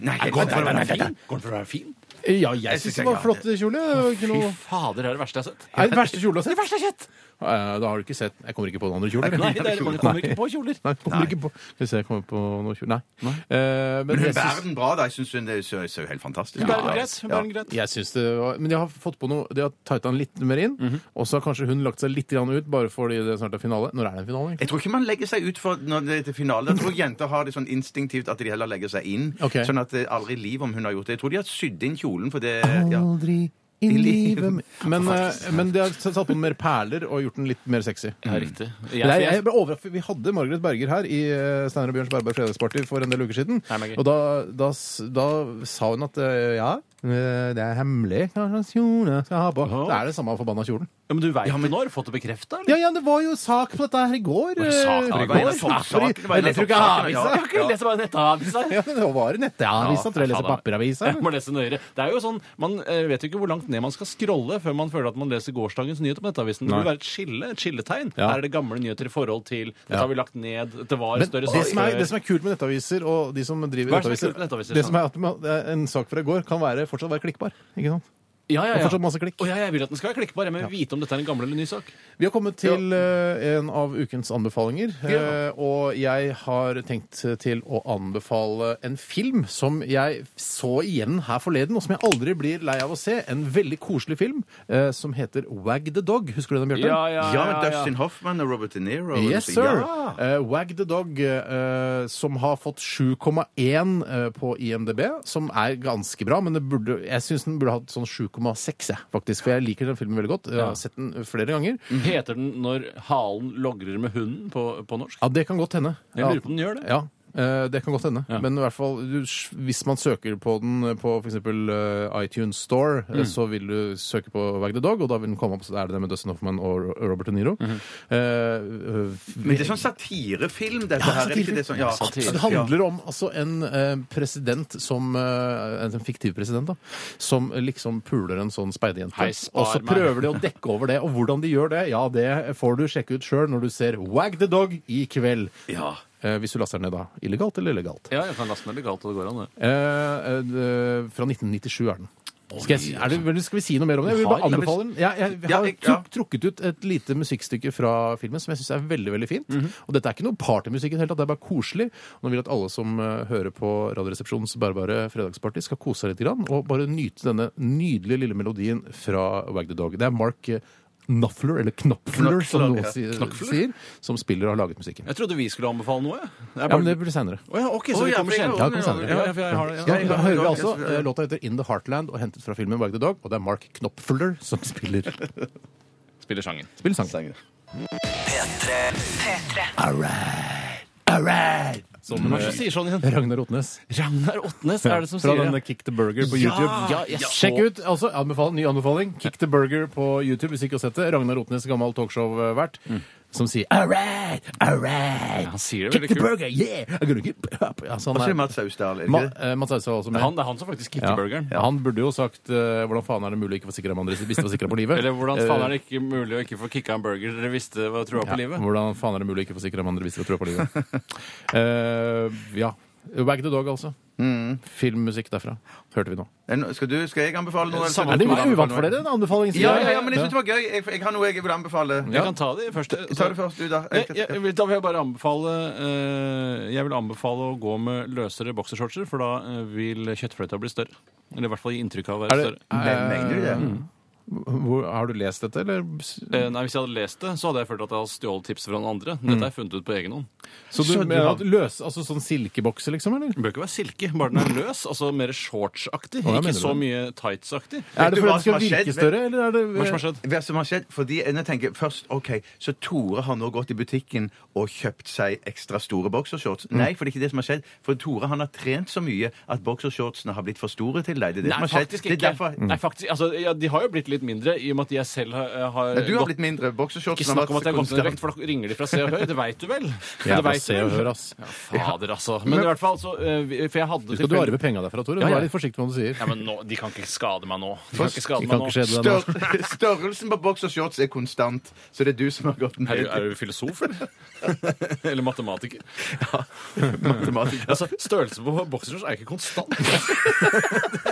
[SPEAKER 3] Nei, Går den for å være fin? Går den for å være fin?
[SPEAKER 2] Ja,
[SPEAKER 1] Jeg synes
[SPEAKER 2] jeg syns det
[SPEAKER 1] jeg
[SPEAKER 2] var
[SPEAKER 1] ga
[SPEAKER 2] flott kjole. Det var ikke
[SPEAKER 3] Fy
[SPEAKER 2] noe...
[SPEAKER 3] fader, det er det verste jeg har sett.
[SPEAKER 2] Nei, den verste kjolen jeg har sett.
[SPEAKER 3] verste jeg har sett!
[SPEAKER 2] Eh, Da har du ikke sett Jeg kommer ikke på noen andre kjoler.
[SPEAKER 3] Nei, det er, man kommer ikke på kjoler.
[SPEAKER 2] Nei, kommer ikke på Hvis jeg kommer på noen kjoler Nei. Eh, men
[SPEAKER 1] Men hun
[SPEAKER 2] jeg
[SPEAKER 1] bærer
[SPEAKER 2] syns-
[SPEAKER 1] den bra, da. Jeg syns hun det ser ser jo helt fantastisk
[SPEAKER 3] Hun
[SPEAKER 1] ut.
[SPEAKER 3] bærer den greit. Hun bærer den greit.
[SPEAKER 2] jeg syns det var Men de har fått på noe De har tighta den litt mer inn. Og så har kanskje hun lagt seg litt grann ut, bare fordi det snart er finale. Når er det en finale? egentlig?
[SPEAKER 1] Jeg tror ikke man legger seg ut for når det er til finale. Jeg tror jenter har det sånn instinktivt at de heller legger seg inn.
[SPEAKER 2] Ok.
[SPEAKER 1] Sånn at det er aldri liv om hun har gjort det. Jeg tror de har sydd inn kjolen for det ja.
[SPEAKER 2] Aldri i
[SPEAKER 1] livet
[SPEAKER 2] livet Men, eh, men de har satt på noen mer perler og gjort den litt mer sexy.
[SPEAKER 3] Ja, riktig.
[SPEAKER 2] Nei, jeg ble overrasket. Vi hadde Margaret Berger her i eh, Steinar og Bjørns Berberg fredagsparty for en del uker siden.
[SPEAKER 3] Nei, men gøy.
[SPEAKER 2] Og da, da, s- da sa hun at eh, ja, eh, det er hemmelig hva slags kjole jeg skal ha på.
[SPEAKER 3] Aha.
[SPEAKER 2] Det er det samme forbanna kjolen.
[SPEAKER 3] Ja, men du veit det nå? Har du fått det bekrefta?
[SPEAKER 2] Ja, ja, det var jo sak på dette her i går.
[SPEAKER 3] det sak på
[SPEAKER 2] eh,
[SPEAKER 3] det i
[SPEAKER 1] går?
[SPEAKER 2] går.
[SPEAKER 1] Sak-
[SPEAKER 2] Sak på
[SPEAKER 1] sak-
[SPEAKER 2] de-
[SPEAKER 1] det var en
[SPEAKER 2] Jeg leser
[SPEAKER 1] sak-
[SPEAKER 2] jo ikke
[SPEAKER 1] sak-
[SPEAKER 2] avisa.
[SPEAKER 1] ja.
[SPEAKER 3] Jeg har ikke lest bare nettavisa.
[SPEAKER 2] Ja, men det var i nettavisa. Tror jeg leser papiravisa.
[SPEAKER 3] Jeg må lese nøyere. Det er jo sånn, Man eh, vet jo ikke hvor langt ned man skal scrolle før man føler at man leser gårsdagens nyhet om Nettavisen. Det
[SPEAKER 2] Nei.
[SPEAKER 3] burde være et skille, et skilletegn.
[SPEAKER 2] Ja.
[SPEAKER 3] Her er det gamle nyheter i forhold til Dette
[SPEAKER 2] Ja.
[SPEAKER 3] har vi lagt ned. Det var
[SPEAKER 2] Men det
[SPEAKER 3] større
[SPEAKER 2] som, er,
[SPEAKER 3] saker.
[SPEAKER 2] det som er kult med nettaviser og de som driver
[SPEAKER 3] Hva er det
[SPEAKER 2] nettaviser,
[SPEAKER 3] som er kult med nettaviser,
[SPEAKER 2] det som er at man- en sak fra i går kan være, fortsatt være klikkbar. Ikke sant?
[SPEAKER 3] eh, ja, ja,
[SPEAKER 2] Det er
[SPEAKER 3] ja.
[SPEAKER 2] fortsatt masse klikk.
[SPEAKER 3] Å, ja, jeg vil at den skal være klikkbar. Jeg må vite om dette er en gammel eller ny sak.
[SPEAKER 2] Vi har kommet til eh, en av ukens anbefalinger, eh, og jeg har tenkt til å anbefale en film som jeg så igjen her forleden, og som jeg aldri blir lei av å se. En veldig koselig film eh, som heter Wag the Dog. Husker du den, Bjarte?
[SPEAKER 1] Ja, men Dustin Hoffman og Robert De Niro og
[SPEAKER 2] Yes,
[SPEAKER 1] Ja.
[SPEAKER 2] sir! Eh, Wag the Dog, eh, som har fått 7,1 eh, på IMDb, som er ganske bra, men det burde, jeg syns den burde hatt sånn 7,6, jeg, faktisk. For jeg liker den filmen veldig godt. Jeg har sett den flere ganger.
[SPEAKER 3] Heter den når halen logrer med hunden på, på norsk?
[SPEAKER 2] Ja, det kan godt hende.
[SPEAKER 3] Jeg lurer på om den gjør det.
[SPEAKER 2] Ja. eh, Det kan godt hende.
[SPEAKER 3] Ja.
[SPEAKER 2] Men i hvert fall, du, hvis man søker på den eh, på f.eks. iTunes Store,
[SPEAKER 3] Mm.
[SPEAKER 2] eh, så vil du søke på Wag the Dog, og da vil den komme opp. Så er det det med Dustin Hoffman og Ro- Robert De Niro.
[SPEAKER 3] Mhm.
[SPEAKER 2] Eh,
[SPEAKER 1] Men det er sånn satirefilm, dette her. Er det ikke det sånn, ja.
[SPEAKER 2] Så det handler om altså, en eh, president som eh, En fiktiv president, da. Som liksom puler en sånn speiderjente.
[SPEAKER 3] Hei, spar
[SPEAKER 2] Og så
[SPEAKER 3] meg.
[SPEAKER 2] prøver de å dekke over det. Og hvordan de gjør det, ja, det får du sjekke ut sjøl når du ser Wag the Dog i kveld.
[SPEAKER 1] Ja.
[SPEAKER 2] Eh, hvis du laster den ned, da. Illegalt eller legalt?
[SPEAKER 3] Ja, jeg kan laste den legalt, og det går an, det.
[SPEAKER 2] Eh, eh, eh, fra 1997 er den. Skal, jeg, si- er det, vel, skal vi si noe mer om det? Jeg vil bare
[SPEAKER 3] Har-
[SPEAKER 2] anbefale den. Jeg, jeg,
[SPEAKER 1] altså. Ja,
[SPEAKER 2] har
[SPEAKER 1] jeg- ja.
[SPEAKER 2] truk- trukket ut et lite musikkstykke fra filmen som jeg syns er veldig veldig fint.
[SPEAKER 1] Mhm.
[SPEAKER 2] Og dette er ikke noe partymusikk i det hele tatt, det er bare koselig. Og nå vil jeg at alle som eh, hører på Radioresepsjonens bærbare fredagsparty, skal kose seg litt grann, og bare nyte denne nydelige lille melodien fra Wag the Dog. Det er Mark eh, Knopfler, eller Knopfler, som
[SPEAKER 1] Knopfler,
[SPEAKER 2] noen
[SPEAKER 1] ja.
[SPEAKER 2] sier,
[SPEAKER 3] Knopfler?
[SPEAKER 2] sier, som spiller og har laget musikken.
[SPEAKER 3] Jeg trodde vi skulle anbefale noe. jeg. Det er
[SPEAKER 2] Ja, men
[SPEAKER 3] bare-
[SPEAKER 2] det blir seinere.
[SPEAKER 3] Å ja, OK,
[SPEAKER 1] Å,
[SPEAKER 3] så vi
[SPEAKER 1] ja,
[SPEAKER 3] kommer
[SPEAKER 1] for jeg-
[SPEAKER 3] senere.
[SPEAKER 2] Ja, det kommer senere.
[SPEAKER 3] Ja, ja, for jeg har det.
[SPEAKER 2] Ja,
[SPEAKER 1] Ja,
[SPEAKER 2] da hører vi
[SPEAKER 1] ja,
[SPEAKER 2] altså
[SPEAKER 1] ja, ja.
[SPEAKER 2] eh, Låta heter In The Heartland og hentet fra filmen Wag the Dog, og det er Mark Knopfler som spiller,
[SPEAKER 3] Spiller sangen.
[SPEAKER 2] spiller sangen.
[SPEAKER 4] P3.
[SPEAKER 2] All right, all right. Som
[SPEAKER 3] Hvem er det som sier sånn igjen?
[SPEAKER 2] Ragnar Otnes.
[SPEAKER 3] Ragnar Otnes er det som
[SPEAKER 2] Fra
[SPEAKER 3] sier
[SPEAKER 2] denne
[SPEAKER 3] det. Ah,
[SPEAKER 2] Kick the Burger på YouTube.
[SPEAKER 3] Ja, jeg så-
[SPEAKER 2] Sjekk ut, altså, anbefal, ny anbefaling, Kick the Burger på YouTube hvis ikke har sett det. Ragnar Otnes, gammel talkshow-vert, som sier All right, all right,
[SPEAKER 3] Mm. Han sier det
[SPEAKER 2] kick the
[SPEAKER 3] veldig kult.
[SPEAKER 2] burger, yeah! I'm gonna get up. Altså,
[SPEAKER 1] Og så
[SPEAKER 2] han
[SPEAKER 1] er
[SPEAKER 2] er,
[SPEAKER 1] Mats Austdal. er det
[SPEAKER 2] Ma,
[SPEAKER 1] ikke det?
[SPEAKER 2] eh, Mats Ausa var også med.
[SPEAKER 3] Han, det er han som faktisk kicker
[SPEAKER 2] Ja.
[SPEAKER 3] burgeren.
[SPEAKER 2] Ja. Han burde jo sagt eh, hvordan faen er det mulig å ikke være sikker om andre hvis de var sikra på livet.
[SPEAKER 3] Eller hvordan
[SPEAKER 2] Eh,
[SPEAKER 3] faen er det ikke mulig å ikke få kicka en burger dere visste var trua på
[SPEAKER 2] ja,
[SPEAKER 3] livet?
[SPEAKER 2] Hvordan faen er det mulig å ikke få sikra om andre hvis de var trua på livet. Eh, ja. Wag the Dog, altså.
[SPEAKER 1] Mm.
[SPEAKER 2] Filmmusikk derfra. Hørte vi nå.
[SPEAKER 1] En- Skal, du, skal jeg anbefale noe? eller skal
[SPEAKER 3] Samme-
[SPEAKER 1] du
[SPEAKER 2] Er det
[SPEAKER 1] anbefale
[SPEAKER 2] uvant
[SPEAKER 1] noe?
[SPEAKER 2] for dere? En anbefaling? sier
[SPEAKER 1] Ja,
[SPEAKER 2] jeg?
[SPEAKER 1] ja, ja, men jeg synes det var gøy. Jeg, jeg har noe jeg vil anbefale.
[SPEAKER 3] Jeg kan ta det først.
[SPEAKER 1] Ta det først, du, da.
[SPEAKER 3] Jeg, jeg, jeg, vil- da vil jeg bare anbefale eh, Jeg vil anbefale å gå med løsere boksershortser, for da eh, vil kjøttfløyta bli større. Eller i hvert fall gi inntrykk av å
[SPEAKER 2] Er det,
[SPEAKER 3] være
[SPEAKER 2] Eh,
[SPEAKER 3] større.
[SPEAKER 1] Men mener du det?
[SPEAKER 3] Mm.
[SPEAKER 2] Hvor, har du lest dette, eller? Så
[SPEAKER 3] Eh, Nei, Hvis jeg hadde lest det, så hadde jeg følt at jeg hadde stjålet tips fra noen andre. Dette har jeg funnet ut på egen hånd.
[SPEAKER 2] du mener at løs, altså sånn silkebokse, liksom? eller?
[SPEAKER 3] Den bør ikke være silke, bare den er løs. Altså mer
[SPEAKER 2] Å,
[SPEAKER 3] shortsaktig.
[SPEAKER 2] ja, mener du
[SPEAKER 3] ikke så
[SPEAKER 2] det?
[SPEAKER 3] mye tightsaktig.
[SPEAKER 2] Er
[SPEAKER 1] du
[SPEAKER 2] det fordi
[SPEAKER 1] hva
[SPEAKER 2] det
[SPEAKER 1] som
[SPEAKER 2] skal
[SPEAKER 1] har skjedd?
[SPEAKER 2] virke større, eller er det
[SPEAKER 3] Hva som har skjedd?
[SPEAKER 1] Hva som har skjedd? Fordi jeg tenker først OK, så Tore har nå gått i butikken og kjøpt seg ekstra store
[SPEAKER 3] Mm.
[SPEAKER 1] boksershorts. Nei, for det er ikke det som har skjedd. For Tore han har trent så mye at boksershortsene har blitt for store til deg. Det er det
[SPEAKER 3] Nei,
[SPEAKER 1] som har skjedd.
[SPEAKER 3] faktisk
[SPEAKER 1] Det er
[SPEAKER 3] ikke.
[SPEAKER 1] derfor...
[SPEAKER 2] Mm.
[SPEAKER 3] Nei, faktisk, altså, ja, de har jo blitt litt mindre i og med at jeg selv har, eh, har
[SPEAKER 1] Nei, du har
[SPEAKER 3] gått-
[SPEAKER 1] blitt mindre.
[SPEAKER 3] Ikke
[SPEAKER 1] Boksershortsen
[SPEAKER 3] snakk om at jeg har gått ned
[SPEAKER 1] konstant.
[SPEAKER 3] i vekt, for da ringer de fra Se og Hør. Det veit du vel?
[SPEAKER 2] sånn Ja, fra
[SPEAKER 3] det vet du
[SPEAKER 2] Se og
[SPEAKER 3] vel?
[SPEAKER 2] Hør, ass.
[SPEAKER 3] Ja, fader, altså. Men, i hvert fall, så eh, vi- For jeg hadde
[SPEAKER 2] Skal du arve penga derfra, Tore?
[SPEAKER 3] Ja, ja.
[SPEAKER 2] Vær litt forsiktig med hva du sier.
[SPEAKER 3] Ja, men nå, De kan ikke skade meg nå. De kan ikke skade
[SPEAKER 2] Det kan
[SPEAKER 3] meg nå.
[SPEAKER 2] ikke skje det. nå.
[SPEAKER 1] Stør, størrelsen på boksershorts er konstant, så det er du som har gått
[SPEAKER 3] Er
[SPEAKER 1] ned.
[SPEAKER 3] du, er du filosof, eller? eller matematiker?
[SPEAKER 1] Matematiker.
[SPEAKER 3] Altså, Størrelsen på boksershorts er ikke konstant.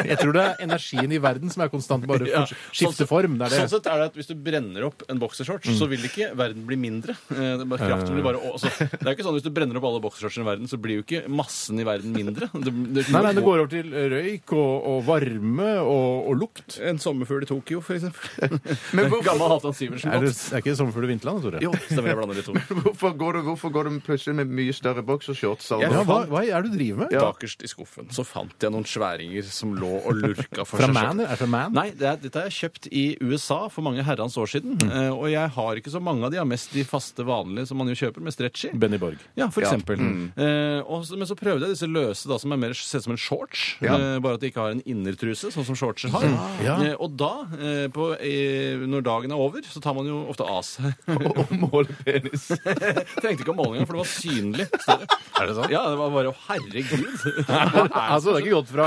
[SPEAKER 2] Jeg tror det er energien i verden som er konstant, bare
[SPEAKER 3] Ja,
[SPEAKER 2] for- skifter form. Det er
[SPEAKER 3] Sånn
[SPEAKER 2] det. Mm.
[SPEAKER 3] sett er det at Hvis du brenner opp en boksershorts, så vil ikke verden bli mindre. Eh, det er bare kraften blir bare, altså, det er jo ikke sånn at Hvis du brenner opp alle boksershortsene i verden, så blir jo ikke massen i verden mindre. Det, det,
[SPEAKER 2] Nei, nei, det går over til røyk og, og varme og, og lukt.
[SPEAKER 3] En sommerfugl i Tokyo, for eksempel.
[SPEAKER 1] Men hvorfor,
[SPEAKER 3] Gammel Halvdan Sivertsen.
[SPEAKER 2] Er det, er ikke det sommerfugl i vinterland, Tore?
[SPEAKER 3] Jo, stemmer. Jeg blander de to.
[SPEAKER 1] hvorfor, går du, hvorfor går du plutselig med mye større boksershorts?
[SPEAKER 3] Jeg
[SPEAKER 2] Ja,
[SPEAKER 1] Ja,
[SPEAKER 2] hva, hva er det du driver med?
[SPEAKER 3] Bakerst i skuffen så fant jeg noen sværinger som lå og lurka for
[SPEAKER 2] Fra
[SPEAKER 3] seg
[SPEAKER 2] Man? Er
[SPEAKER 3] selv.
[SPEAKER 2] det fra Man?
[SPEAKER 3] Nei, det er, dette har jeg kjøpt i USA for mange herrens år siden.
[SPEAKER 2] Mm.
[SPEAKER 3] eh, Og jeg har ikke så mange av de, jeg har mest de faste vanlige som man jo kjøper med stretchy.
[SPEAKER 2] Benny Borg.
[SPEAKER 3] Ja, for eksempel.
[SPEAKER 2] Mm.
[SPEAKER 3] Eh, og så- men så prøvde jeg disse løse, da, som er mer, ser ut som en shorts. Eh, bare at de ikke har en innertruse, sånn som shortser har.
[SPEAKER 2] Mm. Ja.
[SPEAKER 3] Eh, og da, eh, på, eh, når dagen er over, så tar man jo ofte av seg
[SPEAKER 1] og måle penis.
[SPEAKER 3] Trengte ikke å måle engang, for det var synlig større.
[SPEAKER 2] Er det sant?
[SPEAKER 3] Ja, det var bare å herregud.
[SPEAKER 2] Altså, det er ikke gått fra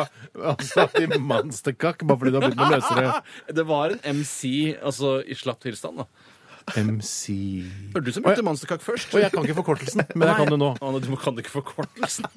[SPEAKER 2] altså, til mannstekakk bare fordi du har begynt med løsere
[SPEAKER 3] Det var en MC altså, i slapp tilstand, da.
[SPEAKER 2] MC.
[SPEAKER 3] Var det du som brukte monsterkakk først?
[SPEAKER 2] Og jeg kan ikke forkortelsen, men jeg kan det nå.
[SPEAKER 3] Anne, du kan det ikke forkortelsen.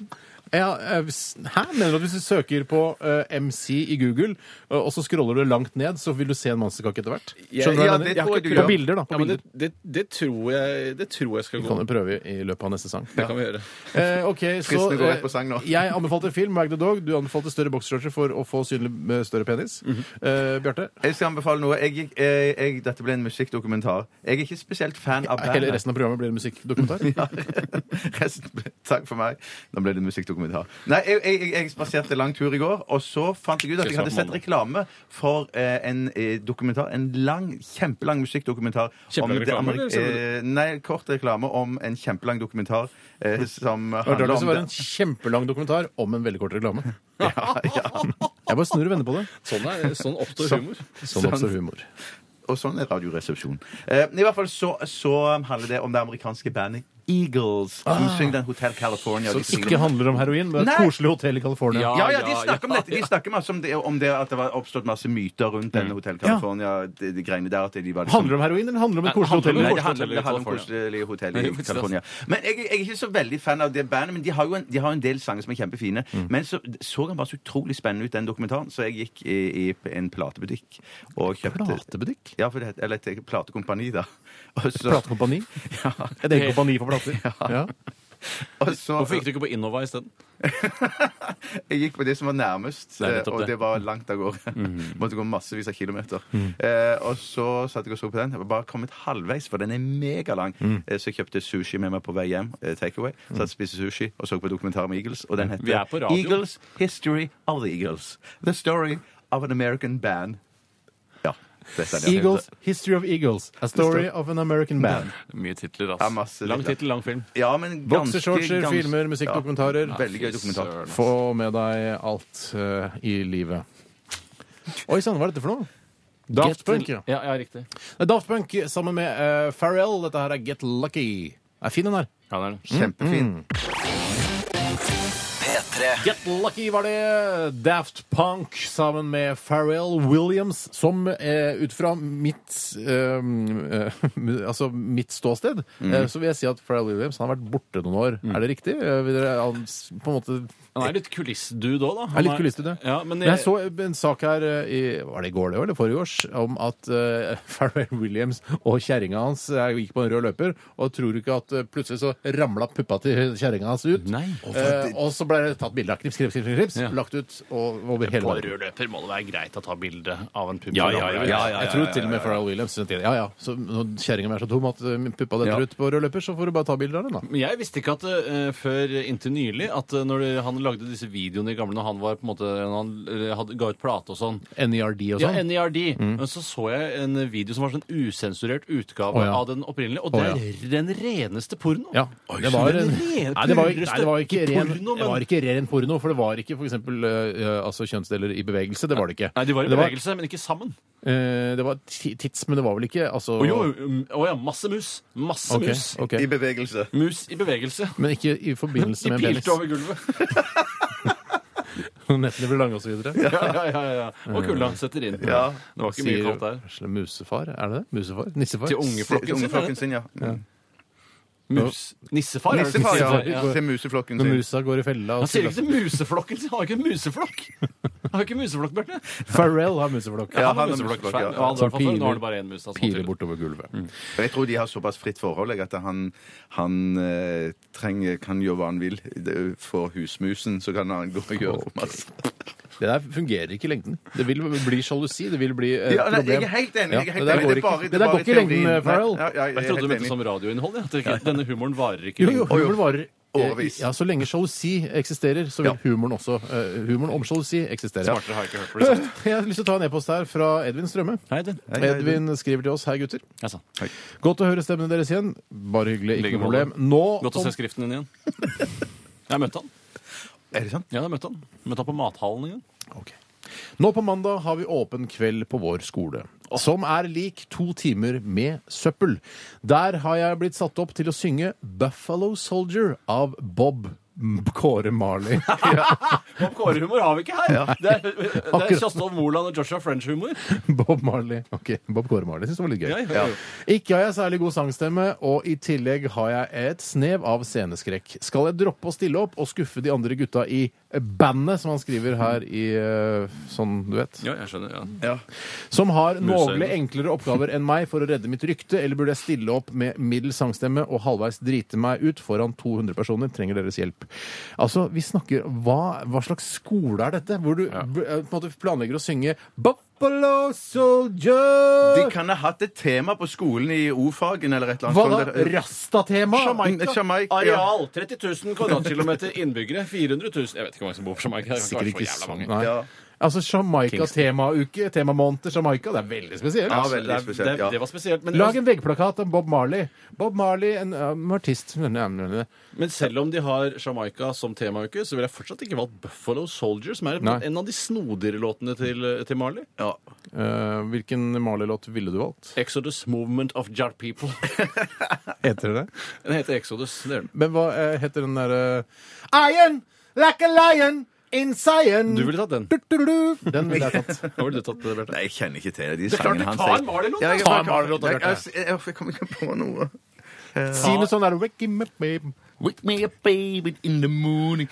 [SPEAKER 2] Ja, eh, s- hæ? Mener du at hvis du søker på eh, MC i Google, eh, og så scroller du langt ned, så vil du se en monsterkakk etter hvert? Skjønner du hva
[SPEAKER 1] ja,
[SPEAKER 2] jeg mener?
[SPEAKER 1] det tror jeg du
[SPEAKER 2] På
[SPEAKER 1] gjør.
[SPEAKER 2] bilder, da. På
[SPEAKER 3] Ja, men det,
[SPEAKER 2] bilder.
[SPEAKER 3] det, det, tror jeg, det tror jeg skal
[SPEAKER 2] Vi
[SPEAKER 3] gå.
[SPEAKER 2] kan jo prøve i løpet av neste sang.
[SPEAKER 3] Det kan vi gjøre.
[SPEAKER 2] Eh, ok, så
[SPEAKER 1] Fristende å gå rett på sang nå.
[SPEAKER 2] eh, Jeg anbefalte film, Wag the Dog. Du anbefalte større bokseshortser for å få synlig eh, større penis.
[SPEAKER 1] Mhm.
[SPEAKER 2] eh, Bjarte?
[SPEAKER 1] Jeg skal anbefale noe. Jeg, gikk- eh, jeg, dette ble en musikkdokumentar. Jeg er ikke spesielt fan av
[SPEAKER 2] Hele
[SPEAKER 1] bandet.
[SPEAKER 2] resten av programmet blir en musikkdokumentar.
[SPEAKER 1] Resten, takk for meg. Nå ble det en musikkdokumentar. Nei, jeg, jeg, jeg spaserte lang tur i går, og så fant jeg ut at jeg hadde sett reklame for eh, en eh, dokumentar, en lang, kjempelang musikkdokumentar om
[SPEAKER 3] Kjempelang
[SPEAKER 1] det
[SPEAKER 3] reklame,
[SPEAKER 1] amerik-
[SPEAKER 3] eller ser du
[SPEAKER 1] eh, Nei, kort reklame om en kjempelang dokumentar eh, som
[SPEAKER 2] Det var
[SPEAKER 1] handler
[SPEAKER 2] rart hvis det
[SPEAKER 1] om
[SPEAKER 2] var en kjempelang dokumentar om en veldig kort reklame.
[SPEAKER 1] det. Ja, ja.
[SPEAKER 2] Jeg bare snur og vender på det.
[SPEAKER 3] Sånn, er, sånn oppstår
[SPEAKER 1] Så-
[SPEAKER 3] humor.
[SPEAKER 2] Sånn oppstår humor.
[SPEAKER 1] Og sånn er Radioresepsjonen. Eh, I hvert fall så, så handler det om det amerikanske bandet Eagles, som synger den Hotel California.
[SPEAKER 2] Som
[SPEAKER 1] de synger
[SPEAKER 2] ikke handler om heroin, men et
[SPEAKER 1] Nei.
[SPEAKER 2] koselig hotell i California.
[SPEAKER 3] Ja.
[SPEAKER 1] Ja, ja, de snakker om dette. De snakker masse om det, om det at det var oppstått masse myter rundt denne Hotell California-greiene de, greiene der. At de var liksom,
[SPEAKER 2] Handler det om heroin, eller handler det om et koselig hotell?
[SPEAKER 3] handler om
[SPEAKER 1] Nei,
[SPEAKER 2] i
[SPEAKER 1] det handler,
[SPEAKER 3] Hotel i
[SPEAKER 1] det handler om
[SPEAKER 3] California.
[SPEAKER 1] koselige hotell
[SPEAKER 3] Nei,
[SPEAKER 1] i
[SPEAKER 3] faktisk,
[SPEAKER 1] California. Men jeg, jeg er ikke så veldig fan av det bandet, men de har jo en, de har en del sanger som er kjempefine. Men så så han bare så utrolig spennende ut, den dokumentaren, så jeg gikk i, i en platebutikk og kjøpte
[SPEAKER 2] Platebutikk?
[SPEAKER 1] Ja, for det heter, eller et platekompani, da. Og så,
[SPEAKER 2] Platekompani? Et eget kompani for plater? Ja.
[SPEAKER 1] og så
[SPEAKER 3] Hvorfor gikk du ikke på Innova isteden?
[SPEAKER 1] Jeg gikk på det som var nærmest,
[SPEAKER 3] Det er nettopp
[SPEAKER 1] eh, og
[SPEAKER 3] det. Mm.
[SPEAKER 1] det var langt av gårde. Måtte gå massevis av kilometer. Eh, og så satt jeg og så på den. Jeg var bare kommet halvveis, for den er megalang.
[SPEAKER 3] Mm.
[SPEAKER 1] Eh, så jeg kjøpte sushi med meg på vei hjem. Eh, Takeaway. Satt og spiste sushi og så på dokumentar om Eagles, og den
[SPEAKER 3] Vi er på
[SPEAKER 1] heter
[SPEAKER 3] radio.
[SPEAKER 1] Eagles History of the Eagles. The Story of an American Band. Ja. Dette er det.
[SPEAKER 2] Eagles, History of Eagles. A Story of an American Man.
[SPEAKER 5] Mye titler,
[SPEAKER 1] Ja,
[SPEAKER 5] altså.
[SPEAKER 1] masse
[SPEAKER 3] Lang
[SPEAKER 1] titler.
[SPEAKER 3] tittel, lang film.
[SPEAKER 1] Ja, men ganske,
[SPEAKER 2] Bokseshortser,
[SPEAKER 1] ganske-
[SPEAKER 2] filmer, musikkdokumentarer.
[SPEAKER 1] Ja, veldig gøy dokumentar.
[SPEAKER 5] Søren.
[SPEAKER 2] Få med deg alt eh, i livet. Oi sann, hva er dette for noe? Daft
[SPEAKER 3] Get-
[SPEAKER 2] Punk, ja.
[SPEAKER 3] Ja, ja, riktig.
[SPEAKER 2] Det er Daft Punk sammen med eh, Pharrell. Dette her er Get Lucky. Er fin den her.
[SPEAKER 3] Ja, det er det.
[SPEAKER 1] Kjempefin.
[SPEAKER 4] P3
[SPEAKER 2] Get Lucky var det. Daft Punk sammen med Pharrell Williams, som eh, ut fra mitt eh, eh, Altså mitt ståsted, eh, så vil jeg si at Pharrell Williams han har vært borte noen år. Er det riktig? Eh, vil dere- Han s- på en måte
[SPEAKER 3] Han er litt kulissdude òg, da. Han
[SPEAKER 2] er litt kulissete.
[SPEAKER 3] Ja, men
[SPEAKER 2] Men jeg så en sak her eh, i, Var det i går det, eller forrige års? Om at eh, Pharrell Williams og kjerringa hans eh, gikk på en rød løper, og tror du ikke at eh, plutselig så ramla puppa til kjerringa hans ut?
[SPEAKER 3] Nei.
[SPEAKER 2] Eh, og så ble det tatt bilde av. Knips, knips, knips. knips
[SPEAKER 3] Ja.
[SPEAKER 2] Lagt ut og, over hele
[SPEAKER 3] På
[SPEAKER 2] verden.
[SPEAKER 3] rød løper må det være greit å ta bilde av en pub.
[SPEAKER 5] Ja, ja, ja, ja, ja.
[SPEAKER 2] Jeg tror til og med Pharrell Williams syntes det. Ja, ja. Så når kjerringa er så dum at eh, puppa detter
[SPEAKER 1] Ja.
[SPEAKER 2] ut på rød løper, så får du bare ta bilder av den, da.
[SPEAKER 3] Men Jeg visste ikke at eh, før inntil nylig at eh, når han lagde disse videoene i gamle når han var på en måte når han eh, hadde, ga ut plate og sånn
[SPEAKER 2] NERD og
[SPEAKER 3] ja,
[SPEAKER 2] sånn.
[SPEAKER 3] NERD. Men så så jeg en video som var sånn usensurert utgave
[SPEAKER 2] Å, ja.
[SPEAKER 3] av den opprinnelige, og
[SPEAKER 2] Å,
[SPEAKER 3] det er den reneste porno.
[SPEAKER 2] Ja.
[SPEAKER 3] Oi,
[SPEAKER 2] Det var,
[SPEAKER 3] den
[SPEAKER 2] en, nei,
[SPEAKER 3] rene,
[SPEAKER 2] det var, jo-
[SPEAKER 3] pureste
[SPEAKER 2] nei, det var ikke ren
[SPEAKER 3] porno,
[SPEAKER 2] det
[SPEAKER 3] men-
[SPEAKER 2] var ikke ren porno, for det var ikke f.eks. Uh, altså kjønnsdeler i bevegelse. Det var det ikke.
[SPEAKER 3] Nei, de var i
[SPEAKER 2] det
[SPEAKER 3] bevegelse, men ikke sammen.
[SPEAKER 2] eh, det var ti- tits, men det var vel ikke altså,
[SPEAKER 3] Å jo, mm, å ja, masse mus. Masse
[SPEAKER 2] Ok,
[SPEAKER 3] mus.
[SPEAKER 2] ok.
[SPEAKER 1] I bevegelse.
[SPEAKER 3] Mus i bevegelse.
[SPEAKER 2] Men ikke i forbindelse
[SPEAKER 3] De
[SPEAKER 2] med penis.
[SPEAKER 3] pilte over gulvet.
[SPEAKER 2] Nettene ble lange og så videre
[SPEAKER 3] Ja, ja, ja, ja. Og kulda setter inn.
[SPEAKER 1] Ja.
[SPEAKER 3] Det var ikke mye
[SPEAKER 2] Sier
[SPEAKER 3] kaldt der.
[SPEAKER 2] vesle musefar, er det det? Musefar? Nissefar?
[SPEAKER 3] Til
[SPEAKER 1] Til
[SPEAKER 3] ungeflokken sin. er
[SPEAKER 1] ungeflokken
[SPEAKER 3] det?
[SPEAKER 1] sin, ja.
[SPEAKER 3] Mus. Nissefar. er det
[SPEAKER 1] Nissefar,
[SPEAKER 3] som
[SPEAKER 1] ja.
[SPEAKER 3] sier?
[SPEAKER 1] Til museflokken
[SPEAKER 2] Når
[SPEAKER 1] sin.
[SPEAKER 2] musa går i fella og
[SPEAKER 3] Han sier jo ikke til museflokken sin. Han har jo ikke en museflokk. Han har jo ikke museflokk, Bjarte.
[SPEAKER 2] Pharrell har museflokk.
[SPEAKER 1] Ja,
[SPEAKER 3] Han har
[SPEAKER 1] han har
[SPEAKER 3] museflokk.
[SPEAKER 1] museflokk, ja.
[SPEAKER 3] Ja,
[SPEAKER 2] Sånn
[SPEAKER 3] han har i hvert fall før. Nå har
[SPEAKER 2] Piler-
[SPEAKER 3] det bare én mus. da, som
[SPEAKER 2] Piler
[SPEAKER 3] han sier.
[SPEAKER 2] bortover gulvet.
[SPEAKER 3] Mm.
[SPEAKER 1] Og Jeg tror de har såpass fritt forhold jeg, at han, han eh, trenger, kan gjøre hva han vil. Det- For husmusen så kan han gå og gjøre masse.
[SPEAKER 2] Det der fungerer ikke i lengden. Det vil bli sjalusi. Det vil bli et
[SPEAKER 1] Ja, nei,
[SPEAKER 2] problem.
[SPEAKER 1] jeg er helt enig.
[SPEAKER 2] Ja,
[SPEAKER 1] Jeg er helt
[SPEAKER 2] det der
[SPEAKER 1] enig.
[SPEAKER 2] går
[SPEAKER 1] Det er
[SPEAKER 2] ikke.
[SPEAKER 1] bare-
[SPEAKER 2] Det
[SPEAKER 1] er
[SPEAKER 2] der
[SPEAKER 1] bare
[SPEAKER 2] går ikke i lengden,
[SPEAKER 1] teorien. Nei,
[SPEAKER 2] Pharrell.
[SPEAKER 1] Ja, ja, jeg
[SPEAKER 3] Jeg
[SPEAKER 1] er
[SPEAKER 3] trodde du
[SPEAKER 1] helt
[SPEAKER 3] mente
[SPEAKER 1] enig.
[SPEAKER 3] som radioinnhold. Ja. at det ikke- Denne humoren varer ikke
[SPEAKER 2] Jo, jo,
[SPEAKER 3] lenger.
[SPEAKER 1] Og jo,
[SPEAKER 2] humor varer eh,
[SPEAKER 1] årevis.
[SPEAKER 2] Ja, så lenge sjalusi eksisterer, så vil
[SPEAKER 1] Ja.
[SPEAKER 2] humoren også eh, Humoren om sjalusi eksisterer.
[SPEAKER 3] Smartere har jeg ikke hørt. for det sant?
[SPEAKER 2] Jeg har lyst til å ta en e-post her fra Edvin Strømme.
[SPEAKER 3] Hei, den.
[SPEAKER 1] hei, Edvin.
[SPEAKER 2] Edvin skriver til oss. Hei, gutter.
[SPEAKER 3] Ja, sånn. sant.
[SPEAKER 2] Godt å høre stemmene deres igjen. Bare hyggelig. Ikke
[SPEAKER 5] Like
[SPEAKER 2] noe
[SPEAKER 5] måte.
[SPEAKER 2] problem. Nå
[SPEAKER 3] Godt å se skriften din igjen. Jeg møtte han.
[SPEAKER 1] Er det sant?
[SPEAKER 3] Ja, jeg møtte han. Møtte han på mathallen en gang.
[SPEAKER 2] Ok. Nå på mandag har vi åpen kveld på vår skole, som er lik to timer med søppel. Der har jeg blitt satt opp til å synge Buffalo Soldier av Bob Kåre Marley.
[SPEAKER 3] Bob Kåre-humor har vi ikke her. Det er, det er
[SPEAKER 2] Akkurat.
[SPEAKER 3] Kjostolv Moland og Joshua French-humor.
[SPEAKER 2] Bob Marley. Ok, Bob Kåre Marley syns det var litt gøy.
[SPEAKER 3] Ja, ja, ja.
[SPEAKER 2] Ikke har jeg særlig god sangstemme, og i tillegg har jeg et snev av sceneskrekk. Skal jeg droppe å stille opp og skuffe de andre gutta i bandet, som han skriver her i eh, sånn, du vet?
[SPEAKER 3] ja, jeg skjønner. Ja.
[SPEAKER 2] Som har
[SPEAKER 3] Museøyne.
[SPEAKER 2] noe enklere oppgaver enn meg for å redde mitt rykte, eller burde jeg stille opp med middels sangstemme og halvveis drite meg ut foran 200 personer? Trenger deres hjelp. Altså, vi snakker Hva, hva slags skole er dette? Hvor du b- eh, på en måte planlegger å synge Buffalo
[SPEAKER 1] De
[SPEAKER 2] Soldier
[SPEAKER 1] kan ha hatt et tema på skolen i O-fagen eller et eller
[SPEAKER 2] Hva da?
[SPEAKER 1] annet. sånt der.
[SPEAKER 2] Rastatema?
[SPEAKER 1] Mm, Jamaica, ja.
[SPEAKER 3] Areal 30 000 kvadratkilometer innbyggere. 400 000 Jeg vet ikke hvor mange som bor på Jamaica. Det kan
[SPEAKER 2] Sikkert ikke
[SPEAKER 3] ikke være så jævla
[SPEAKER 2] sånn.
[SPEAKER 3] mange.
[SPEAKER 2] Nei.
[SPEAKER 1] Ja.
[SPEAKER 2] Altså Jamaica-temauke, temamåned til Jamaica. Det er veldig spesielt.
[SPEAKER 1] Ja,
[SPEAKER 3] Det,
[SPEAKER 1] veldig
[SPEAKER 3] er- det,
[SPEAKER 1] spesielt.
[SPEAKER 3] det
[SPEAKER 1] Ja.
[SPEAKER 3] var spesielt. Men,
[SPEAKER 2] Lag en veggplakat om Bob Marley. Bob Marley, en um, artist
[SPEAKER 3] altså, men selv om de har Jamaica som temauke, så ville jeg fortsatt ikke valgt Buffalo Soldier, som er
[SPEAKER 2] Nei.
[SPEAKER 3] en av de snodigere låtene til, til Marley.
[SPEAKER 1] Ja.
[SPEAKER 2] Eh, hvilken Marley-låt ville du valgt?
[SPEAKER 3] Exodus Movement of Jar People.
[SPEAKER 2] Heter det det?
[SPEAKER 3] Den heter Exodus. Det gjør den.
[SPEAKER 2] Men hva eh, heter den derre Iron like a lion in Zion.
[SPEAKER 3] Du ville tatt den.
[SPEAKER 2] Du-du-du. Den ville jeg tatt.
[SPEAKER 3] Hva ville du tatt, Bjarte?
[SPEAKER 1] Nei, jeg kjenner ikke til de
[SPEAKER 3] Det er klart
[SPEAKER 1] sangene
[SPEAKER 3] du
[SPEAKER 1] hans.
[SPEAKER 3] tar
[SPEAKER 1] jeg.
[SPEAKER 3] en Marley-låt,
[SPEAKER 1] Ja,
[SPEAKER 3] da.
[SPEAKER 1] jeg-
[SPEAKER 2] Ta en Marley-låt, da,
[SPEAKER 1] Jeg-
[SPEAKER 2] Bjarte.
[SPEAKER 1] jeg- jeg- Jeg kommer ikke på noe.
[SPEAKER 2] Si noe sånn der Wake me up, babe.
[SPEAKER 1] Wake me up, baby, in the morning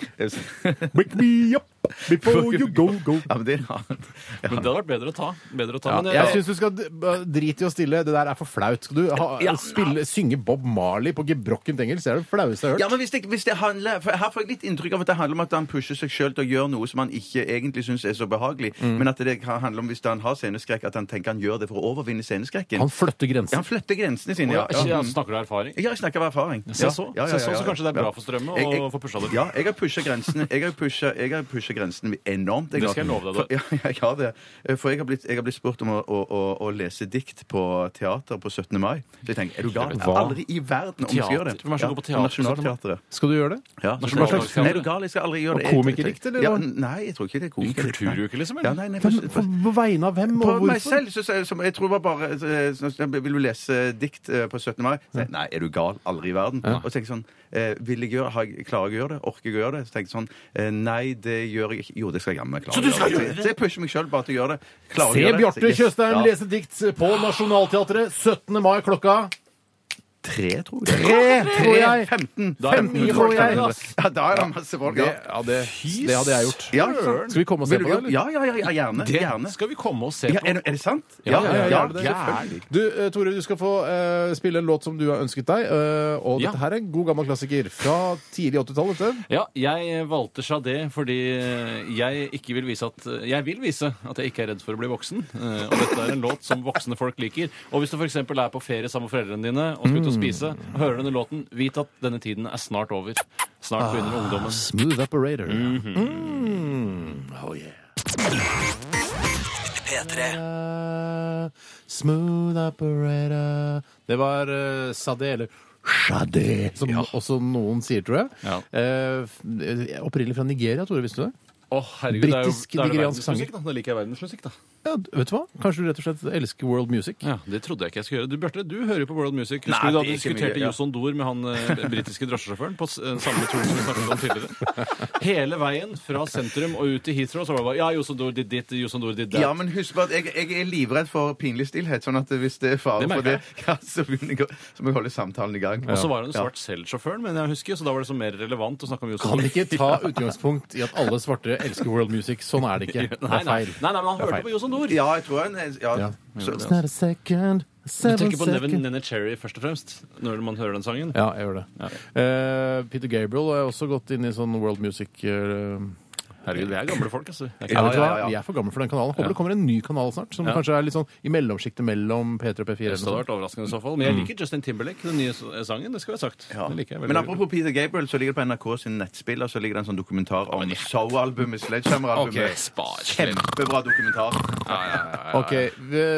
[SPEAKER 2] Wake me up before you go, go.
[SPEAKER 1] Ja, men det er annet.
[SPEAKER 3] Men det hadde vært bedre å ta. Bedre å ta. men,
[SPEAKER 2] Jeg
[SPEAKER 3] eh,
[SPEAKER 2] syns du skal d- b- drite i å stille. Det der er for flaut. Skal du ha, spille, synge Bob Marley på gebrokkent engelsk? Det er det flaueste jeg har hørt.
[SPEAKER 1] Ja, men hvis det, hvis det handler for Her får jeg litt inntrykk av at det handler om at han pusher seg sjøl til å gjøre noe som han ikke egentlig syns er så behagelig, men at det kan handle om hvis han har sceneskrekk, at han tenker han gjør det for å overvinne sceneskrekken.
[SPEAKER 2] Han flytter
[SPEAKER 1] Ja,
[SPEAKER 2] grensen.
[SPEAKER 1] han flytter grensene sine, ja.
[SPEAKER 3] ja, ja,
[SPEAKER 1] ja.
[SPEAKER 3] snakker du av erfaring?
[SPEAKER 1] Ja, jeg snakker av erfaring.
[SPEAKER 3] Se så. Se så, så kanskje det er bra for strømmet å få pusha det.
[SPEAKER 1] Ja, jeg har pusha grensene. Jeg har pusha, jeg har pusha krysser grensene enormt. Jeg
[SPEAKER 3] Det
[SPEAKER 1] har-
[SPEAKER 3] skal jeg love deg, da.
[SPEAKER 1] For, ja, jeg har det. Eh, For jeg har blitt, jeg har blitt spurt om å, å, å, å lese dikt på teater på 17. mai. Så jeg tenker, er du gal? Jeg
[SPEAKER 2] Hva?
[SPEAKER 1] er Aldri i verden om jeg skal gjøre det.
[SPEAKER 3] Teater? Hvem er det som går på teater på 17. mai?
[SPEAKER 1] Nationaltheatret.
[SPEAKER 2] Skal du gjøre det?
[SPEAKER 1] Ja, så-
[SPEAKER 3] Hva slags
[SPEAKER 1] Nei, er du gal? Jeg skal aldri gjøre det.
[SPEAKER 2] Og
[SPEAKER 1] Jeg- jeg-
[SPEAKER 2] komikerdikt, eller
[SPEAKER 1] Ja,
[SPEAKER 2] hva?
[SPEAKER 1] nei, jeg tror ikke det er komikerdikt.
[SPEAKER 3] I kulturuke,
[SPEAKER 1] nei.
[SPEAKER 3] liksom, eller?
[SPEAKER 1] Ja, nei, nei, for,
[SPEAKER 2] Men på,
[SPEAKER 1] for,
[SPEAKER 2] på vegne av hvem,
[SPEAKER 1] på
[SPEAKER 2] og
[SPEAKER 1] meg
[SPEAKER 2] hvorfor?
[SPEAKER 1] selv, så, så, som jeg tror var bare eh, så, så, Vil du lese dikt eh, på 17. mai? Så, nei, er du gal? Aldri i verden. Og så tenker jeg sånn eh, Vil jeg gjøre har jeg, Klarer jeg å gjøre det? Orker jeg å gjøre det? Så tenker jeg sånn eh, Nei, det gjør jeg ikke. Jo, det skal jeg jammen klare. å gjøre det. Så jeg pusher meg sjøl bare til å gjøre det. Klarer
[SPEAKER 2] Se
[SPEAKER 1] jeg å gjøre det?
[SPEAKER 2] Bjarte
[SPEAKER 1] Så jeg-
[SPEAKER 2] Tjøstheim
[SPEAKER 1] Ja.
[SPEAKER 2] lese dikt på Nationaltheatret 17. mai klokka
[SPEAKER 1] Tre, tror jeg.
[SPEAKER 2] tror jeg.
[SPEAKER 1] 15.
[SPEAKER 3] Da er det
[SPEAKER 1] 15
[SPEAKER 2] tror jeg.
[SPEAKER 1] Ja, da er det masse folk.
[SPEAKER 2] det,
[SPEAKER 1] Ja.
[SPEAKER 2] ja, det, det hadde jeg gjort.
[SPEAKER 1] Ja, ikke sant?
[SPEAKER 2] Skal vi komme og se
[SPEAKER 1] Vil
[SPEAKER 2] på
[SPEAKER 1] du-
[SPEAKER 2] det, eller?
[SPEAKER 1] Ja, ja, ja, ja gjerne. gjerne.
[SPEAKER 3] Skal vi komme og se
[SPEAKER 1] Ja,
[SPEAKER 3] på?
[SPEAKER 1] er, det- er det sant?
[SPEAKER 3] ja, ja,
[SPEAKER 1] ja,
[SPEAKER 3] er det det?
[SPEAKER 1] selvfølgelig.
[SPEAKER 2] Du, eh, Tore, du skal få eh, spille en låt som du har ønsket deg. eh, og
[SPEAKER 3] Ja.
[SPEAKER 2] dette her er en god gammel klassiker fra tidlig 80-tall. dette.
[SPEAKER 3] Ja, jeg valgte Sade fordi jeg ikke vil vise at Jeg vil vise at jeg ikke er redd for å bli voksen. Eh, Og dette er en låt som voksne folk liker. Og hvis du f.eks. er på ferie sammen med foreldrene dine og skal ut og spise, og hører denne låten, vit at denne tiden er snart over. Snart begynner ungdommen.
[SPEAKER 2] Smooth Operator.
[SPEAKER 3] Mhm.
[SPEAKER 2] Mm. Oh,
[SPEAKER 5] P3
[SPEAKER 2] Eh, smooth Operator Det var eh, Sade, eller Sade, som også noen sier, tror jeg.
[SPEAKER 3] Ja.
[SPEAKER 2] Eh, f- eh, opprinnelig fra Nigeria, Tore, visste du det?
[SPEAKER 3] Å, herregud, det er jo-
[SPEAKER 2] Britisk,
[SPEAKER 3] det er jo
[SPEAKER 2] nigeriansk
[SPEAKER 3] verdensmusikk, da. Da liker jeg verdensmusikk, da.
[SPEAKER 2] Ja, d- vet du hva? Kanskje du rett og slett elsker world music?
[SPEAKER 3] Ja, Det trodde jeg ikke jeg skulle gjøre. Du, Bjarte, du hører jo på World Music.
[SPEAKER 1] Nei,
[SPEAKER 3] Husker du
[SPEAKER 1] det
[SPEAKER 3] da du
[SPEAKER 1] er ikke mye,
[SPEAKER 3] diskuterte
[SPEAKER 1] ja.
[SPEAKER 3] Johs Ondor med han eh, britiske drosjesjåføren på s- eh, samme tur som vi snakket om tidligere? Hele veien fra sentrum og ut til Heathrow så var det bare Ja, Johs Ondor did dit, Johs Ondor did that.
[SPEAKER 1] Ja, men husk på at jeg, jeg er livredd for pinlig stillhet. Sånn at hvis det er fare
[SPEAKER 3] Det
[SPEAKER 1] for
[SPEAKER 3] merker
[SPEAKER 1] det, ja, så, begynner jeg, å- så må jeg holde samtalen i gang.
[SPEAKER 3] Og så var han jo svart selv, sjåføren, men jeg husker, så da var det så mer relevant å snakke om Johs
[SPEAKER 2] Kan
[SPEAKER 3] Ondor.
[SPEAKER 2] ikke ta utgangspunkt i at alle svarte elsker world music. Sånn er det ikke. Det er
[SPEAKER 3] Nei, nei,
[SPEAKER 2] feil.
[SPEAKER 3] nei, nei, men han
[SPEAKER 2] Det er
[SPEAKER 3] hørte
[SPEAKER 2] feil.
[SPEAKER 3] på Johs Ondor.
[SPEAKER 1] Ja, jeg tror han er- ja,
[SPEAKER 2] Ja.
[SPEAKER 1] så,
[SPEAKER 2] It's not a second,
[SPEAKER 3] Jeg
[SPEAKER 2] seven
[SPEAKER 3] tenker på Neven
[SPEAKER 2] second.
[SPEAKER 3] Nene Cherry først og fremst når man hører den sangen.
[SPEAKER 2] Ja, jeg gjør det. Eh, Peter Gabriel har også gått inn i sånn world music eh,
[SPEAKER 3] Herregud, vi er gamle folk, altså.
[SPEAKER 2] ja,
[SPEAKER 3] Det er ikke-
[SPEAKER 2] vet du hva?
[SPEAKER 1] ja, ja.
[SPEAKER 2] Vi er for gamle for den kanalen. Håper det kommer en ny kanal snart, som
[SPEAKER 3] Ja.
[SPEAKER 2] kanskje er litt sånn i mellomsjiktet mellom P3 og P4. eller noe
[SPEAKER 3] Det hadde
[SPEAKER 2] sånt.
[SPEAKER 3] vært overraskende i så fall. Men
[SPEAKER 2] Mm.
[SPEAKER 3] jeg liker Justin Timberlake, den nye s- eh, sangen. Det skulle jeg sagt.
[SPEAKER 1] ja.
[SPEAKER 3] Det liker jeg veldig
[SPEAKER 1] Men apropos Peter Gabriel, så ligger det på NRK sin nettspiller så ligger det en sånn dokumentar om Soul-albumet.
[SPEAKER 3] Ok,
[SPEAKER 1] Sledgehammer-albumet.
[SPEAKER 3] spar.
[SPEAKER 1] Kjempebra dokumentar.
[SPEAKER 2] Ok,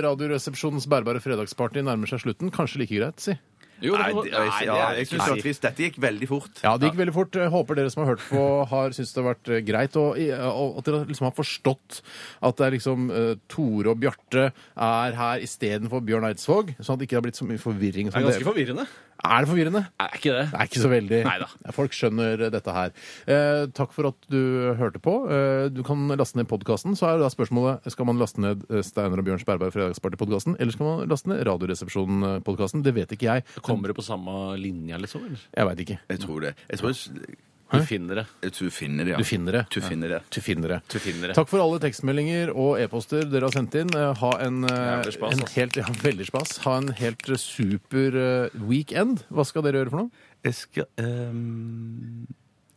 [SPEAKER 2] Radioresepsjonens bærbare fredagsparty nærmer seg slutten. Kanskje like greit, si.
[SPEAKER 3] Jo, det
[SPEAKER 1] Nei,
[SPEAKER 3] kan-
[SPEAKER 1] det, ja,
[SPEAKER 3] Nei, det er
[SPEAKER 1] jeg syns det var trist. Dette gikk veldig fort.
[SPEAKER 2] Ja, det gikk veldig fort. Jeg Håper dere som har hørt på, har syntes det har vært eh, greit, og, i- og at dere liksom har forstått at det er liksom eh, Tore og Bjarte er her istedenfor Bjørn Eidsvåg, sånn at det ikke har blitt så mye forvirring.
[SPEAKER 3] Det
[SPEAKER 2] Som
[SPEAKER 3] er ganske
[SPEAKER 2] dere-
[SPEAKER 3] forvirrende.
[SPEAKER 2] er det forvirrende?
[SPEAKER 3] Er ikke det?
[SPEAKER 2] Det er ikke så veldig.
[SPEAKER 3] Neida.
[SPEAKER 2] Folk skjønner dette her. Eh, takk for at du hørte på. Eh, du kan laste ned podkasten. Så er da spørsmålet skal man laste ned eh, Steinar og Bjørns Berberg Fredagsparty-podkasten, eller skal man laste ned Radioresepsjonen-podkasten? Det vet ikke jeg.
[SPEAKER 3] Kommer det på samme linja, liksom? Eller?
[SPEAKER 2] Jeg veit ikke.
[SPEAKER 1] Jeg tror det. Jeg tror
[SPEAKER 3] Du finner det.
[SPEAKER 1] du finner det, ja.
[SPEAKER 2] Du finner det.
[SPEAKER 1] Du finner det.
[SPEAKER 2] Du finner det.
[SPEAKER 3] Du finner det.
[SPEAKER 2] Takk for alle tekstmeldinger og e-poster dere har sendt inn. Eh, Ha en, eh,
[SPEAKER 3] Jævlig spas, altså.
[SPEAKER 2] en
[SPEAKER 3] ass.
[SPEAKER 2] helt, ja, veldig spas. Ha en helt eh, super eh, weekend. Hva skal dere gjøre for noe?
[SPEAKER 1] Jeg skal ehm,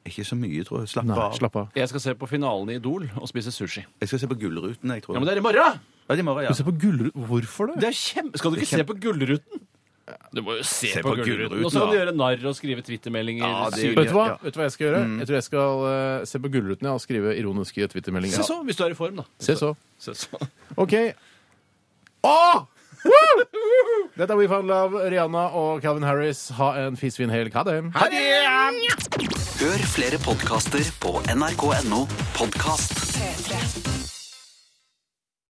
[SPEAKER 1] Ikke så mye, tror jeg. Slapp av.
[SPEAKER 2] slapp av.
[SPEAKER 3] Jeg skal se på finalen i Idol og spise sushi.
[SPEAKER 1] Jeg skal se på Gullruten, jeg tror.
[SPEAKER 3] Ja, Men det er i morgen!
[SPEAKER 1] Ja, det er i morgen, ja.
[SPEAKER 2] Du ser på Gullruten. Hvorfor det?
[SPEAKER 3] Det er kjempe... Skal du ikke se på Gullruten? Du må jo se,
[SPEAKER 1] Se
[SPEAKER 3] på,
[SPEAKER 1] på
[SPEAKER 3] Gullruten.
[SPEAKER 1] Gullruten,
[SPEAKER 3] Og så kan du
[SPEAKER 1] da.
[SPEAKER 3] gjøre narr og skrive twittermeldinger.
[SPEAKER 1] Ja, det-
[SPEAKER 3] Syv-
[SPEAKER 2] Vet du hva? Mm.
[SPEAKER 1] Ja.
[SPEAKER 2] Vet du hva jeg skal gjøre? Jeg tror jeg skal eh, se på Gullruten ja, og skrive ironiske twittermeldinger.
[SPEAKER 3] Se så, hvis du er i form, da.
[SPEAKER 2] Se så.
[SPEAKER 3] Se så.
[SPEAKER 2] OK. Åh! Woo! Dette er We Found Love, Rihanna og Calvin Harris. Ha en fisvin hel. Ha det.
[SPEAKER 5] Hør flere podcaster på nrk.no Podcast
[SPEAKER 4] P3.